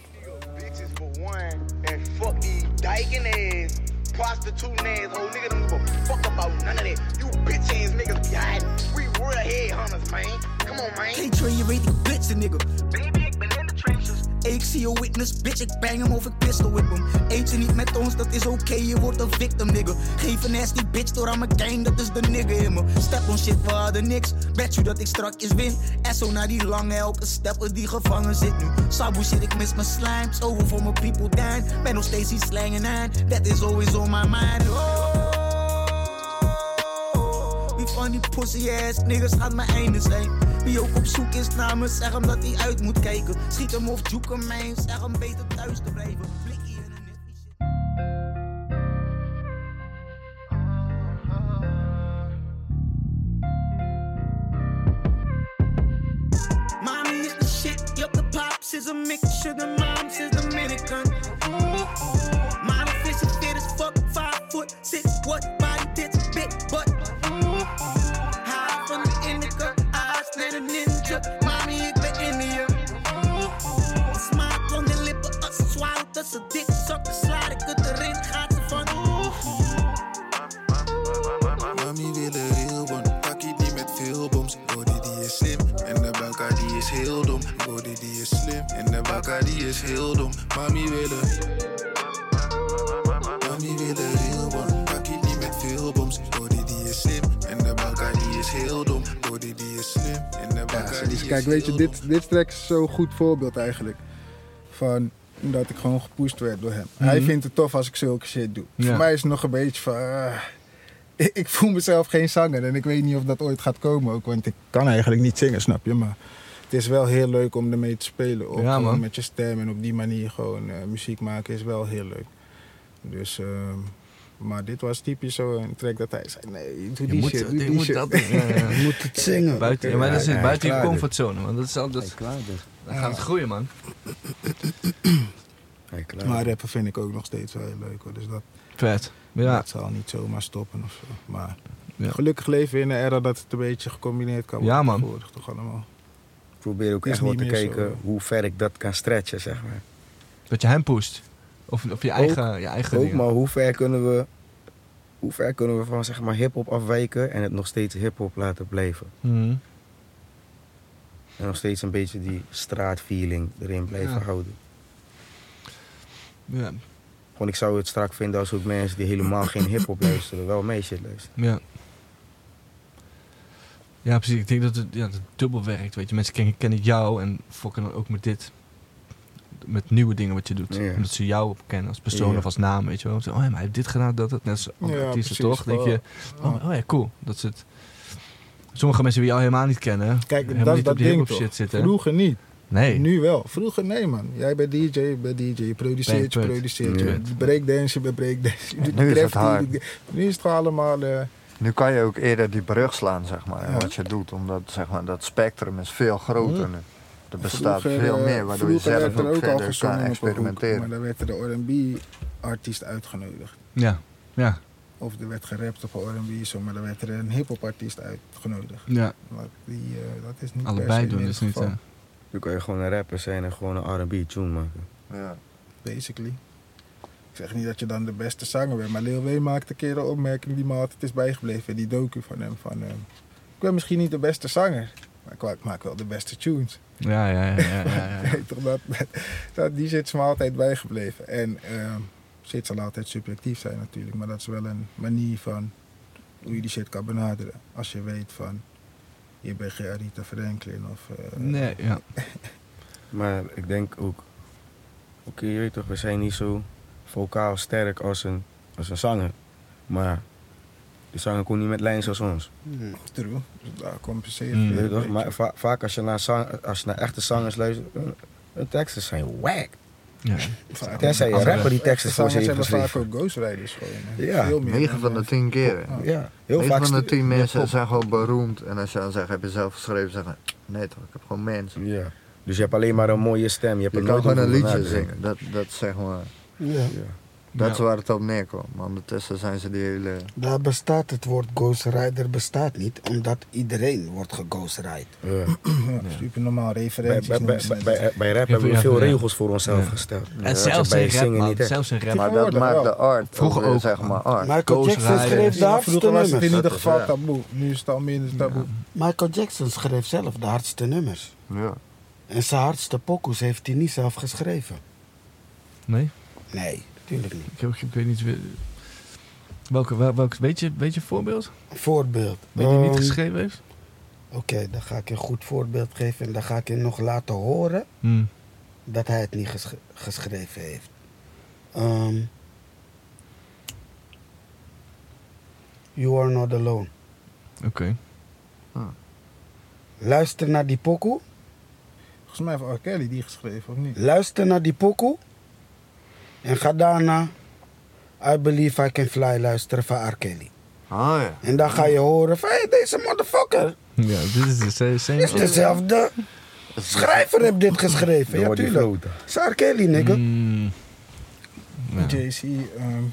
F: bitches for one and fuck these dyking ass prostituting ass old nigga don't give a fuck about none of that. You bitch ass niggas be hiding. We real headhunters, man. Come on, man.
H: Can't train your rating, bitch, a nigga.
F: Baby, ik ben in de trenches.
H: Ik zie je witness, bitch, ik bang hem of ik pistol whip hem. Eet je niet E met ons, dat is oké, je wordt een victim, nigga. Geef een nasty bitch door aan mijn gang, dat is de nigga in me. Step on shit, we hadden niks, bet je dat ik strakjes win. En zo naar die lange, elke step is die gevangen zit nu. Sabu shit, ik mis mijn slimes, over voor mijn people down. Ben nog steeds die slangen aan, that is always on my mind. Oh, wie van die pussy ass niggas gaat mijn einde zijn. Wie ook op zoek is naar me, zeg hem dat hij uit moet kijken. Schiet hem of joek hem mij, zeg hem beter thuis te blijven. Blikkie in een hippie shit. Mommy is the shit, yup, the pops is a mixture, the moms is Dominican. Model fish is fit as fuck, five foot six, what body tits, big butt. High from the indica, eyes net a ninja, mommy is the India. Smaak on de lippen als het zwaal tussen dik zakken, slaat ik het erin, gaat ze van.
I: Mami wil een real one, pak het niet met veel boms. Body die is slim en de bakka die is heel dom. Body die is slim en de bakka die is heel dom. Mami wil een... Mami wil een real one, pak het niet met veel boms. Body die is slim en de bakka die is heel dom. Body die is slim en de
B: Ja,
I: bakka die
B: dus
I: is
B: kijk, weet je,
I: heel
B: dit, dit track is zo'n goed voorbeeld eigenlijk. Van dat ik gewoon gepusht werd door hem. Hij vindt het tof als ik zulke shit doe.
D: Mhm. Ja.
B: Voor mij is het nog een beetje van... ah, ik, ik voel mezelf geen zanger en ik weet niet of dat ooit gaat komen ook. Want ik kan eigenlijk niet zingen, snap je? Maar het is wel heel leuk om ermee te spelen. Ook
D: Ja,
B: gewoon
D: man.
B: met je stem en op die manier gewoon eh, muziek maken is wel heel leuk. Dus... ehm, maar dit was typisch zo'n track dat hij zei, nee, doe
D: Je
B: die
D: moet,
B: shit, doe
D: je
B: die
D: moet
B: shit.
D: dat doen. Ja, ja.
E: Je moet het zingen.
D: Buiten, ja, maar dat
C: Ja,
D: zit
C: ja,
D: buiten je
C: klaar, dit.
D: comfortzone,
B: dus.
D: man. Dat is altijd. Dan gaat het groeien, man.
C: Hey, klaar.
B: Maar rappen vind ik ook nog steeds wel heel leuk hoor. Dus dat,
D: Vet. Ja.
B: dat zal niet zomaar stoppen of zo. Maar
D: Ja.
B: gelukkig leven we in een era dat het een beetje gecombineerd kan worden.
D: Ja, man.
B: Tegenwoordig toch allemaal.
C: ik probeer ook
B: Is
C: echt wel
B: niet
C: te
B: meer zo.
C: kijken hoe ver ik dat kan stretchen, zeg maar.
D: Dat je hem pusht. Of, of je eigen, je eigen
C: Ook,
D: dingen.
C: maar hoe ver kunnen we, hoe ver kunnen we van zeg maar hip-hop afwijken en het nog steeds hip-hop laten blijven?
D: Mhm.
C: En nog steeds een beetje die straatfeeling erin blijven
D: Ja.
C: houden.
D: Ja.
C: Gewoon, ik zou het strak vinden als ook mensen die helemaal geen hip-hop luisteren, wel mee shit luisteren.
D: Ja. Ja, precies. Ik denk dat het, ja, dat het dubbel werkt. Weet je. Mensen kennen, kennen jou en fokken dan ook met dit. Met nieuwe dingen wat je doet.
C: Ja.
D: Omdat ze jou kennen als persoon
C: Ja.
D: of als naam. Weet je wel. Zo, oh ja, maar hij heeft dit gedaan, dat, dat. Net als andere
B: Ja,
D: artiesten
B: precies.
D: toch. denk je,
B: Ja.
D: oh, oh ja, cool. Dat is het. Sommige mensen die jou helemaal niet kennen.
B: Kijk,
D: helemaal
B: dat is
D: niet
B: dat
D: op die
B: ding
D: hip-hop
B: toch.
D: shit zitten.
B: Vroeger niet.
D: Nee.
B: Nu wel. Vroeger nee, man. Jij bent DJ, je bent DJ. Je
D: Nee,
B: produceert, je
D: punt.
B: produceert.
C: Ja.
B: Je doet breakdance, je bent breakdance. Je doet
A: Nu is het
B: graffiti,
A: hard.
B: je doet- Nu is het gewoon allemaal... eh,
A: Nu kan je ook eerder die brug slaan, zeg maar,
B: Ja.
A: wat je doet. Omdat zeg maar, dat spectrum is veel groter nu. Er bestaat
B: Vroeger,
A: veel
B: eh,
A: meer, waardoor je zelf
B: vroeger werd er
A: ook
B: al
A: verder
B: gezongen
A: kan
B: op een hoek,
A: experimenteren.
B: Maar dan werd er de R&B-artiest uitgenodigd.
D: Ja, ja,
B: Of er werd gerapt op een R&B, zo, maar dan werd er een hip-hop artiest uitgenodigd.
D: ja.
B: Maar die, eh, dat is niet per
D: Allebei
B: se
D: doen
B: meer
D: is
B: het
D: niet...
B: geval,
D: eh,
C: Nu kan je gewoon een rapper zijn en gewoon een R&B tune maken.
A: Ja.
B: Basically. Ik zeg niet dat je dan de beste zanger bent, maar Lil Wayne maakte een keer een opmerking die me altijd is bijgebleven. in Die docu van hem van... eh, ik ben misschien niet de beste zanger, maar ik wa- ik maak wel de beste tunes.
D: Ja, ja, ja, ja, ja, ja.
B: Weet toch, dat, dat, die zit is me altijd bijgebleven. En ehm shit zal altijd subjectief zijn natuurlijk, maar dat is wel een manier van hoe je die shit kan benaderen. Als je weet van, je bent geen Arita Franklin of... eh,
D: Nee, ja.
C: Maar ik denk ook, oké, je weet toch, we zijn niet zo vocaal sterk als een, als een zanger. Maar de zanger kon niet met lijn zoals ons.
B: True, dus daar compenseer
D: Mm.
B: je.
C: Weet je toch?
B: weet je.
C: Maar va- vaak als je, naar zang, als je naar echte zangers luistert, hun- hun teksten zijn wack.
D: ja.
B: Vaak-
C: Tenzij je rapper die teksten
B: Echte
C: voor ze
B: zangers
C: heeft
B: hebben vaak
C: geschreven.
B: ook ghostwriters gewoon. hè.
C: Ja,
B: Veel meer
A: 9
B: dan,
A: van de
B: eh,
A: 10 keren.
C: Ja, heel
A: 9
C: vaak
A: van de
C: stu-
A: 10 mensen
C: pop.
A: zijn gewoon beroemd. En als je dan zegt, heb je zelf geschreven, zeggen nee toch, ik heb gewoon mensen.
C: Ja. Dus je hebt alleen maar een mooie stem. Je, hebt
A: Je
C: er
A: kan
C: nooit
A: gewoon een
C: over
A: liedje
C: nadenken.
A: zingen. Dat, dat, zeg maar,
E: Ja,
C: Ja.
A: dat is
D: Ja.
A: waar het op neerkomt. Maar ondertussen zijn ze die hele...
E: daar bestaat het woord Ghost Rider bestaat niet, omdat iedereen wordt geghostwrite.
C: Ja.
B: Ja, super normaal
C: Bij,
B: eh, referenties.
C: bij, bij,
B: noemen ze
C: bij,
B: dat.
C: bij- bij rap
D: Ja,
C: hebben we
D: ja,
C: veel
D: ja.
C: regels voor onszelf
D: Ja.
C: gesteld.
D: En
C: Dat
D: zelfs
C: bij
D: in rap,
C: zingen
D: man.
C: niet, hè.
D: Zelfs in rap.
B: Ja.
A: Maar dat
B: Tegenwoordig
A: maakt
B: wel.
A: de art,
D: Vroeger
A: eh,
D: ook,
A: zeg
D: man.
A: maar, art.
E: Michael
D: Ghost
E: Jackson
D: Rider.
E: schreef de hardste
B: Vroeger was het in
E: nummers.
B: ieder
A: Dat is
B: geval
A: waar.
B: taboe. Nu is het al minder taboe.
E: Michael Jackson schreef zelf de hardste nummers.
A: Ja.
E: En zijn hardste pokoes heeft hij niet zelf geschreven.
D: Nee?
E: Nee, natuurlijk niet.
D: Ik, heb- ik weet niet... wie- Welke, wel- welke, weet, je, weet je een voorbeeld?
E: Een voorbeeld.
D: Weet je wie het
E: Ehm,
D: geschreven heeft?
E: Oké, dan ga ik je een goed voorbeeld geven en dan ga ik je nog laten horen
D: Hm.
E: dat hij het niet gesch- geschreven heeft. Ehm, you are not alone.
D: Oké.
E: Luister naar die pokoe.
B: Volgens mij heeft R. Kelly die geschreven, of niet?
E: Luister naar die pokoe. En ga daarna I Believe I Can Fly luisteren van R. Kelly.
A: Oh ja.
E: En dan ga je horen van hey, deze motherfucker
D: Ja, dit is de same- same...
E: is dezelfde. Schrijver heeft dit geschreven.
C: Dan
E: Ja,
C: wordt die
E: tuurlijk.
C: groter.
E: Is R. Kelly, nigga.
D: Mm. Ja,
B: JC. ehm,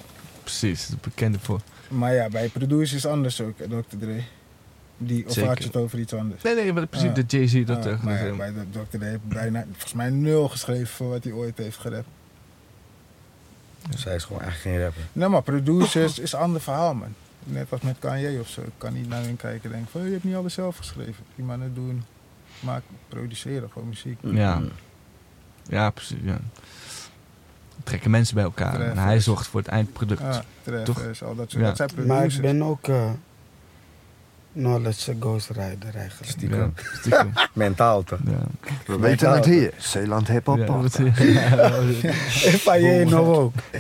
D: precies, de bekende voor.
B: maar ja, bij producers is anders ook, eh, Dr. Dre. Die, of
D: Zeker.
B: had je het over iets anders?
D: Nee, nee, maar precies
B: Ah.
D: de Jay-Z dat...
B: Ah,
D: eh,
B: maar ja,
D: gezegd.
B: bij de- Dr. Dre heeft bijna, volgens mij nul geschreven voor wat hij ooit heeft gerept.
C: Zij is gewoon echt geen rapper.
B: Nee, Nou, maar producers is een ander verhaal, man. Net als met Kanye of zo. Ik kan niet naar hun kijken en denken van, je hebt niet alles zelf geschreven. Die mannen doen, maak, produceren gewoon muziek.
D: Ja.
C: Mm.
D: Ja, precies. Ja. Trekken mensen bij elkaar. En
B: Treffers.
D: hij zorgt voor het eindproduct.
B: Ja, treffers, Ah, al dat soort.
D: Ja.
B: Dat zijn
E: Maar ik
B: producers.
E: ben ook eh knowledge ghostwriter eigenlijk.
C: Stiekem.
D: Ja, stiekem.
C: Mentaal toch?
D: Ja.
A: We weten het hier. Zeeland Hip Hop
D: Ja,
A: Podcast.
D: dat- ja,
E: If I ain't
D: nou
E: no ook.
D: ja.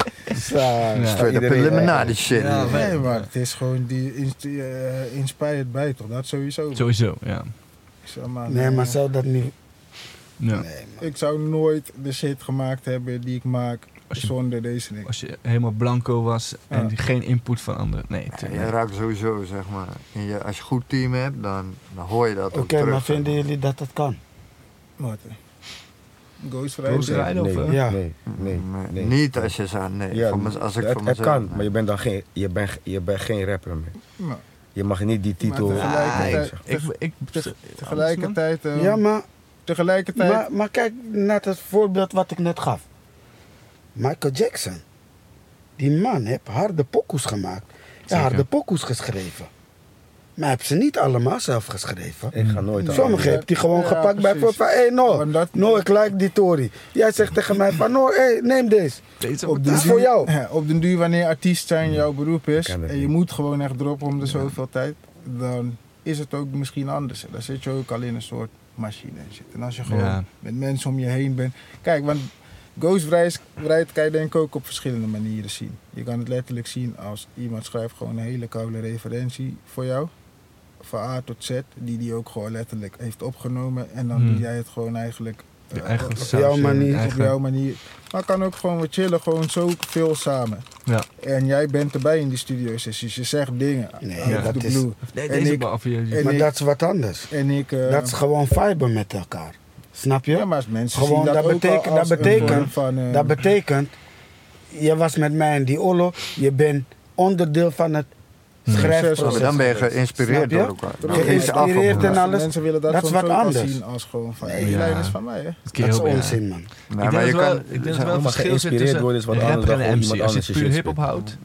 A: Straight up
C: Iedereen,
A: eliminati shit.
D: Ja,
A: Ja,
B: Nee, maar het is gewoon die inst- eh, inspired bij, toch? Dat sowieso.
D: Sowieso, ja.
B: Zo, maar,
E: Nee, maar
B: eh,
E: zou dat niet...
D: ja.
E: Nee, man.
B: Ik zou nooit de shit gemaakt hebben die ik maak
D: Als je-
B: zonder deze ding.
D: Als je helemaal blanco was en
B: Ja.
D: geen input van anderen. Nee, tuurlijk.
A: je raakt sowieso, zeg maar. En je, als je een goed team hebt, dan, dan hoor je dat
E: Oké,
A: ook terug.
E: maar
A: zeg
E: vinden jullie dat dat kan?
B: Martin. Ghost
D: Ghost
B: Rider.
D: Rider. of, eh?
C: nee,
E: Ja.
C: nee, nee,
A: Nee,
C: nee.
A: eh, Niet als je zegt, nee.
C: Ja,
A: voor mez- als ik
C: het,
A: voor
C: het
A: mezelf-
C: kan, maar je bent dan geen, je bent, je bent geen rapper meer.
B: Nou,
C: Je mag niet die titel.
B: Maar tegelijkertijd-
C: Ah, ik-
D: Ik, ik,
B: te- tegelijkertijd, eh,
E: Ja, maar,
B: tegelijkertijd
E: maar, maar kijk naar het voorbeeld wat ik net gaf. Michael Jackson. Die man heeft harde pokoes gemaakt. En
D: Zeker.
E: harde pokoes geschreven. Maar hij heeft ze niet allemaal zelf geschreven.
C: ik ga
A: Mm.
C: nooit aan-
E: Sommige heeft hij gewoon
B: Ja,
E: gepakt bij
B: precies.
E: van, hé hey, no,
B: Want dat-
E: no, ik like die Tory. Jij zegt tegen mij van, no, hey, neem deze.
D: Deze
B: op
E: Dat
B: den
E: is voor jou.
B: Ja, op den duur, wanneer artiest zijn jouw beroep is
C: Ken dat
B: en je
C: niet.
B: moet gewoon echt droppen om de zoveel tijd, dan is het ook misschien anders. Dan zit je ook al in een soort machine. en shit. En als je gewoon
D: Ja.
B: met mensen om je heen bent. Kijk, want ghostwrite kan je denk ik ook op verschillende manieren zien. Je kan het letterlijk zien als iemand schrijft gewoon een hele koude referentie voor jou. Van A tot Z, die die ook gewoon letterlijk heeft opgenomen. En dan
D: Hmm.
B: doe jij het gewoon eigenlijk
D: Je eigen
B: Op
D: sausje,
B: jouw
D: je
B: manier,
D: eigen-
B: op jouw manier. Maar het kan ook gewoon wat chillen, gewoon zoveel samen.
D: Ja.
B: En jij bent erbij in die studiosessies. Je zegt dingen.
E: Nee,
B: out of
E: dat
B: the
E: is-
B: blue.
D: Nee,
B: En
D: deze
B: ik-
D: bal- of je- je-
B: en
E: Maar
B: ik-
E: dat is wat anders.
B: En ik... eh,
E: Dat is gewoon viben met elkaar. Snap je?
B: ja, maar mensen
E: Gewoon,
B: zien dat,
E: dat
B: ook
E: betekent-
B: al als
E: dat
B: een
E: betekent-
B: vorm van... eh,
E: Dat betekent, je was met mij in die Olo, je bent onderdeel van het
A: Ja,
E: schrijfproces.
A: maar dan ben je
E: geweest.
A: geïnspireerd door
E: Snap je?
A: elkaar.
B: Terug.
A: Dan is het af op
E: Geïnspireerd en
A: elkaar.
E: al- alles,
B: Mensen willen dat,
E: dat is
B: soms
E: wat
B: ook al
E: anders.
B: zien als gewoon van...
E: Nee,
B: hey, die
D: ja.
B: lijn is van mij, hè.
D: het
E: Dat is
D: heel- ja.
E: onzin, man.
A: Nee,
D: Ik
A: maar
D: denk
A: je
D: dat wel-
A: kan...
D: ik denk dat wel
C: maar
D: een verschil zit
C: geïnspireerd
D: tussen
C: worden is wat
D: rapper
C: anders dan
D: en
C: gewoon
D: MC.
C: iemand
D: Als je
C: anders je
D: puur
C: shit
D: hip-hop
C: spit.
D: houdt,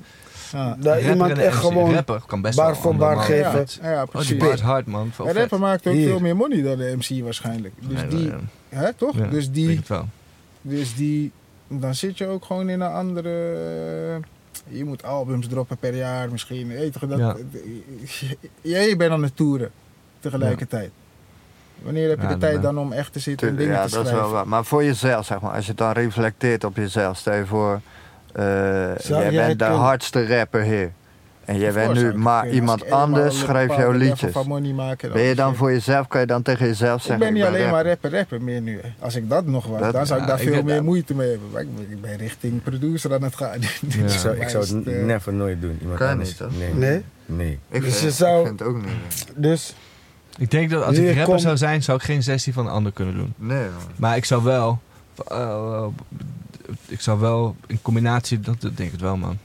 B: Ja.
E: Dat
D: rapper
E: iemand
D: en
E: echt
D: MC.
E: gewoon
D: Rapper kan best
E: bar
D: wel
E: voor
D: allemaal,
E: bar
D: maar-
E: geven.
B: Ja,
E: het.
B: ja,
D: Oh, die
B: precies.
D: bar is hard, man. Veel
B: En
D: vet.
B: rapper maakt ook
E: Hier.
B: veel meer money dan de MC waarschijnlijk. Dus
D: Nee,
B: die...
D: maar,
B: Hè, toch?
D: ja,
B: Dus
D: ik
B: die...
D: denk het wel.
B: Dus die, dan zit je ook gewoon in een andere. eh, Je moet albums droppen per jaar misschien. Weet je, dat,
D: Ja.
B: Jij bent aan het toeren tegelijkertijd. Wanneer heb je
D: Ja,
B: de
D: dan
B: tijd
D: ben-
B: dan om echt te zitten en
A: Tuurlijk,
B: dingen
A: ja,
B: te
A: dat is
B: schrijven?
A: wel waar. Maar voor jezelf, zeg maar, als je dan reflecteert op jezelf, stel je voor, eh, jij
E: jij het
A: bent de
E: kunnen?
A: hardste rapper hier. En jij bent
B: Voor zou
A: nu,
B: ik
A: maar
B: kunnen. Als
A: iemand
B: ik eenmaal
A: anders
B: een
A: schrijft jouw
B: bepaalde level
A: liedjes.
B: Van money maken,
A: Ben je dan
B: is-
A: voor jezelf, kan je dan tegen jezelf zeggen,
B: Ik ben niet alleen maar rapper, rapper meer nu. hè. Als ik dat nog was,
A: Dat-
B: dan zou ik
D: ja,
B: daar
D: ik
B: veel
D: weet
B: meer
D: dat.
B: moeite mee hebben. Maar ik ben, ik ben richting producer aan het gaan. Dus
D: Ja.
C: Ik zou, ik zou het
B: wijst, eh,
C: never nooit doen. Iemand
A: Kan
C: anders.
A: niet, toch?
C: Nee.
E: Nee?
C: Nee.
A: Ik
E: Dus
A: vind,
E: je
A: ik
E: zou-
A: vind het ook niet.
E: Dus
D: Ik denk dat als
E: Hier
D: ik rapper
E: komt-
D: zou zijn, zou ik geen sessie van een ander kunnen doen.
A: Nee, man.
D: Maar ik zou wel. eh, ik zou wel in combinatie. Dat, dat denk ik wel, man.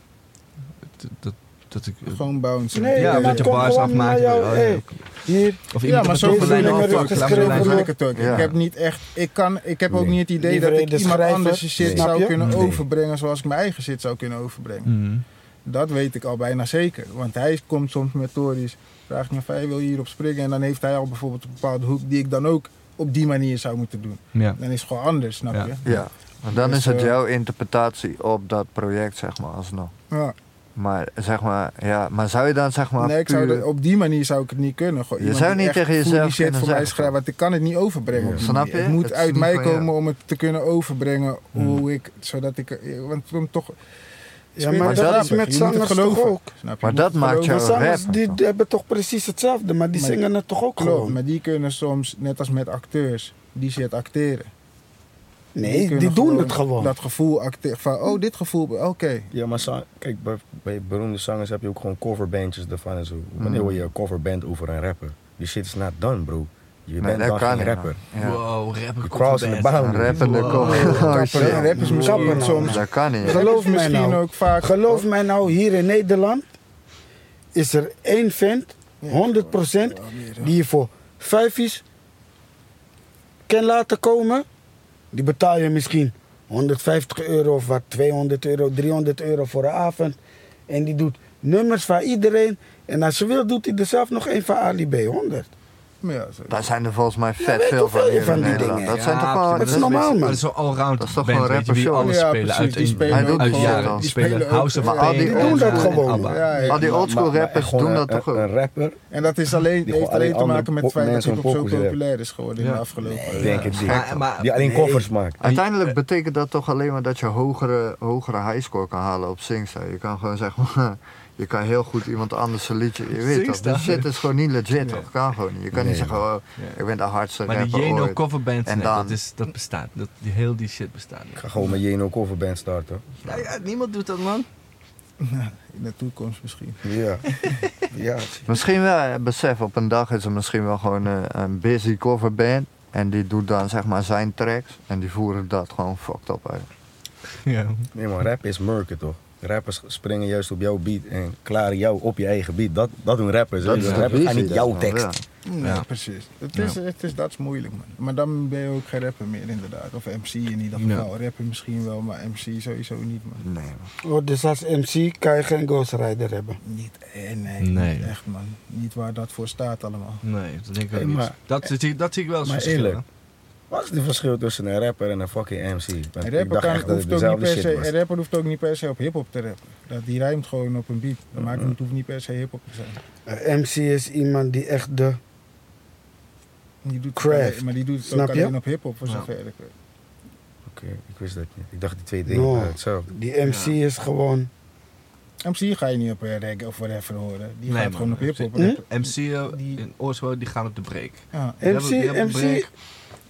D: Dat, dat, dat ik.
B: Gewoon bouncen.
E: Nee,
D: ja,
E: maar
D: een beetje
E: kom
D: bars
E: gewoon
D: afmaken.
E: naar jou,
D: oh, ja.
E: hey. hier,
D: Of iemand
B: ja, maar
D: op een
B: zo
D: toffe
E: bedoel
B: bedoel
D: lijn
E: ik
B: ik
E: maar
D: afpakt,
B: het ook.
D: laat
E: ook.
D: me lijn
E: Geschreven
D: zijn.
E: door-
B: Ik, het ook.
A: Ja.
B: ik heb niet echt, ik kan, ik heb ook
C: Nee.
B: niet het idee dat
E: Liever
B: ik
E: de
B: iemand
E: schrijver.
B: anders shit
C: Nee.
B: zou
E: Snap je?
B: kunnen
C: Nee.
B: overbrengen zoals ik mijn eigen shit zou kunnen overbrengen.
D: Mm.
B: Dat weet ik al bijna zeker. Want hij komt soms met Tories, vraagt me van hij wil je hierop springen. En dan heeft hij al bijvoorbeeld een bepaalde hoek die ik dan ook op die manier zou moeten doen.
D: Ja.
B: Dan is het gewoon anders, snap
D: Ja.
B: je?
A: Ja, want dan
B: Dus,
A: is het
B: eh,
A: jouw interpretatie op dat project, zeg maar, alsnog.
B: Ja.
A: Maar zeg maar, ja, maar zou je dan zeg maar
B: nee, ik zou
A: puur-
B: dat- op die manier zou ik het niet kunnen. Gewoon
A: Je
B: iemand
A: zou
B: die
A: niet
B: echt
A: tegen
B: voel
A: jezelf
B: die shit
A: kunnen
B: voor mij
A: zeggen.
B: schrijft, want ik kan het niet overbrengen. op die
A: Snap
B: manier.
A: je?
B: Het moet
A: Het is
B: uit
A: niet
B: mij
A: van jou. Hm.
B: komen om het te kunnen overbrengen hoe ik, zodat ik, eh, want het komt toch.
E: ja, maar
A: dat
E: dat is
A: is
E: met zangers toch ook.
B: Snap je?
A: Maar
B: Je
A: dat
B: moet
A: maakt
B: geloven.
E: Maar
A: jou
E: zangers
A: rapper,
E: die
A: toch?
E: hebben toch precies hetzelfde, maar die
B: Maar-
E: zingen het toch ook
B: Klopt,
E: gewoon?
B: maar die kunnen soms, net als met acteurs, die shit acteren.
E: Nee, die,
B: kunnen
E: doen het gewoon.
B: Dat gevoel acteren, van oh, dit gevoel, oké.
C: Ja, maar za- kijk, bij, bij beroemde zangers heb je ook gewoon coverbandjes ervan en zo. Wanneer
A: Mm.
C: hoor je een coverband over een rapper? Die shit is not done, bro. Je
A: Nee,
C: bent
A: dat
C: dan
A: kan
C: geen
A: niet,
C: rapper.
A: man. Ja.
D: Wow, rapper.
C: Je cross in the boundary.
A: Rappende
D: Wow.
A: kop. Oh,
E: Kappen,
A: shit.
E: rappers moeten
B: Wow.
E: kappen
B: Soms-
E: nou.
A: Dat kan niet.
E: Geloof
B: Rappers
E: mij
B: misschien
E: nou.
B: ook vaak. Oh,
E: Geloof mij nou, hier in Nederland is er één vent, 100%, die je voor vijfjes kan laten komen. Die betaal je misschien 150 euro of wat, 200 euro, 300 euro voor een avond. En die doet nummers van iedereen. En als ze wil, doet hij er zelf nog één van Ali B. 100.
B: Ja, zo.
A: Daar zijn er volgens mij
E: Ja,
A: vet
E: weet
A: veel
E: toch
A: van
E: wel
A: hier
E: van
A: in
E: die
A: Nederland.
E: dingen.
A: Dat zijn toch gewoon...
E: dat is normaal, man.
D: Dat is zo'n allround
A: Dat is toch
D: band,
A: gewoon
D: weet je, die
A: rappershow?
D: alles
B: Ja,
D: spelen
B: precies,
D: uit
B: die spelen
A: Hij doet
D: uit
A: gewoon
D: jaren.
A: dan.
D: Die
B: Die
D: spelen
B: spelen ook- Ah,
D: House of
A: Maar al
D: Pain.
A: die
D: en
E: doen dat
D: zo, en
E: gewoon.
D: ABBA.
B: Ja, ja.
A: Al die
C: Maar-
A: oldschool
C: maar- maar
A: rappers
C: echt gewoon
A: doen
C: een-
A: dat toch
C: een-
A: ook?
C: Een rapper,
B: En dat is alleen,
C: Die
B: heeft
C: gewoon
B: alleen te
C: alleen
B: maken met
C: andere
B: het feit dat
C: mensen
B: hip-hop zo
C: pokoes hebben.
B: populair is geworden in
D: Ja.
B: de afgelopen
E: Nee,
C: denk ik.
D: Maar-
C: die.
D: maar-
C: Die alleen
E: nee.
C: covers maakt.
A: Uiteindelijk betekent dat toch alleen maar dat je hogere, hogere highscore kan halen op Singstar. Je kan gewoon zeggen, je kan heel goed iemand anders een liedje... Je weet toch,
D: Singstar.
A: die shit is gewoon niet legit, toch? Kan gewoon niet. Je kan niet zeggen, oh, ik ben de hardste
D: Maar die
A: rapper
D: Jeno
A: ooit.
D: coverband,
A: En
D: nee,
A: dan-
D: dat, is, dat bestaat. Dat, die, heel die shit bestaat
C: Ik
D: niet.
C: ga gewoon met Jeno coverband starten.
D: niemand doet dat, man.
B: in de toekomst misschien.
C: Ja. ja.
A: Misschien wel, eh, besef, op een dag is er misschien wel gewoon eh, een busy coverband. En die doet dan zeg maar zijn tracks. En die voeren dat gewoon fucked up uit.
D: Ja.
C: Nee man, rap is murken toch? Rappers springen juist op jouw beat en klaren jou op je eigen beat. Dat, dat doen rappers. hè?
A: Dat
C: Dus
A: is
C: rappers
A: de
C: gaan
A: visie
C: niet jouw
A: daarvan,
C: tekst.
A: ja.
B: Nee,
D: Ja.
B: precies. Het is, het is, dat is moeilijk, man. Maar dan ben je ook geen rapper meer, inderdaad. Of MC in ieder
D: Ja.
B: geval. Rapper misschien wel, maar MC sowieso niet, man.
A: Nee, man.
E: Oh, dus als MC kan je geen Ghost Rider hebben.
B: Niet, eh, nee,
D: Nee.
B: niet echt, man. Niet waar dat voor staat allemaal.
D: Nee, dat denk ik ook
C: Hey,
D: niet.
C: maar-
D: dat, zie, dat zie ik wel als
C: Maar
D: verschil.
C: eerlijk,
D: hè.
C: Wat is het verschil tussen een rapper en een fucking MC? Want
B: Een
C: ik
B: rapper,
C: dacht
B: kan,
C: echt
B: hoeft
C: dat het
B: ook niet
C: dezelfde
B: per se,
C: shit
B: een
C: was.
B: rapper hoeft ook niet per se op hip-hop te rappen. Dat, die rijmt gewoon op een beat. Dat maakt, het hoeft niet per se hip-hop te zijn.
E: Een MC Eh, is iemand die echt de
B: Die doet het
E: Craft.
B: alleen- maar die doet het
E: Snap
B: ook
E: je?
B: alleen op hip-hop, voor
D: Ja.
B: zover ik weet.
C: Oké, ik wist dat niet. Ik dacht die twee dingen
E: No.
C: waren hetzelfde.
E: Die MC is gewoon.
B: MC ga je niet op eh, reggae of whatever horen. Die
D: Nee,
B: gaat
D: man.
B: gewoon op hip-hop.
E: Hm?
B: rappen.
D: MC eh,
B: Die-
D: in Oslo, die gaan op de break.
B: Ja.
D: Die hebben-
E: MC,
D: die hebben een
E: MC.
D: break.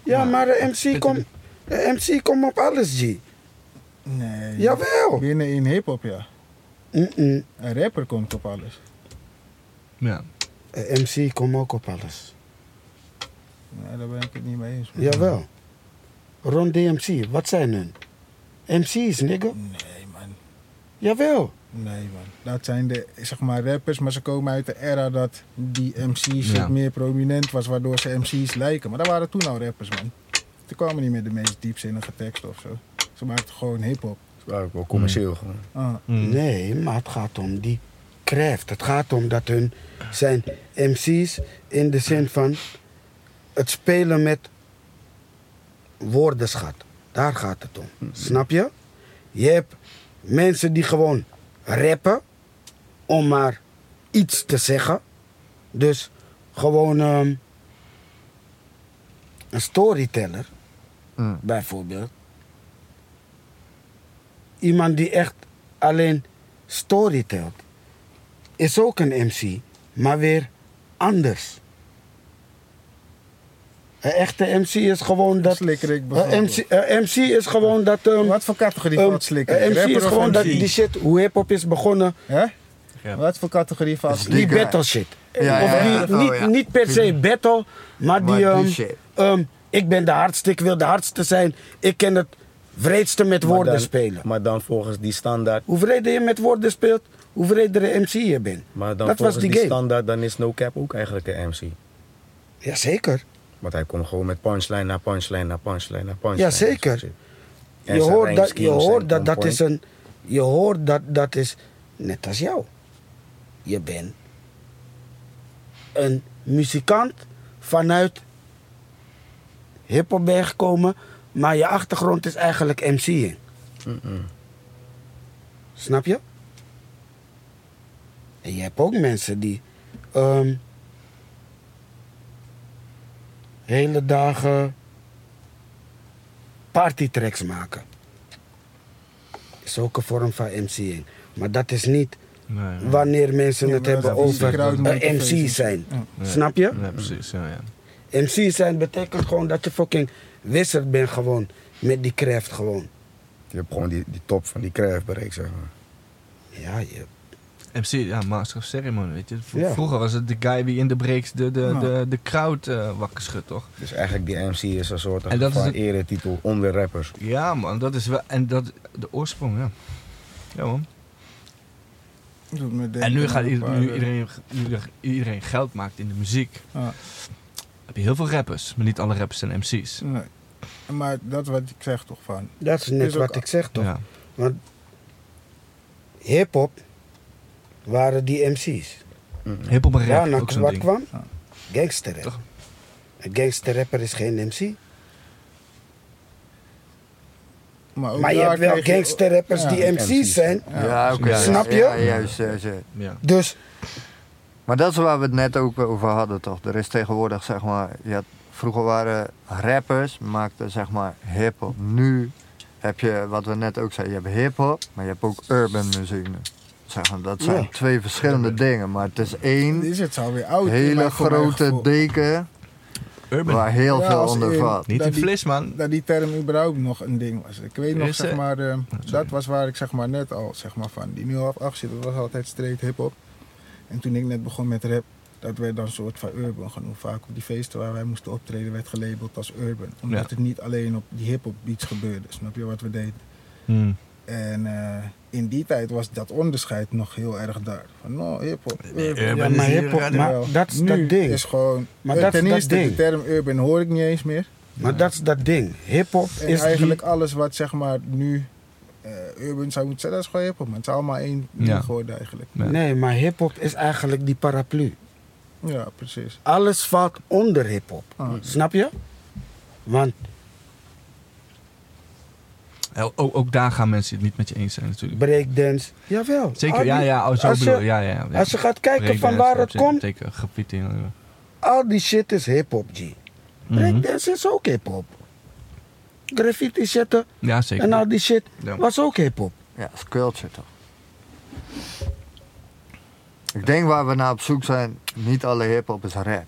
E: Ja,
D: Ja.
E: maar de MC
D: Spitten
E: komt.
D: die-
E: De MC komt op alles, G.
B: Nee.
E: Jawel.
B: Binnen in hip-hop, ja.
E: Mm-mm.
B: Een rapper komt op alles.
D: Ja.
E: Een MC komt ook op alles.
B: Ja, daar ben ik het niet mee eens. man.
E: Jawel. Rond DMC, wat zijn hun? MC's, nigga.
B: Nee, man.
E: Jawel.
B: Nee, man. Dat zijn de, zeg maar, rappers, maar ze komen uit de era dat die MC's
D: Ja.
B: meer prominent was, waardoor ze MC's lijken. Maar dat waren toen al rappers, man. Toen kwamen niet meer de meest diepzinnige teksten of zo. Ze maakten gewoon hip-hop.
C: Dat is wel
E: Hmm.
C: commercieel gewoon.
B: Ah.
E: Nee, maar het gaat om die craft. Het gaat om dat hun zijn MC's in de zin van het spelen met woordenschat. Daar gaat het om. Snap je? Je hebt mensen die gewoon rappen om maar iets te zeggen. Dus gewoon ehm, een storyteller,
A: Mm.
E: bijvoorbeeld. Iemand die echt alleen storytelt, is ook een MC, maar weer anders. Een echte MC is gewoon dat.
B: Slikkerik
E: een
B: bijvoorbeeld.
E: MC, een MC eh, is gewoon dat. ehm,
B: Wat voor categorie
E: ehm,
B: valt slikken?
E: een MC
B: Rapper
E: is
B: of
E: gewoon dat
B: MC?
E: die shit, hoe hip-hop is begonnen,
B: Hè?
D: Ja.
B: Wat voor categorie valt
E: die
A: guy.
E: battle shit.
A: Ja,
E: of
A: ja,
E: die,
A: ja.
E: niet,
A: Oh, ja.
E: niet per se battle, maar die.
A: Maar die
E: ehm,
A: shit.
E: ehm, ik ben de hardste, ik wil de hardste zijn. Ik ken het wreedste met
C: Maar
E: woorden
C: dan-
E: spelen.
C: Maar dan volgens die standaard.
E: Hoe vreder je met woorden speelt, hoe vreder de MC je bent.
C: Maar dan
E: dat was
C: volgens
E: die,
C: die,
E: game.
C: standaard, dan is No Cap ook eigenlijk een MC.
E: Jazeker.
C: Want hij komt gewoon met punchline na punchline na punchline na punchline.
E: Ja, zeker.
C: En zijn
E: Je hoort dat, je
C: rijmschemes
E: hoort
C: zijn
E: dat,
C: on
E: dat
C: point.
E: is een. Je hoort dat dat is net als jou. Je bent een muzikant vanuit hip-hop ben je gekomen, maar je achtergrond is eigenlijk MC'ing. Snap je? En je hebt ook mensen die ehm, hele dagen partytracks maken. Is ook een vorm van MC'ing. Maar dat is niet
D: Nee, ja.
E: wanneer mensen
B: Ja,
E: het
B: maar
E: hebben
B: dat is
E: over
B: crowd
E: een
B: motivation.
E: MC zijn.
B: Ja.
D: Ja.
E: Snap je?
D: Ja, precies. Ja, ja.
E: MC zijn betekent gewoon dat je fucking wisseld bent gewoon. Met die craft gewoon.
C: Je hebt gewoon die, die top van die craft bereikt, zeg maar.
E: Ja, je,
D: MC, ja, Master of Ceremony, weet je. V-
E: Ja.
D: Vroeger was het de guy die in de breaks de, de,
B: Ja.
D: de, de crowd eh, wakker schudt, toch?
C: Dus eigenlijk die MC is een soort
D: En dat is
C: van
D: het-
C: eretitel onder rappers.
D: Ja, man, dat is wel... En dat, de oorsprong, ja. Ja, man.
B: Doet me denken
D: En nu gaat
B: aan
D: ieder-
B: een
D: nu
B: paar,
D: iedereen, nu iedereen geld maakt in de muziek.
B: eh, ah,
D: Heb je heel veel rappers, maar niet alle rappers zijn MC's.
B: eh, nee. Maar dat is wat ik zeg toch van.
E: dat is net
B: Is ook-
E: wat ik zeg toch.
D: Ja.
E: Want hip-hop waren die MC's.
D: Hip-hop en
E: Ja,
D: rap,
E: nou,
D: ook zo'n
E: wat
D: ding.
E: kwam?
B: Ja.
E: Gangsterrap.
D: Toch?
E: Een gangsterrapper is geen MC.
B: Maar, ook
E: Maar je
B: daar
E: hebt wel
B: krijg je-
E: gangsterrappers
B: Ja.
E: die MC's
C: MC's.
E: zijn.
A: Ja, oké.
E: Snap je?
A: Ja, juist, juist, juist.
D: Ja.
E: Dus
A: Maar dat is waar we het net ook eh, over hadden, toch? Er is tegenwoordig, zeg maar, je had- vroeger waren rappers, maakten zeg maar hip-hop. Nu heb je, wat we net ook zeiden, je hebt hip-hop, maar je hebt ook urban muziek. nu. Zeg maar, dat zijn
E: Ja.
A: twee verschillende dingen, maar het is
B: Dan
A: één
B: Oh, Is het alweer oud?
A: hele
B: maar voor mijn
A: grote
B: gevoel.
A: deken
D: Urban. Nou,
A: waar heel
B: Ja,
A: veel
B: als
A: onder
B: in-
A: valt.
D: Niet
B: dat
D: in
B: die-
D: flis, man.
B: dat die term überhaupt nog een ding was. Ik weet
D: Er
B: nog,
D: is,
B: zeg
D: eh,
B: maar, eh,
D: sorry.
B: dat was waar ik zeg maar net al zeg maar, van die 0 zit, dat was altijd straight hip-hop. En toen ik net begon met rap, dat werd dan een soort van urban genoemd. Vaak op die feesten waar wij moesten optreden werd gelabeld als urban. Omdat
D: Ja.
B: het niet alleen op die hip-hop beats gebeurde, snap je wat we deden?
D: Hmm.
B: En eh, in die tijd was dat onderscheid nog heel erg daar. Van nou, hip-hop. urban.
E: ja,
D: Urban
E: maar
D: is hier
E: hip-hop,
D: radio.
E: maar
B: Terwijl
E: dat is
B: nu
E: dat ding.
B: is gewoon.
E: Maar
B: eh,
E: dat is
B: ten
E: dat
B: eerste,
E: ding.
B: de term urban hoor ik niet eens meer.
E: Maar dat is dat ding. Hip-hop
B: En
E: is
B: eigenlijk
E: die,
B: alles wat zeg maar nu eh, urban zou moeten zijn, dat is gewoon hip-hop. man. Het is allemaal één ding
D: Ja.
B: geworden eigenlijk.
D: Ja.
E: Nee, maar hip-hop is eigenlijk die paraplu.
B: Ja, precies.
E: Alles valt onder hip-hop.
B: Ah.
E: Snap je? Want
D: Ja, Ook, ook daar gaan mensen het niet met je eens zijn, natuurlijk.
E: breakdance, jawel.
D: Zeker,
E: al
D: ja,
E: die-
D: ja, oh, zo
E: als
D: bedoel
E: je-
D: ja, ja, ja.
E: Als je gaat kijken van
D: Breakdance,
E: waar het
D: rap,
E: komt,
D: Zeker, graffiti. ja.
E: al die shit is hip-hop, G.
D: Mhm.
E: Breakdance is ook hip-hop. Graffiti zetten
D: Ja, zeker.
E: en nou- al die shit
D: Ja.
E: was ook hip-hop.
A: Ja, dat is culture toch? Ik denk waar we naar op zoek zijn, niet alle hip-hop is rap.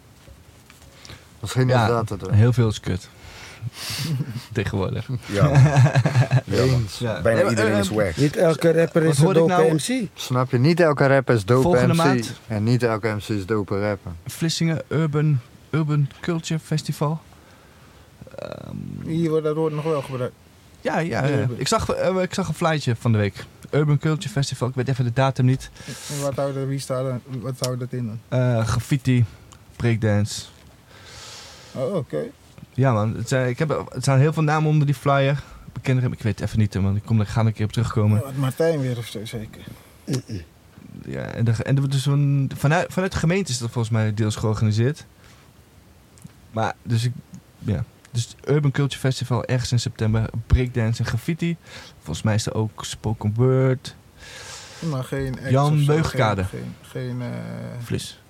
A: Misschien
D: ja,
A: is dat het wel.
D: heel veel is kut. Tegenwoordig.
C: Ja, man. ja, man.
A: Eens, ja.
C: Bijna
D: Nee,
C: iedereen
D: eh,
C: is wack.
E: Niet elke rapper
D: Wat
E: is een
D: hoorde ik
E: dope
D: nou?
E: MC.
A: Snap je? Niet elke rapper is dope
D: Volgende
A: MC.
D: maand.
A: En niet elke MC is dope rapper.
D: Vlissingen Urban, Urban Culture Festival. Ehm,
B: Hier wordt dat woord nog wel gebruikt.
D: ja, ja, ja. Ik, zag, eh, ik zag een flytje van de week. Urban Culture Festival, ik weet even de datum niet.
B: En wat houdt dat, wie staat er- wat houdt dat in dan?
D: Eh, graffiti, breakdance.
B: Oh, oké.
D: Ja man, het zijn, ik heb, er staan heel veel namen onder die flyer. Bekende, ik weet het even niet man, ik kom, daar ga ik een keer op terugkomen.
B: Wat Martijn weer of zo, zeker.
D: Ja, en, de, en er wordt dus een, vanuit, vanuit de gemeente is dat volgens mij deels georganiseerd. Maar, dus ik, ja. Dus het Urban Culture Festival ergens in september. Breakdance en graffiti. Volgens mij is er ook spoken word.
B: Maar geen ex
D: Jan
B: of zo,
D: Beugkade.
B: Geen, geen, geen, eh,
D: Flis.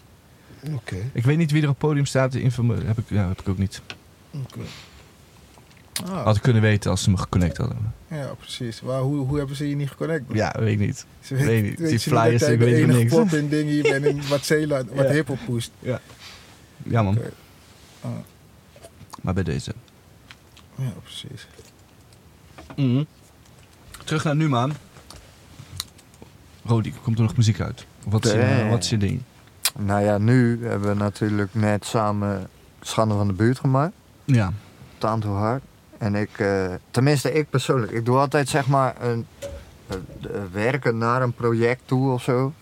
E: Oké.
D: Ik weet niet wie er op het podium staat. De info heb ik, ja, heb ik ook niet.
B: oké. Ah,
D: Had ik kunnen weten als ze me geconnect hadden.
B: ja, precies. Waar, hoe, hoe hebben ze je niet geconnect? bro?
D: Ja, weet ik niet.
B: Ze
D: weet niet. Die
B: ze dat
D: flyers,
B: jij
D: ik
B: de
D: weet er
B: enige
D: niks.
B: pop in ding hier bent in wat Zeeland, wat
D: Ja.
B: hiphop poest.
D: Ja man.
B: Oké. Ah.
D: Maar bij deze.
B: Ja, precies.
D: Mhm. Terug naar nu man. Rodi, komt er nog muziek uit? Wat is, je,
A: Damn.
D: wat is je ding?
A: Nou ja, nu hebben we natuurlijk net samen Schande van de Buurt gemaakt.
D: Ja.
A: Taan Too Hard. En ik, eh, tenminste ik persoonlijk, ik doe altijd zeg maar een, eh, eh, werken naar een project toe of zo.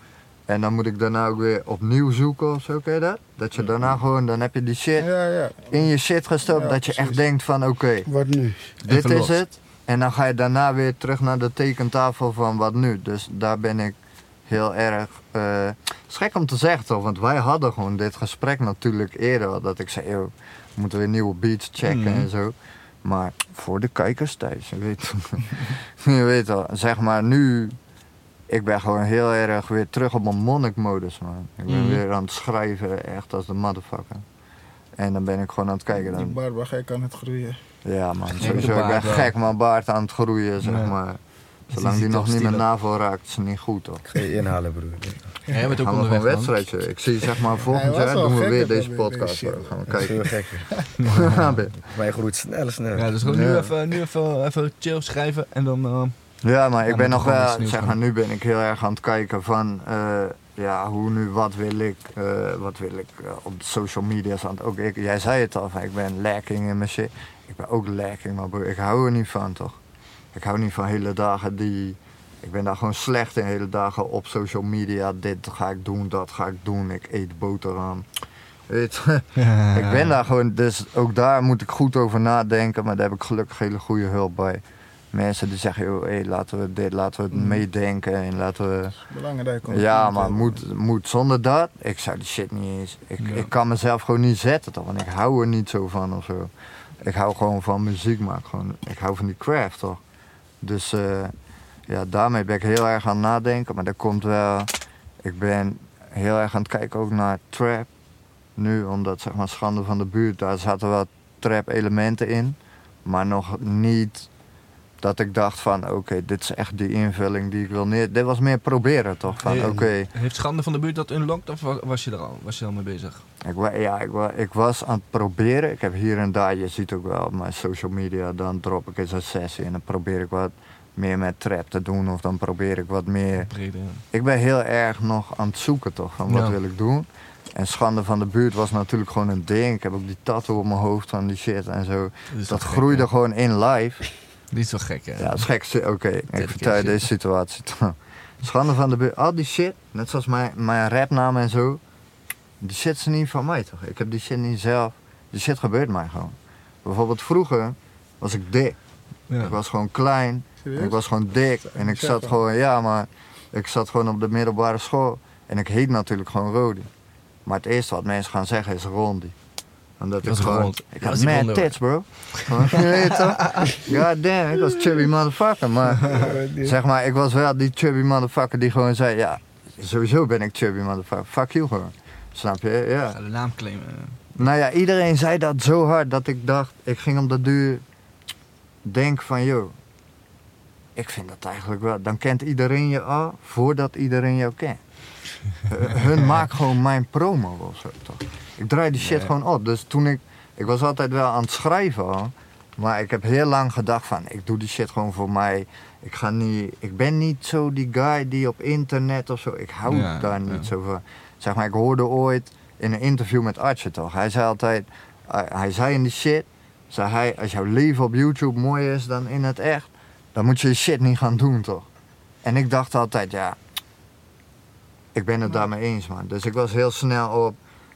A: En dan moet ik daarna ook weer opnieuw zoeken of zo, ken je dat? Dat je daarna gewoon, dan heb je die shit
B: Ja, ja.
A: in je shit gestopt,
B: Ja,
A: dat je echt
B: precies.
A: denkt van oké,
E: Wat nu?
A: dit
D: Even
A: is
D: los.
A: het. En dan ga je daarna weer terug naar de tekentafel van wat nu. Dus daar ben ik heel erg. eh het is gek om te zeggen toch, want wij hadden gewoon dit gesprek natuurlijk eerder. al, Dat ik zei, "Yo, we moeten weer nieuwe beats checken
D: Mhm.
A: en zo. Maar voor de kijkers thuis, je weet, je weet al. Zeg maar nu, ik ben gewoon heel erg weer terug op mijn monnik-modus, man. Ik ben
D: Mhm.
A: weer aan het schrijven, echt als de motherfucker. En dan ben ik gewoon aan het kijken.
B: Die
A: Dan
B: barba gek aan het groeien.
A: ja, man.
D: Gekke
A: Sowieso, ik ben
D: baard wel.
A: gek, mijn baard aan het groeien, zeg
D: Ja.
A: maar.
D: is
A: Zolang
D: iets
A: die nog niet
D: topstilig.
A: mijn navel raakt, is het niet goed, toch?
C: Ga je inhalen, broer.
D: Jij bent ook
A: Gaan we gewoon
D: onderweg
A: een
D: man.
A: wedstrijdje. Ik zie, zeg maar,
B: Hij
A: volgend
B: was
A: jaar
B: wel
A: doen we
B: gek,
A: weer
B: hè,
A: deze
B: bij
A: podcast.
B: deze shit,
A: hoor. Gaan we
C: Dat is
A: kijken.
C: veel gekker. Mij groeit sneller, sneller.
D: Ja, dus gewoon nu,
A: Ja.
D: even, nu even, even chill schrijven en dan... eh,
A: Ja, maar
D: Ja,
A: ik ben
D: maar
A: nog
D: gewoon iets
A: wel,
D: nieuws
A: zeg
D: doen.
A: maar, nu ben ik heel erg aan het kijken van, eh, ja, hoe nu, wat wil ik, eh, wat wil ik eh, op de social media staan. Ook ik, jij zei het al, van, ik ben lacking in mijn shit. Ik ben ook lacking, maar broer, ik hou er niet van, toch? Ik hou niet van hele dagen die, ik ben daar gewoon slecht in, hele dagen op social media. Dit ga ik doen, dat ga ik doen, ik eet boterham. Weet je, ik ben daar gewoon, dus ook daar moet ik goed over nadenken, maar daar heb ik gelukkig hele goede hulp bij. Mensen die zeggen, joh, hé, laten we dit, laten we het
B: Mhm.
A: meedenken en laten we...
B: Belangrijk om
A: Ja,
B: te
A: maar
B: hebben.
A: moet, moet zonder dat? Ik zou die shit niet eens... Ik,
D: Ja.
A: ik kan mezelf gewoon niet zetten, toch? Want ik hou er niet zo van of zo. Ik hou gewoon van muziek maken. Gewoon, ik hou van die craft, toch? Dus eh, ja, daarmee ben ik heel erg aan het nadenken. Maar dat komt wel... Ik ben heel erg aan het kijken ook naar trap. Nu, omdat zeg maar Schande van de Buurt... Daar zaten wel trap elementen in. Maar nog niet... Dat ik dacht van, oké, dit is echt die invulling die ik wil neer... Dit was meer proberen, toch? Van,
D: Ja.
A: oké,
D: Heeft Schande van de Buurt dat unlocked of wa- was je er al, was je al mee bezig?
A: Ik, wa- ja, ik, wa- ik was aan het proberen. Ik heb hier en daar, je ziet ook wel op mijn social media, dan drop ik eens een sessie en dan probeer ik wat meer met trap te doen of dan probeer ik wat meer.
D: Brede.
A: Ik ben heel erg nog aan het zoeken toch, van wat
D: Ja.
A: wil ik doen. En Schande van de Buurt was natuurlijk gewoon een ding. Ik heb ook die tattoo op mijn hoofd van die shit en zo.
D: is wel
A: Dat
D: gek,
A: groeide
D: hè?
A: gewoon in live.
D: Die is wel gek, hè?
A: Ja, dat is gek. Oké,
D: keer
A: ik vertel
D: shit.
A: je deze situatie. Schande van de buurt. Al die shit, net zoals mijn, mijn rapnaam en zo. Die shit is niet van mij, toch? Ik heb die shit niet zelf. Die shit gebeurt mij gewoon. Bijvoorbeeld vroeger was ik dik.
D: Ja.
A: Ik was gewoon klein.
B: Serieus?
A: Ik was gewoon dik. En ik zat gewoon, ja, maar ik zat gewoon op de middelbare school. En ik heet natuurlijk gewoon Rodi. Maar het eerste wat mensen gaan zeggen is Rondi. Omdat
D: Je
A: ik
D: was
A: gewoon.
D: rond.
A: Ik
D: Je was
A: had
D: die blonde,
A: mad tits, bro. Gewoon, je weet toch? God damn, ik was chubby motherfucker. Maar zeg maar, ik was wel die chubby motherfucker die gewoon zei: Ja, sowieso ben ik chubby motherfucker. Fuck you gewoon. Snap je? Ja.
D: Ik ga de naam claimen.
A: Nou ja, iedereen zei dat zo hard dat ik dacht, ik ging om de duur denken van, joh, ik vind dat eigenlijk wel. Dan kent iedereen je al voordat iedereen jou kent. Eh, Hun maakt gewoon mijn promo of zo, toch? Ik draai die shit
D: Ja.
A: gewoon op. Dus toen ik, ik was altijd wel aan het schrijven al. Maar ik heb heel lang gedacht van, ik doe die shit gewoon voor mij. Ik, ga niet, ik ben niet zo die guy die op internet of zo. Ik hou
D: Ja,
A: daar
D: ja.
A: niet zo van. Zeg maar, ik hoorde ooit in een interview met Archie toch. Hij zei altijd, hij- hij zei in die shit, zei hij, als jouw leven op YouTube mooier is dan in het echt, dan moet je je shit niet gaan doen toch. En ik dacht altijd, ja, ik ben het daarmee eens man. Dus ik was heel snel op,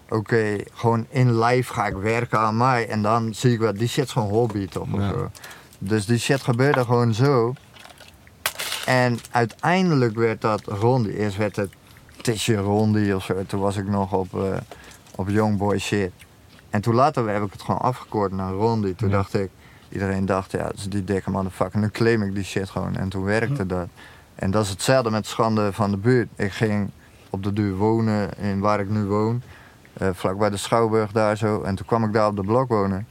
A: oké, gewoon in live ga ik werken aan mij. En dan zie ik wel, die shit is gewoon hobby toch? of
D: Ja.
A: zo. Dus die shit gebeurde gewoon zo. En uiteindelijk werd dat Rondi. Eerst werd het Tisje Rondi of zo. Toen was ik nog op, eh op Youngboy shit. En toen later heb ik het gewoon afgekort naar Rondi. Toen
D: Ja.
A: dacht ik, iedereen dacht, ja, dat is die dikke motherfucker. Nu claim ik die shit gewoon. En toen werkte dat. En dat is hetzelfde met Schande van de Buurt. Ik ging op de duur wonen in waar ik nu woon. eh, vlakbij de Schouwburg daar zo. En toen kwam ik daar op de blok wonen.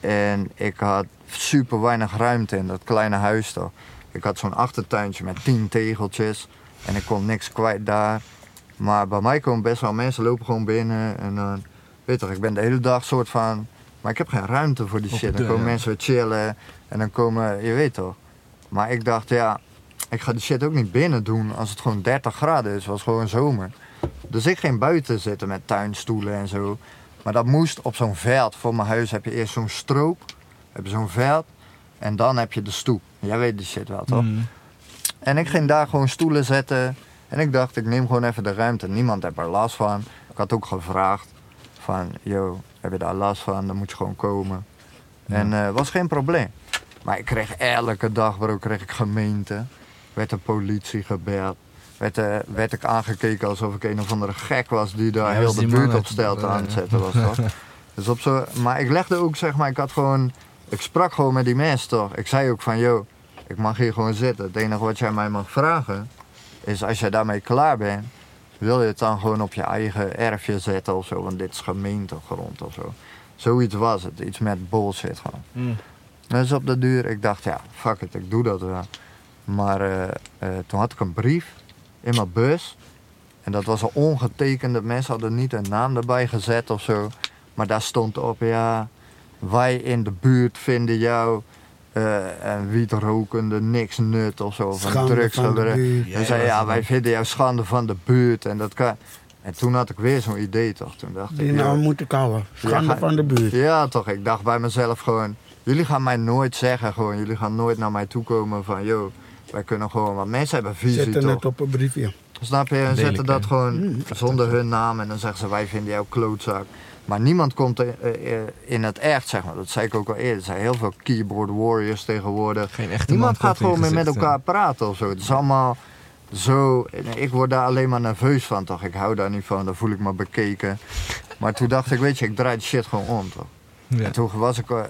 A: En ik had super weinig ruimte in dat kleine huis toch. Ik had zo'n achtertuintje met tien tegeltjes. En ik kon niks kwijt daar. Maar bij mij komen best wel mensen lopen gewoon binnen. En dan, weet toch, ik ben de hele dag soort van... Maar ik heb geen ruimte voor die
D: Op
A: shit.
D: de
A: Dan komen
D: deur, ja.
A: mensen weer chillen. En dan komen, je weet toch. Maar ik dacht, ja, ik ga die shit ook niet binnen doen als het gewoon 30 graden is. Het was gewoon zomer. Dus ik ging buiten zitten met tuinstoelen en zo. Maar dat moest op zo'n veld. Voor mijn huis heb je eerst zo'n stroop. Heb je zo'n veld. En dan heb je de stoep. Jij weet die shit wel, toch?
D: Mm.
A: En ik ging daar gewoon stoelen zetten. En ik dacht, ik neem gewoon even de ruimte. Niemand heeft er last van. Ik had ook gevraagd van, yo, heb je daar last van? Dan moet je gewoon komen. En eh was geen probleem. Maar ik kreeg elke dag, bro, kreeg ik gemeente. Werd de politie gebeld. Werd, eh, werd ik aangekeken alsof ik een of andere gek was die daar
D: Ja,
A: heel
D: was
A: de
D: die
A: buurt
D: man
A: op
D: uit-
A: stelt
D: eh,
A: aan het zetten was. Dat. dus op zo, maar ik legde ook, zeg maar, ik had gewoon... Ik sprak gewoon met die mensen, toch? Ik zei ook van, yo, ik mag hier gewoon zitten. Het enige wat jij mij mag vragen, is als jij daarmee klaar bent... wil je het dan gewoon op je eigen erfje zetten of zo? Want dit is gemeentegrond of zo. Zoiets was het. Iets met bullshit gewoon.
E: Hmm.
A: Dus op de duur, ik dacht, ja, fuck it, ik doe dat wel. Maar eh, eh, toen had ik een brief in mijn bus. En dat was een ongetekende. Mensen hadden niet een naam erbij gezet of zo. Maar daar stond op, ja, wij in de buurt vinden jou eh een wietrokende niks nut of zo. Of een
E: Schande van de
A: drugsgebruik.
E: buurt.
A: Hij zei, ja, wij vinden jou schande van de buurt en dat kan... En toen had ik weer zo'n idee toch, toen dacht
E: Die
A: ik...
E: naam
A: ja,
E: moet ik houden. Schande
A: Ja, ga-
E: van de buurt.
A: ja toch, ik dacht bij mezelf gewoon... Jullie gaan mij nooit zeggen gewoon, jullie gaan nooit naar mij toe komen van... joh, wij kunnen gewoon, want mensen hebben visie
E: Zet er
A: toch.
E: net op een briefje.
A: Snap je? En
D: Lelijk,
A: zetten dat
D: hè?
A: gewoon zonder hun naam en dan zeggen ze wij vinden jou klootzak. Maar niemand komt eh, eh, in het echt, zeg maar. Dat zei ik ook al eerder. Er zijn heel veel keyboard warriors tegenwoordig.
D: Geen echte
A: Niemand
D: man
A: gaat gewoon meer met
D: gezicht, eh. hè?
A: elkaar praten of zo. Het is allemaal zo. en Ik word daar alleen maar nerveus van, toch? Ik hou daar niet van, dan voel ik me bekeken. Maar toen dacht ik, weet je, ik draai de shit gewoon om, toch?
D: Ja.
A: En toen was ik eh, eh,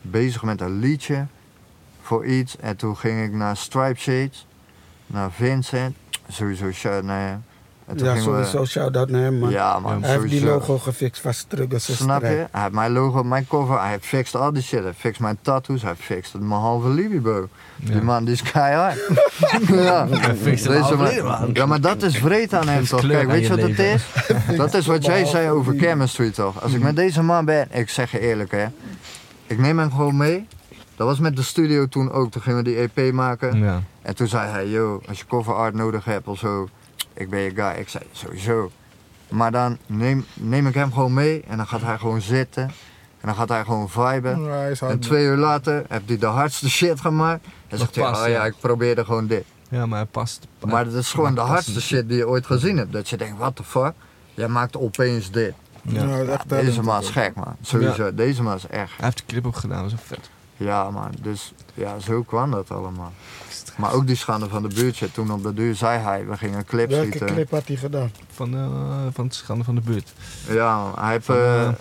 A: bezig met een liedje voor iets. En toen ging ik naar Stripe Shades, naar Vincent. Sowieso shout naar hem. En toen
E: Ja,
A: gingen we-
E: sowieso shout-out naar hem, man.
A: Ja, man.
E: Hij heeft die
A: sowieso.
E: logo gefixt van Struggles
A: Snap je? Hij heeft mijn logo, mijn cover, hij fixt al die shit. Hij fixt mijn tattoos, hij fixt mijn halve Libibo. Die man die is keihard. ja.
D: fixt een
A: Deze
D: halve
A: man-
D: Libibo.
A: Ja, maar dat is vreed aan hem toch?
D: kleur
A: Kijk,
D: aan
A: weet je
D: je
A: wat het
D: leven.
A: is? Dat is wat jij zei over chemistry toch? Als ik met deze man ben, ik zeg je eerlijk hè. Ik neem hem gewoon mee. Dat was met de studio toen ook. Toen gingen we die EP maken.
D: Ja.
A: En toen zei hij, yo, als je cover art nodig hebt of zo, ik ben je guy. Ik zei, sowieso. Maar dan neem, neem ik hem gewoon mee en dan gaat hij gewoon zitten. En dan gaat hij gewoon viben.
B: Ja, hij is hard,
A: en twee uur later heb hij de hardste shit gemaakt. En zegt hij,
D: past,
A: oh ja,
D: ja.
A: ik probeerde gewoon dit.
D: ja, maar hij past.
A: Maar dat is gewoon de
D: past
A: hardste
D: niet.
A: shit die je ooit gezien hebt. Dat je denkt, what the fuck? Jij maakt opeens dit.
D: Ja.
B: Ja, Nou, echt
A: Deze
B: talent.
A: man is gek, man. Sowieso, deze man is echt.
D: Hij heeft de clip ook gedaan, dat is wel vet.
A: Ja, man. Dus ja, zo kwam dat allemaal. Maar ook die schande van de buurtje. Toen op de duur zei hij, we gingen clips
E: Welke
A: schieten.
E: clip had hij gedaan?
D: Van, eh, van het schande van de buurt.
A: Ja, hij heeft,
D: Van,
A: eh, eh,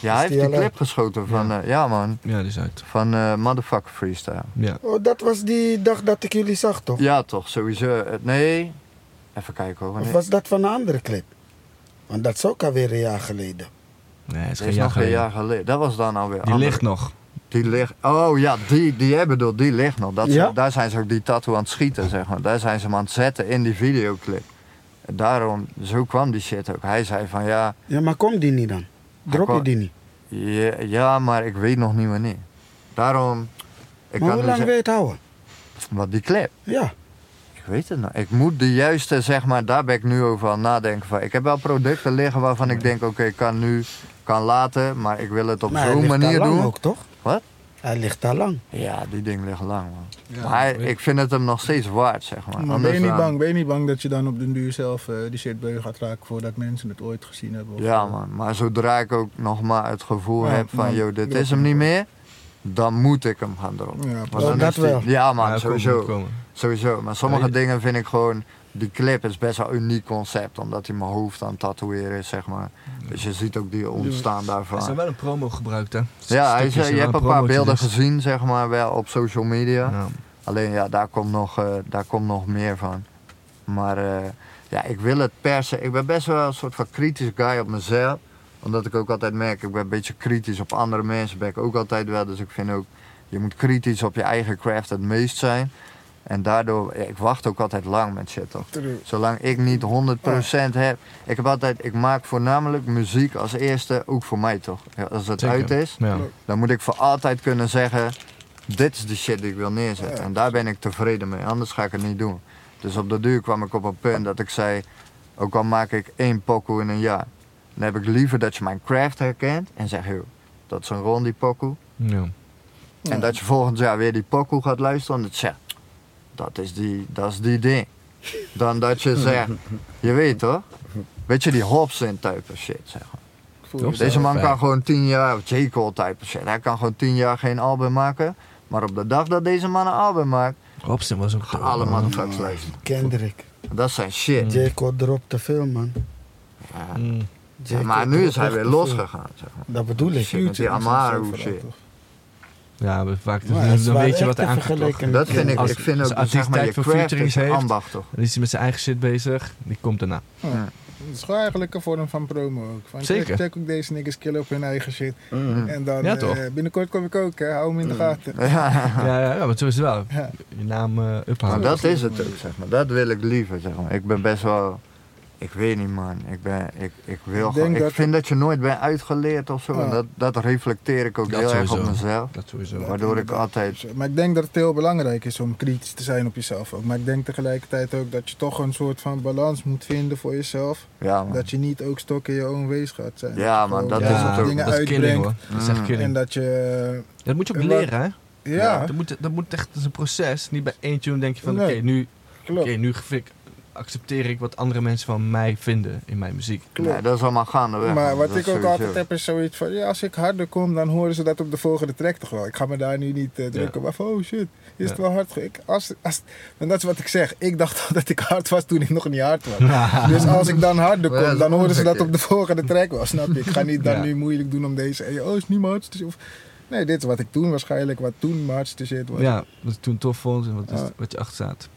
A: ja, hij
E: is
A: heeft
E: die
A: die
E: al
A: clip
E: uit?
A: geschoten van, ja, ja man,
D: Ja, die is uit.
A: van eh, Motherfucker Freestyle.
D: Ja.
E: Oh, dat was die dag dat ik jullie zag, toch?
A: Ja toch, sowieso. Eh, Nee, even kijken hoor.
E: Of
A: wanneer-
E: was dat van een andere clip? Want dat is ook alweer een jaar geleden.
D: Nee, het is
A: Dat
D: geen
A: is
D: jaar
A: nog een
D: geleden.
A: jaar geleden. Dat was dan alweer.
D: Die
A: andere-
D: ligt nog.
A: Die ligt. Oh ja, die, die hebben door, die ligt nog. Dat,
E: Ja?
A: Daar zijn ze ook die tattoo aan het schieten, zeg maar. Daar zijn ze hem aan het zetten in die videoclip. En daarom, zo kwam die shit ook. Hij zei van ja,
E: Ja, maar komt die niet dan? Drop
A: kwam-
E: je die niet?
A: ja, ja, maar ik weet nog niet wanneer. Daarom, ik
E: maar
A: kan
E: hoe
A: nu
E: lang
A: zeggen-
E: wil je het houden?
A: Wat die clip?
E: Ja.
A: Ik weet het nou. Ik moet de juiste, zeg maar, daar ben ik nu over aan het nadenken van. Ik heb wel producten liggen waarvan ik denk, oké, ik kan nu, kan later, maar ik wil het op
E: maar hij
A: zo'n
E: ligt
A: manier
E: al lang
A: doen.
E: ook, toch?
A: Wat?
E: Hij ligt daar lang.
A: Ja, die dingen liggen lang, man. maar ik vind het hem nog steeds waard, zeg maar.
B: Maar Hmm, ben
A: Anders eh,
B: je, niet
A: dan-
B: bang, ben je niet bang dat je dan op den duur zelf eh, die shit beu gaat raken voordat mensen het ooit gezien hebben? of,
A: Ja,
B: eh,
A: man. Maar zodra ik ook nog maar het gevoel
B: Ja,
A: heb van,
B: dan
A: joh, dit
B: drop
A: is hem
B: je
A: niet meer, dan moet ik hem gaan droppen.
B: Ja,
A: Want
B: precies.
A: dan
E: dat
A: is die-
E: wel.
A: Ja, man,
D: Ja, kom,
A: sowieso.
D: moet komen.
A: Sowieso, maar sommige
D: Ja, je-
A: dingen vind ik gewoon. Die clip is best wel een uniek concept, omdat hij mijn hoofd aan het tatoeëren is, zeg maar. Dus je ziet ook die ontstaan
D: Ze hebben
A: daarvan.
D: wel een promo gebruikt, hè?
A: Ja, hij
D: Stukjes
A: is,
D: en
A: eh, je
D: wel
A: hebt een paar
D: promotje,
A: beelden
D: dus-
A: gezien, zeg maar, wel op social media.
D: Ja.
A: Alleen ja, daar komt nog, eh, daar komt nog meer van. Maar eh, ja, ik wil het persen. Ik ben best wel een soort van kritisch guy op mezelf. Omdat ik ook altijd merk, ik ben een beetje kritisch op andere mensen. Ben ik ook altijd wel. Dus ik vind ook, je moet kritisch op je eigen craft het meest zijn. En daardoor, ja, ik wacht ook altijd lang met shit toch. Zolang ik niet 100% heb. Ik heb altijd, ik maak voornamelijk muziek als eerste, ook voor mij toch. Ja, Als het
D: Zeker.
A: uit is,
D: Ja.
A: dan moet ik voor altijd kunnen zeggen: dit is de shit die ik wil neerzetten. En daar ben ik tevreden mee, anders ga ik het niet doen. Dus op de duur kwam ik op een punt dat ik zei: ook al maak ik één pokoe in een jaar, dan heb ik liever dat je mijn craft herkent en zegt: joh, dat is een rondi pokoe.
D: Ja.
A: En dat je volgend jaar weer die pokoe gaat luisteren en dat zegt: dat is die, dat is die ding. Dan dat je zegt: je weet toch? Weet je, die Hobson-type shit, zeg maar.
D: Toch?
A: Deze man
D: Fijn.
A: kan gewoon 10 jaar, of J. Cole type shit, hij kan gewoon 10 jaar geen album maken. Maar op de dag dat deze man een album maakt,
D: Robson was ook
A: gaan alle motherfuckers luisteren.
E: Kendrick.
A: Dat zijn shit.
E: Ah. J. Cole dropt te veel, man.
A: Ja.
D: Mm.
E: J.
A: Ja,
E: Cole
A: maar nu
E: dropt
A: is hij
E: echt
A: weer
E: te veel.
A: losgegaan. Zeg maar.
E: Dat bedoel ik.
A: Shit, met die Amaru shit.
D: Ja, maar vaak
E: Maar
D: dus,
E: het
D: dan
E: waren
D: weet je
E: echt
D: wat er
E: te
D: aankomt. toch?
E: vergelijken.
A: Dat vind ik,
D: Als-
A: ik vind
D: als
A: ook,
D: artiest
A: zeg maar, je
D: tijd voor
A: craft is
D: featurings heeft-
A: ambacht toch.
D: Dan is hij met zijn eigen shit bezig. Die komt daarna.
B: Het is gewoon eigenlijk een vorm van promo ook. Van,
D: Zeker.
B: Check, check ook deze niggas killen op hun eigen shit.
E: Hmm.
C: Mm.
B: En dan
D: Ja,
B: eh,
D: toch?
B: binnenkort kom ik ook, hè. hou hem
A: Mm.
B: in de gaten.
A: Ja,
D: Ja, ja, ja, maar zo is het wel.
B: Ja.
D: Je naam eh
A: maar
D: uphalen.
A: dat is het ook, zeg maar. Dat wil ik liever, zeg maar. Ik ben best wel... Ik weet niet, man. Ik, ben, ik, ik wil gewoon...
B: Ik denk
A: Ik
B: dat-
A: vind dat je nooit bent uitgeleerd of zo.
B: Ja.
A: En dat, dat reflecteer ik ook
D: Dat
A: heel erg op
D: sowieso.
A: mezelf.
D: Dat sowieso.
A: Waardoor ik altijd
B: Dus, eh, Maar ik denk dat het heel belangrijk is om kritisch te zijn op jezelf ook. Maar ik denk tegelijkertijd ook dat je toch een soort van balans moet vinden voor jezelf.
A: Ja, man.
B: Dat je niet ook stok in je own wees gaat zijn.
A: Ja, man,
B: je gewoon
A: dat
D: ja,
A: is het ook.
B: dingen
D: dat is killing,
B: uitbrengt.
D: hoor. Dat is echt
A: Mm.
B: En
D: killing.
B: dat je...
D: Dat moet je ook
B: en wat-
D: leren, hè?
B: Ja,
D: Dat moet, dat moet echt, dat is een proces. Niet bij één tune denk je van,
B: Nee.
D: oké, nu,
B: klopt.
D: oké, nu gefik- accepteer ik wat andere mensen van mij vinden in mijn muziek.
B: Klopt.
A: Nee, dat is allemaal gaandeweg.
B: Maar
A: man.
B: wat
A: Dat
B: ik
A: is
B: ook
A: sowieso.
B: altijd heb is zoiets van, ja, als ik harder kom, dan horen ze dat op de volgende track toch wel. Ik ga me daar nu niet eh, drukken, maar van, oh shit, is het
D: Ja.
B: wel hard? ge- Ik, als, als, en dat is wat ik zeg. Ik dacht dat ik hard was toen ik nog niet hard was. Dus als ik dan harder
A: Maar ja, dat
B: kom,
A: is
B: dan horen ze dat
A: omgekeerd.
B: op de volgende track wel, snap je? Ik ga niet dan
D: Ja.
B: nu moeilijk doen om deze, hey, oh, is niet mijn hardste shit. Of, nee, dit is wat ik toen waarschijnlijk, wat toen mijn hardste shit was.
D: Ja, wat ik toen tof vond en wat, is,
B: Ja.
D: wat je achter staat.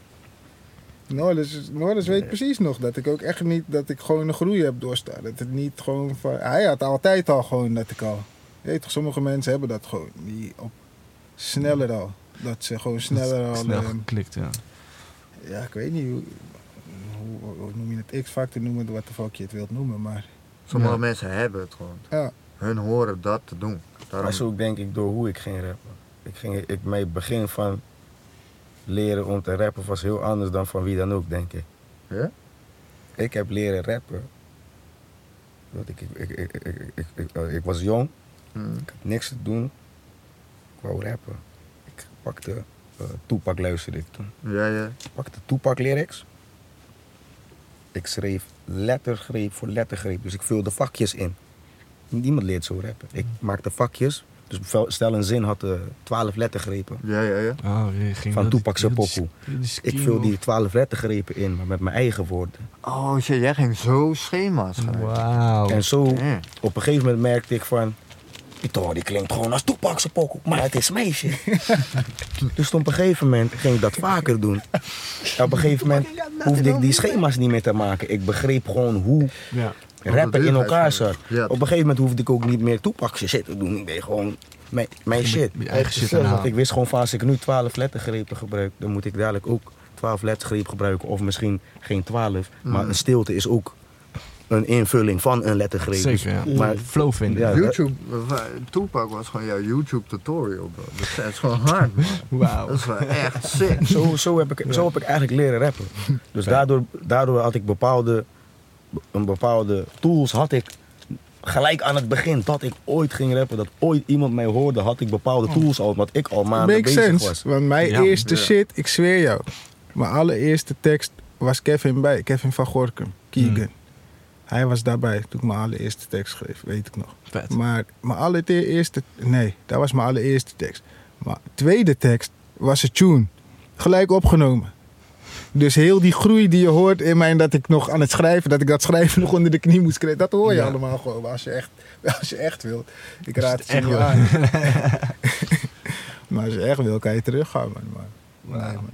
B: Norris, Norris weet precies nog dat ik ook echt niet dat ik gewoon een groei heb doorstaan. Dat het niet gewoon van. Hij had altijd al gewoon dat ik al. Je weet toch, sommige mensen hebben dat gewoon. Die op, sneller al. Dat ze gewoon sneller al.
D: Snel
B: ehm,
D: geklikt, ja.
B: ja, ik weet niet hoe, hoe, hoe noem je het X-factor noemen, wat de fuck je het wilt noemen. Maar
A: Sommige
D: Ja.
A: mensen hebben het gewoon.
B: Ja.
A: Hun horen dat te doen. Daarom...
C: Maar zo denk ik door hoe ik ging rappen. Ik ging, ik, mijn begin van leren om te rappen was heel anders dan van wie dan ook, denk ik.
A: Ja?
C: Ik heb leren rappen. Want ik, ik, ik, ik, ik, ik, ik- eh, ik was jong,
A: Mm.
C: ik had niks te doen. Ik wou rappen. Ik pakte eh Toepak luisterde ik toen.
A: Ja, ja.
C: Ik pakte Toepak lyrics. Ik schreef lettergreep voor lettergreep. Dus ik vulde vakjes in. Niemand leert zo rappen. Ik maakte vakjes. Dus vel- stel een zin had eh 12 lettergrepen.
A: Ja, ja, ja.
D: Oh, je ging
C: Van
D: heel die-
C: Tupac
D: heel die-
C: Shapoku.
D: heel die
C: Ik
D: scheme
C: vul
D: op.
C: die 12 lettergrepen in, maar met mijn eigen woorden.
A: Oh shit, jij ging zo schema's schrijven.
D: Wauw.
C: En zo
A: Ja.
C: op een gegeven moment merkte ik van... Pito, die klinkt gewoon als Toepakse pokoe, maar het is meisje. dus op een gegeven moment ging ik dat vaker doen. En op een gegeven moment hoefde ik die schema's niet meer te maken. Ik begreep gewoon hoe
D: Ja.
C: rappen in elkaar zat.
A: Ja.
C: Op een gegeven moment hoefde ik ook niet meer Toepakse shit te doen. Ik deed gewoon mijn, mijn shit.
D: Met je eigen shit
C: Want
D: aanhalen.
C: Ik wist gewoon van als ik nu 12 lettergrepen gebruik, dan moet ik
D: Mm.
C: dadelijk ook 12 lettergrepen gebruiken. Of misschien geen 12, maar een stilte is ook een invulling van een lettergreep. Dus-
D: Zeker, ja.
C: Maar
D: Flow vinden.
C: Ja,
A: YouTube, eh, Tupac was gewoon jouw YouTube tutorial, bro. Dat is echt gewoon hard, man.
D: Wauw.
A: Dat is wel echt sick.
C: zo, zo, heb ik, zo heb ik eigenlijk leren rappen. Dus daardoor, daardoor had ik bepaalde, een bepaalde tools had ik gelijk aan het begin dat ik ooit ging rappen, dat ooit iemand mij hoorde, had ik bepaalde tools al, wat ik al maanden
B: Makes
C: bezig
B: sense.
C: was.
B: Want mijn
D: Ja.
B: eerste
A: Ja.
B: shit, ik zweer jou. Mijn allereerste tekst was Kevin bij, Kevin van Gorkum, Keegan.
D: Hmm.
B: Hij was daarbij toen ik mijn allereerste tekst schreef, weet ik nog.
D: Vet.
B: Maar mijn allereerste, nee, dat was mijn allereerste tekst. Mijn tweede tekst was een tune, gelijk opgenomen. Dus heel die groei die je hoort in mijn dat ik nog aan het schrijven, dat ik dat schrijven nog onder de knie moest krijgen, dat hoor je
D: Ja.
B: allemaal gewoon als je echt, als je echt wil. Ik
D: Als je
B: raad het
D: het echt
B: je
D: wil.
B: aan. Maar als je echt wil, kan je teruggaan, man. Maar, nee, man.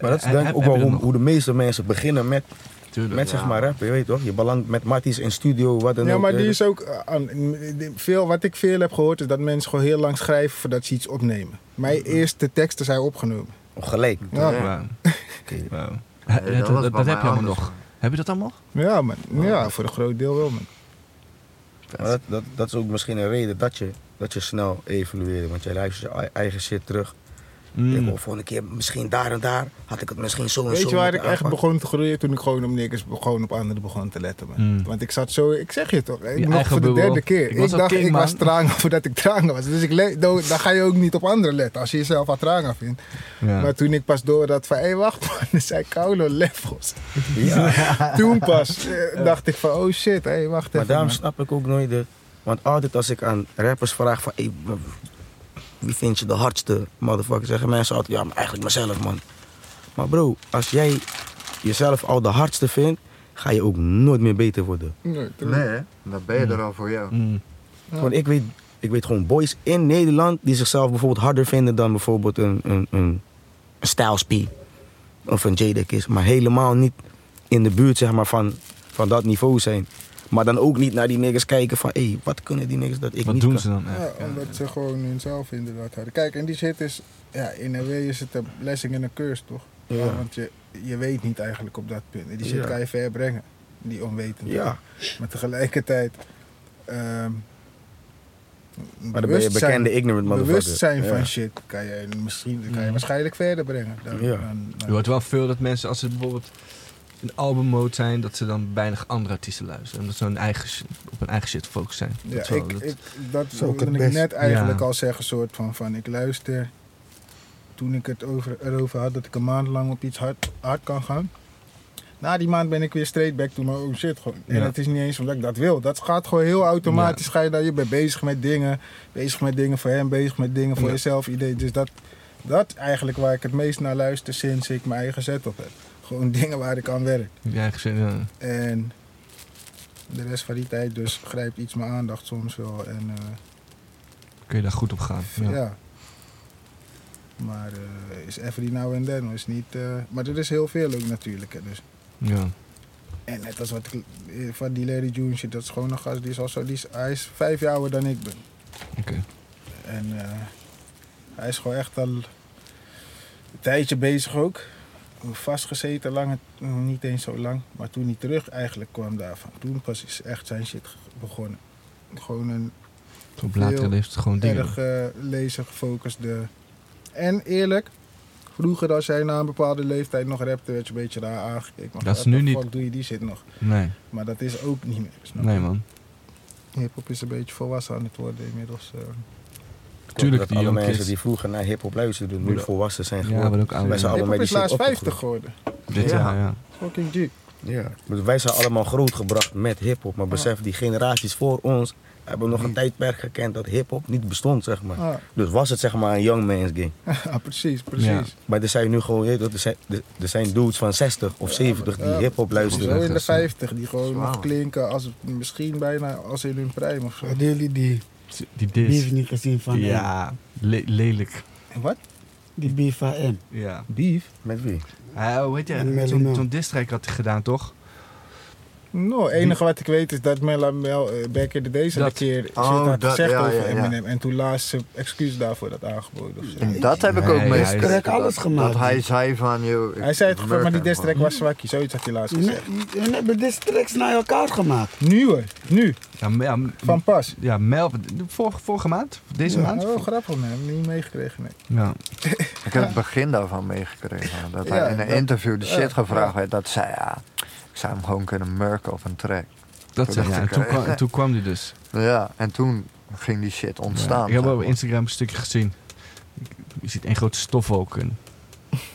C: Maar dat is
D: Eh,
C: denk ik
D: heb-
C: ook
D: heb
C: wel
D: je
C: hoe,
D: dat nog?
C: hoe de meeste mensen beginnen met,
D: Tuurlijk.
C: met zeg maar rappen, je weet toch? Je belandt met Matties in studio, wat dan
B: Ja,
C: ook.
B: maar
C: eh,
B: die is ook eh, aan. die- Veel, wat ik veel heb gehoord is dat mensen gewoon heel lang schrijven voordat ze iets opnemen. Mijn eerste teksten zijn opgenomen.
C: Gelijk.
B: Ja,
A: Ja.
D: Wauw.
C: Oké.
D: Wauw.
A: Nee,
D: Eh,
A: was
D: dat-
A: bij
D: Dat dat
A: mij
D: heb je allemaal
A: anders,
D: nog.
A: man.
D: Heb je dat allemaal?
B: ja, man. ja voor een groot deel wel, man.
C: Maar dat, dat, dat is ook misschien een reden dat je, dat je snel evolueert, want jij luistert je ei- eigen shit terug.
D: Mm.
C: Ik hoor volgende keer misschien daar en daar, had ik het misschien zo en zo
B: Weet je waar ik
C: moeten
B: echt
C: aanpakken.
B: begon te groeien? Toen ik gewoon op niks, gewoon op anderen begon te letten, man.
D: Mm.
B: Want ik zat zo, ik zeg je toch, ik
D: Je
B: nog
D: eigen
B: voor de
D: bubbel.
B: derde keer.
D: Ik
B: Ik,
D: was al
B: dacht,
D: king,
B: ik
D: man.
B: was tranga voordat ik tranga was. Dus ik le- dan dan ga je ook niet op anderen letten als je jezelf al tranga vindt.
D: Ja.
B: Maar toen ik pas door had van, hé wacht man, er zijn koude levels.
C: Ja.
B: Toen pas eh, dacht ik van, oh shit, hé wacht even.
C: Maar daarom
B: man.
C: snap ik ook nooit de... Want altijd als ik aan rappers vraag van... "Hey, w- wie vind je de hardste motherfucker? Zeggen mensen altijd, ja, maar eigenlijk mezelf, man. Maar bro, als jij jezelf al de hardste vindt... ga je ook nooit meer beter worden.
B: Nee, toen-
A: Nee, hè? Dan ben je er al voor jou.
D: Mm.
B: Ja.
C: Want ik weet, ik weet gewoon boys in Nederland... die zichzelf bijvoorbeeld harder vinden dan bijvoorbeeld een, een, een, een Styles P. Of een Jadakiss. is. Maar helemaal niet in de buurt, zeg maar, van, van dat niveau zijn. Maar dan ook niet naar die niggas kijken van... hé, hey, wat kunnen die niggas dat ik
D: Wat
C: niet
D: doen
C: kan?
D: ze dan
B: Ja,
D: echt? Ja.
B: omdat ze gewoon hunzelf inderdaad hadden. Kijk, en die shit is, ja, in een way is het een blessing en een curse, toch?
C: Ja.
B: want je, je weet niet eigenlijk op dat punt. En die shit
C: Ja.
B: kan je ver brengen, die onwetendheid.
C: Ja,
B: Maar tegelijkertijd, ehm
C: maar dan ben je
B: bewustzijn-
C: bekende ignorant motherfucker.
B: bewustzijn van
C: Ja. Mhm.
B: shit kan je, misschien, kan je waarschijnlijk verder brengen. Dan,
C: Ja.
B: dan- dan-
D: Je hoort wel veel dat mensen, als ze bijvoorbeeld in albummode zijn, dat ze dan weinig andere artiesten luisteren. Omdat ze hun eigen, sh- op hun eigen shit gefocust zijn.
B: Ja,
D: Dat is wel-
B: ik,
D: dat-
B: ik, dat
C: is ook
B: wilde
C: het
B: ik
C: best.
B: net eigenlijk
D: Ja.
B: al zeggen, soort van, van ik luister. Toen ik het over, erover had dat ik een maand lang op iets hard, hard kan gaan. Na die maand ben ik weer straight back to my own shit. Gewoon. En
D: Ja.
B: het is niet eens omdat ik dat wil. Dat gaat gewoon heel automatisch. Ga je, daar, je bent bezig met dingen. Bezig met dingen voor hem, bezig met dingen voor
D: Ja.
B: jezelf. Idee. Dus dat, dat eigenlijk waar ik het meest naar luister sinds ik mijn eigen set op heb. Gewoon dingen waar ik aan werk.
D: Je eigen zin, ja.
B: En de rest van die tijd dus grijpt iets mijn aandacht soms wel. En eh,
D: kun je daar goed op gaan.
B: ja.
D: Ja.
B: Maar eh, is every now and then. hoor. Is niet, eh, maar er is heel veel ook natuurlijk. Hè, dus.
D: Ja.
B: En net als wat ik, eh, van die Larry June shit, dat is gewoon een gast. Die is al zo, die is, hij is vijf jaar ouder dan ik dus. ben.
D: Oké.
B: En eh, hij is gewoon echt al een tijdje bezig ook. Vastgezeten, lang, niet eens zo lang. Maar toen hij terug eigenlijk kwam daarvan. Toen pas is echt zijn shit ge- begonnen. Gewoon een
D: Dus Op latere
B: Veel
D: leeftijd gewoon dingen.
B: erg eh lezer gefocuste. En eerlijk, vroeger als jij na een bepaalde leeftijd nog rapte, werd je een beetje raar aangekeken. Maar
D: Dat is
B: what
D: nu
B: the
D: niet.
B: fuck doe je die shit nog?
D: Nee,
B: Maar dat is ook niet meer. Snap je?
D: nee man.
B: Hip-hop is een beetje volwassen aan het worden inmiddels. eh.
D: Tuurlijk,
C: dat
D: die
C: alle
D: young
C: mensen
D: kids.
C: die vroeger naar hip-hop luisterden, nu
D: Ja.
C: volwassen zijn
D: Ja,
C: geworden.
D: maar ook ouder.
C: Wij zijn allemaal
B: Hip-hop
C: met
B: is
C: die shit
B: laatst
C: opgegroeid.
B: 50 geworden.
D: Dit
A: Ja.
D: jaar, ja.
B: Fucking G.
C: Ja. Dus wij zijn allemaal grootgebracht met hip-hop. Maar besef, die generaties voor ons hebben nog een tijdperk gekend dat hip-hop niet bestond, zeg maar.
B: Ah,
C: Dus was het zeg maar een young man's game.
B: ah, precies, precies.
C: Maar er zijn nu gewoon, je weet toch, er zijn, er- er zijn dudes van 60 of 70 die
B: ja,
C: hip-hop
B: Zo
C: luisteren.
B: in de 50, die gewoon
A: Zwaar,
B: nog
A: man.
B: klinken als misschien bijna als in hun prime of zo.
E: Hadden jullie die
D: Die
E: beef
D: dis.
E: niet gezien van hem?
D: Ja, le- lelijk.
B: Wat?
E: Die beef van hem.
D: Ja.
B: Beef?
C: Met wie?
D: Hij, hoe heet
E: En
D: je?
E: Melly
D: Zo'n
E: Mel.
D: zo'n diss track had hij gedaan, toch?
B: Nou, het enige wat ik weet is dat Mella Mel eh, back in the days
D: Dat-
B: een keer shit
A: Oh,
B: had
A: dat-
B: gezegd
A: ja,
B: over
A: ja, ja.
B: Eminem. En toen laatst zijn excuus daarvoor had aangeboden. of zo.
A: En dat heb ik
D: Nee,
A: ook
D: hij is-
A: meegemaakt.
E: Direct alles gemaakt.
A: Dat hij zei van, joh... ik
B: Hij zei
A: merk
B: het gewoon, maar die
A: hem
B: distrack
A: gewoon.
B: was zwakkie. Zoiets had hij laatst
E: Je
B: gezegd.
E: je hebt dit tracks naar elkaar gemaakt.
B: Nu hoor, nu,
D: Ja, m- ja, m-
B: van pas.
D: ja Mel, vorige, vorige maand? Deze
B: Ja,
D: maand?
B: Oh, grappig man, niet meegekregen. Nee.
D: Ja.
A: Ik heb het begin daarvan meegekregen. Dat hij
B: Ja,
A: in een
B: dat-
A: interview de shit
B: ja,
A: gevraagd
B: ja.
A: werd. Dat zei, ja, ik zou hem gewoon kunnen murken op een track.
D: Dat
A: Toen
D: zeg
A: dacht
D: ja, en
A: ik,
D: toen,
A: eh,
D: kwam, en toen kwam die dus.
A: Ja, en toen ging die shit ontstaan.
D: Ja, ik heb
A: zeg
D: op
A: maar.
D: Instagram een stukje gezien. Je ziet één grote stofwolk in.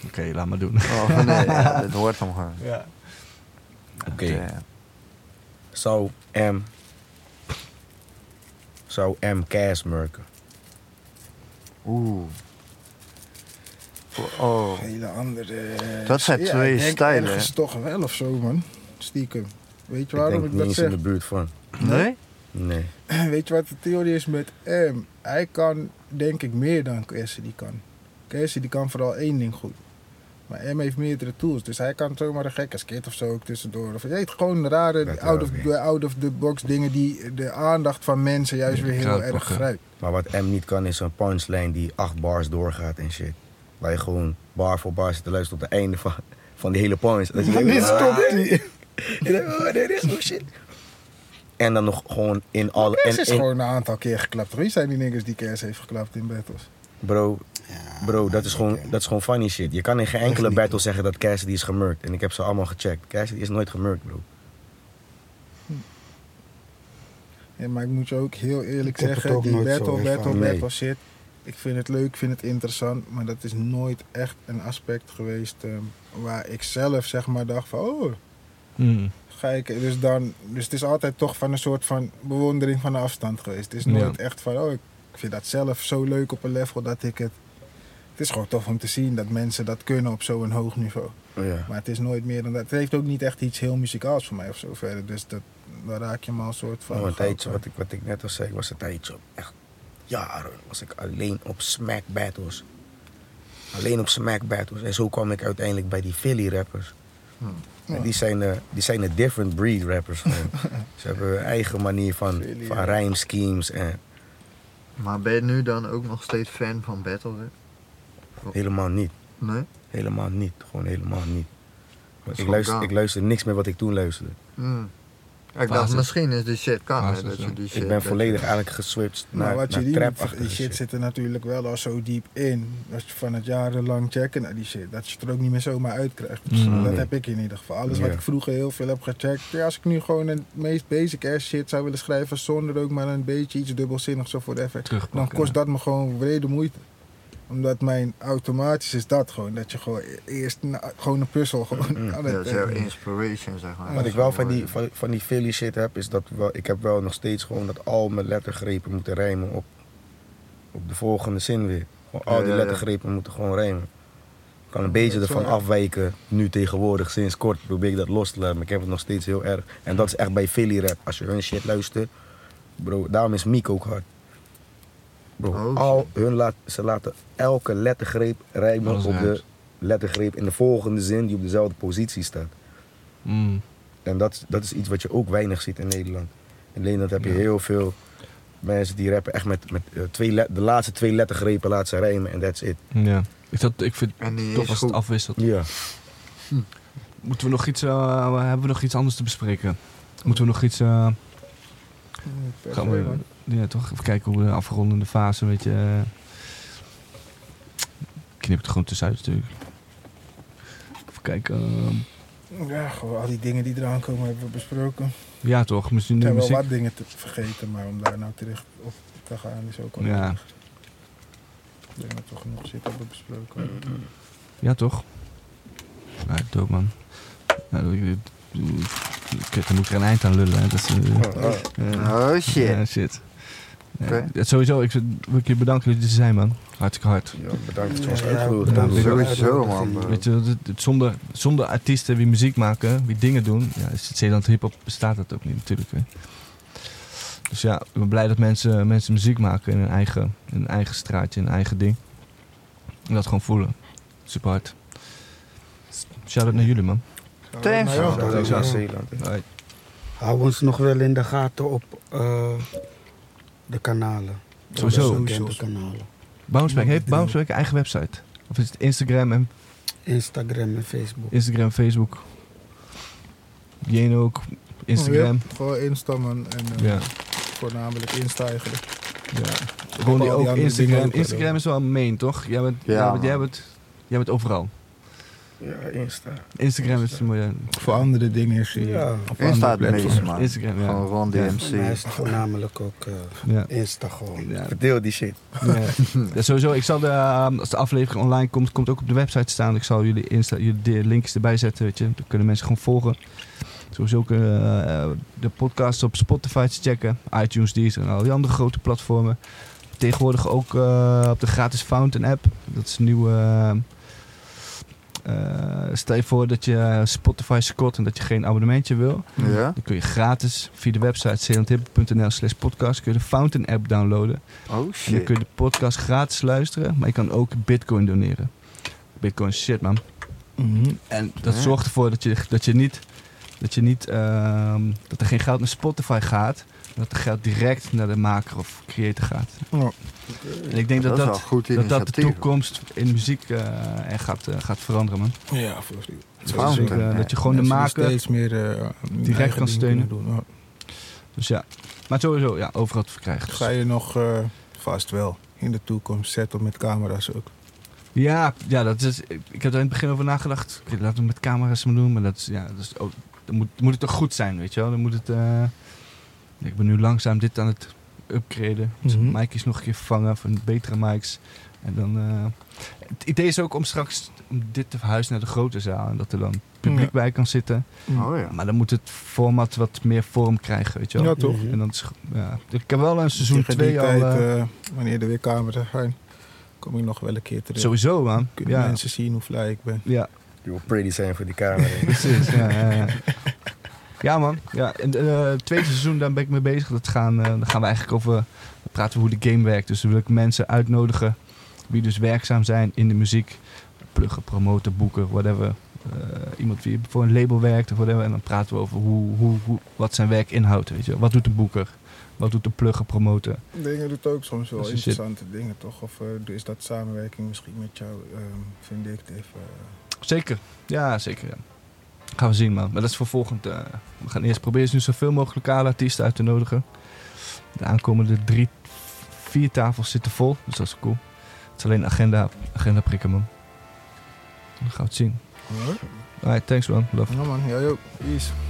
D: Oké, laat maar doen.
A: Oh, nee, ja, dit hoort hem gewoon.
B: Ja.
C: Oké.
A: Ja.
C: Zou M. Zou M Cass merken?
A: Oeh. Oh.
B: Hele andere... eh,
A: Dat zijn twee
B: ik denk
A: stijlen,
B: ergens
A: hè?
B: toch wel of zo man. Stiekem. Weet je
C: Ik
B: waarom
C: denk
B: ik,
C: niet
B: dat
C: eens
B: zeg?
C: in de buurt van.
A: Nee?
C: Nee.
B: Weet je wat de theorie is met M? Hij kan denk ik meer dan Cassie die kan. Cassie die kan vooral één ding goed. Maar M heeft meerdere tools, dus hij kan zomaar een gekke skit of zo ook tussendoor. Of je weet gewoon
C: Dat
B: rare
C: wel, oké.
B: out-of-the-box dingen die de aandacht van mensen juist weer heel
D: kruidpakken.
B: erg grijpt.
C: Maar wat M niet kan is een punchline die acht bars doorgaat en shit. Waar je gewoon bar voor bar zit te luisteren tot het einde van, van die hele punch. Dat je denkt,
B: Dit
C: "Ah."
B: stopt hij.
C: En dan, oh, dit is oh shit. En dan nog gewoon in alle...
B: Cass
C: en-
B: is
C: en-
B: gewoon een aantal keer geklapt. Wie zijn die niggas die Cass heeft geklapt in battles?
C: Bro, bro dat, is gewoon, dat is gewoon funny shit. Je kan in geen enkele
E: niet,
C: battle zeggen dat Cassidy is gemurkt. En ik heb ze allemaal gecheckt. Cassidy is nooit gemurkt, bro.
B: Ja, maar ik moet je ook heel eerlijk
E: Ik heb het
B: zeggen,
E: ook
B: die
E: nooit zo
B: battle, battle,
E: ervaren.
B: battle,
C: Nee.
B: shit. Ik vind het leuk, ik vind het interessant, maar dat is nooit echt een aspect geweest ehm, waar ik zelf zeg maar dacht van, oh,
D: Mm.
B: ga ik, dus dan, dus het is altijd toch van een soort van bewondering van de afstand geweest. Het is nooit echt van, oh, ik vind dat zelf zo leuk op een level dat ik het, het is gewoon tof om te zien dat mensen dat kunnen op zo'n hoog niveau.
C: Ja.
B: Maar het is nooit meer dan dat. Het heeft ook niet echt iets heel muzikaals voor mij of zo verder, dus dat, daar raak je me al een soort van...
C: Oh, een
B: goud
C: tijdje,
B: aan.
C: wat ik, wat ik net al zei, ik was een tijdje op echt jaren was ik alleen op smack battles. Alleen op smack battles. En zo kwam ik uiteindelijk bij die Philly rappers.
B: Hm.
C: En die zijn, de, die zijn de different breed rappers. gewoon. Ze hebben hun eigen manier van,
B: Philly,
C: van
B: ja.
C: rhyme schemes en
A: Maar ben je nu dan ook nog steeds fan van Battle Rap?
C: helemaal niet.
A: Nee?
C: Helemaal niet. Gewoon helemaal niet.
A: is
C: Ik
A: gewoon
C: luister,
A: kaal.
C: ik luister niks meer wat ik toen luisterde.
A: Mm. Ik dacht,
D: Basis.
A: misschien is die shit kan. hè,
D: Basis,
A: dat je
D: ja.
A: die shit
C: Ik ben volledig eigenlijk geswitcht
B: Maar
C: naar,
B: Nou, wat je
C: Nou, naar
B: die
C: trap
B: moet- die shit
C: shit.
B: zit er natuurlijk wel al zo diep in. Dat je van het jarenlang checken naar die shit. Dat je het er ook niet meer zomaar uitkrijgt. Dus
D: Mm.
B: Dat
C: Nee.
B: heb ik in ieder geval. Alles wat
C: Ja.
B: ik vroeger heel veel heb gecheckt. Ja, als ik nu gewoon het meest basic ass shit zou willen schrijven. zonder ook maar een beetje iets dubbelzinnigs of whatever.
D: Terugpakken,
B: dan kost
D: ja.
B: dat me gewoon wrede moeite. Omdat mijn automatisch is dat gewoon. Dat je gewoon e- eerst na- gewoon een puzzel gewoon aan
A: Dat
B: het.
A: is
B: eh,
A: jouw inspiration, zeg maar.
C: Wat ik wel van die, van, van die Philly shit heb, is dat wel, ik heb wel nog steeds gewoon dat al mijn lettergrepen moeten rijmen op, op de volgende zin weer. Gewoon al
A: Ja,
C: die
A: ja, ja.
C: lettergrepen moeten gewoon rijmen. Ik kan een beetje
B: dat is
C: ervan
B: wel erg.
C: afwijken, nu tegenwoordig, sinds kort probeer ik dat los te laten, maar ik heb het nog steeds heel erg. En dat is echt bij Philly rap, als je hun shit luistert, bro, daarom is Miek ook hard. Bro,
A: Oh,
C: al hun laat, ze laten elke lettergreep rijmen
D: Alles
C: op de
D: rijmt.
C: lettergreep in de volgende zin die op dezelfde positie staat.
D: Mm.
C: En dat, dat is iets wat je ook weinig ziet in Nederland. In Nederland heb je heel veel mensen die rappen echt met, met eh, twee let- de laatste twee lettergrepen laten ze rijmen en that's it.
D: Ja. Ik, dat, ik vind
A: En die
D: het tof
A: is
D: als het
A: goed.
D: afwisselt.
C: Ja.
D: Moeten we nog iets, eh, hebben we nog iets anders te bespreken? Moeten we nog iets... eh,
B: per
D: gaan
B: se,
D: we,
B: man.
D: ja, toch even kijken hoe de afrondende fase een beetje... eh, knip het gewoon tussenuit natuurlijk. Even kijken. eh,
B: Ja, gewoon al die dingen die eraan komen hebben we besproken.
D: ja toch, misschien
B: Er
D: de
B: zijn wel
D: muziek.
B: wat dingen te vergeten, maar om daar nou terecht op te gaan is ook al
D: Ja.
B: lastig. Ik denk dat we genoeg shit hebben besproken.
D: Ja, toch? Ja, dope man. Nou, ik, ik, ik- dan moet ik er een eind aan lullen. Hè. Dat is, eh, eh,
A: Oh shit.
D: ja, shit. Ja,
A: Oké.
D: dat Sowieso, ik wil ik je bedanken dat je er zijn man. Hartstikke hard.
C: ja bedankt voor ons
E: Ja,
C: uitgenodigd.
D: ja,
C: hebben.
A: Sowieso, man. bro.
D: Weet je, dat- dat- zonder, zonder artiesten die muziek maken, die dingen doen, ja, is het Zeeland hip-hop bestaat dat ook niet natuurlijk. Hè. Dus ja, ik ben blij dat mensen, mensen muziek maken in hun eigen, in hun eigen straatje, in hun eigen ding. En dat gewoon voelen. Super hard. Shout out naar jullie man.
A: Thanks.
B: Maar ja,
C: Ja, dat is
A: Ja.
C: wel Zeeland. hè.
D: Alright.
E: Hou ons nog wel in de gaten op eh, de kanalen.
D: Sowieso.
E: De bekende kanalen.
D: Bounceback, heeft Bounceback een eigen website? Of is het Instagram en
E: Instagram en Facebook.
D: Instagram, Facebook? Jeno ook, Instagram.
B: Ja, gewoon Insta, man. En, eh,
D: Ja.
B: Voornamelijk Insta eigenlijk.
D: ja.
B: al
D: Ronnie
B: die
D: ook,
B: andere dingen
D: Instagram.
B: ook eh, wel,
D: Instagram is wel main, toch? Jij bent,
A: Ja,
D: jij
A: man.
D: bent, jij bent, jij bent overal.
C: Ja, Insta.
D: Instagram is mooi.
B: Voor andere dingen zie je.
E: Ja,
B: Op
A: Insta
B: andere
A: het meest,
B: platforms.
A: man.
D: Instagram, ja.
A: Gewoon Ron
D: Ja.
A: DMC.
E: maar hij is voornamelijk ook eh
D: Ja.
E: Insta gewoon.
D: Ja.
C: Verdeel die shit.
D: Ja. Ja, sowieso, ik zal de, ehm, als de aflevering online komt, komt ook op de website staan. Ik zal jullie, Insta, jullie de linkjes erbij zetten, weet je. Dan kunnen mensen gewoon volgen. Sowieso ook eh, eh, de podcast op Spotify te checken. iTunes, Deezer en al die andere grote platformen. Tegenwoordig ook eh, op de gratis Fountain app. Dat is een nieuwe... eh, eh, stel je voor dat je Spotify scoort en dat je geen abonnementje wil.
A: Ja?
D: Dan kun je gratis via de website zeelandhippen.nl slash podcast kun je de Fountain app downloaden.
A: Oh
D: En dan
A: shit.
D: kun je de podcast gratis luisteren, maar je kan ook bitcoin doneren. Bitcoin is shit, man.
B: Mhm.
D: En dat
A: Ja.
D: zorgt ervoor dat je, dat je niet, dat, je niet ehm, dat er geen geld naar Spotify gaat, maar dat het geld direct naar de maker of creator gaat.
B: Ja.
D: En ik denk dat
A: is wel
D: dat,
A: een goed
D: dat, dat de
A: initiatief.
D: toekomst in muziek eh, echt gaat, eh, gaat veranderen, man.
B: Ja, voor die-
A: Fountain.
D: Dus ik, eh, dat je gewoon de
B: Mensen die
D: maker
B: steeds meer eh, hun
D: kan
B: eigen dingen
D: steunen.
B: Doen. Ja.
D: Dus ja. Maar sowieso, ja, overal te verkrijgen. Dus-
B: Ga je nog eh, vast wel in de toekomst zetten met camera's ook.
D: Ja, ja dat is, ik ik heb er in het begin over nagedacht. Oké, laten we het met camera's maar doen. Maar dat is, ja, dat is ook, dan moet, moet het toch goed zijn, weet je wel. Dan moet het... eh, ik ben nu langzaam dit aan het upgraden. Dus
B: Mhm.
D: micjes nog een keer vervangen van betere mics. En dan... eh, het idee is ook om straks om dit te verhuizen naar de grote zaal. En dat er dan publiek
B: Ja.
D: bij kan zitten.
A: Oh ja.
D: Maar dan moet het format wat meer vorm krijgen, weet je wel.
B: Ja, toch?
D: En dan is, ja. Ik heb wel een seizoen
B: Tegen die
D: 2 al...
B: tijd,
D: eh,
B: eh, wanneer er weer camera's zijn, kom ik nog wel een keer terug.
D: sowieso, man.
B: Kunnen
D: Ja,
B: mensen zien hoe fly ik ben.
D: ja.
C: Je wil pretty zijn voor die camera.
D: Precies, ja, ja, ja. Ja, man. Ja, en, eh, het tweede seizoen, daar ben ik mee bezig. Dat gaan, eh, dan gaan we eigenlijk over dan praten we hoe de game werkt. Dus dan wil ik mensen uitnodigen die dus werkzaam zijn in de muziek. Pluggen, promoten, boeken, whatever. Eh, iemand die voor een label werkt of whatever. En dan praten we over hoe, hoe, hoe, wat zijn werk inhoudt. Weet je. wel. Wat doet de boeker? Wat doet de plugger, promoten?
B: Dingen doet ook soms wel
D: Dat is shit.
B: interessante dingen, toch? Of eh, is dat samenwerking misschien met jou, eh, vind ik het even... eh,
D: Zeker. Ja, zeker. Ja. Gaan we zien, man. Maar dat is voor volgend. eh, we gaan eerst proberen nu zoveel mogelijk lokale artiesten uit te nodigen. De aankomende drie, vier tafels zitten vol. Dus dat is cool. Het is alleen agenda, agenda prikken, man. Dan gaan we het zien.
B: hoor.
D: Alright, thanks, man. Love.
B: Ja man, jij ook. Peace.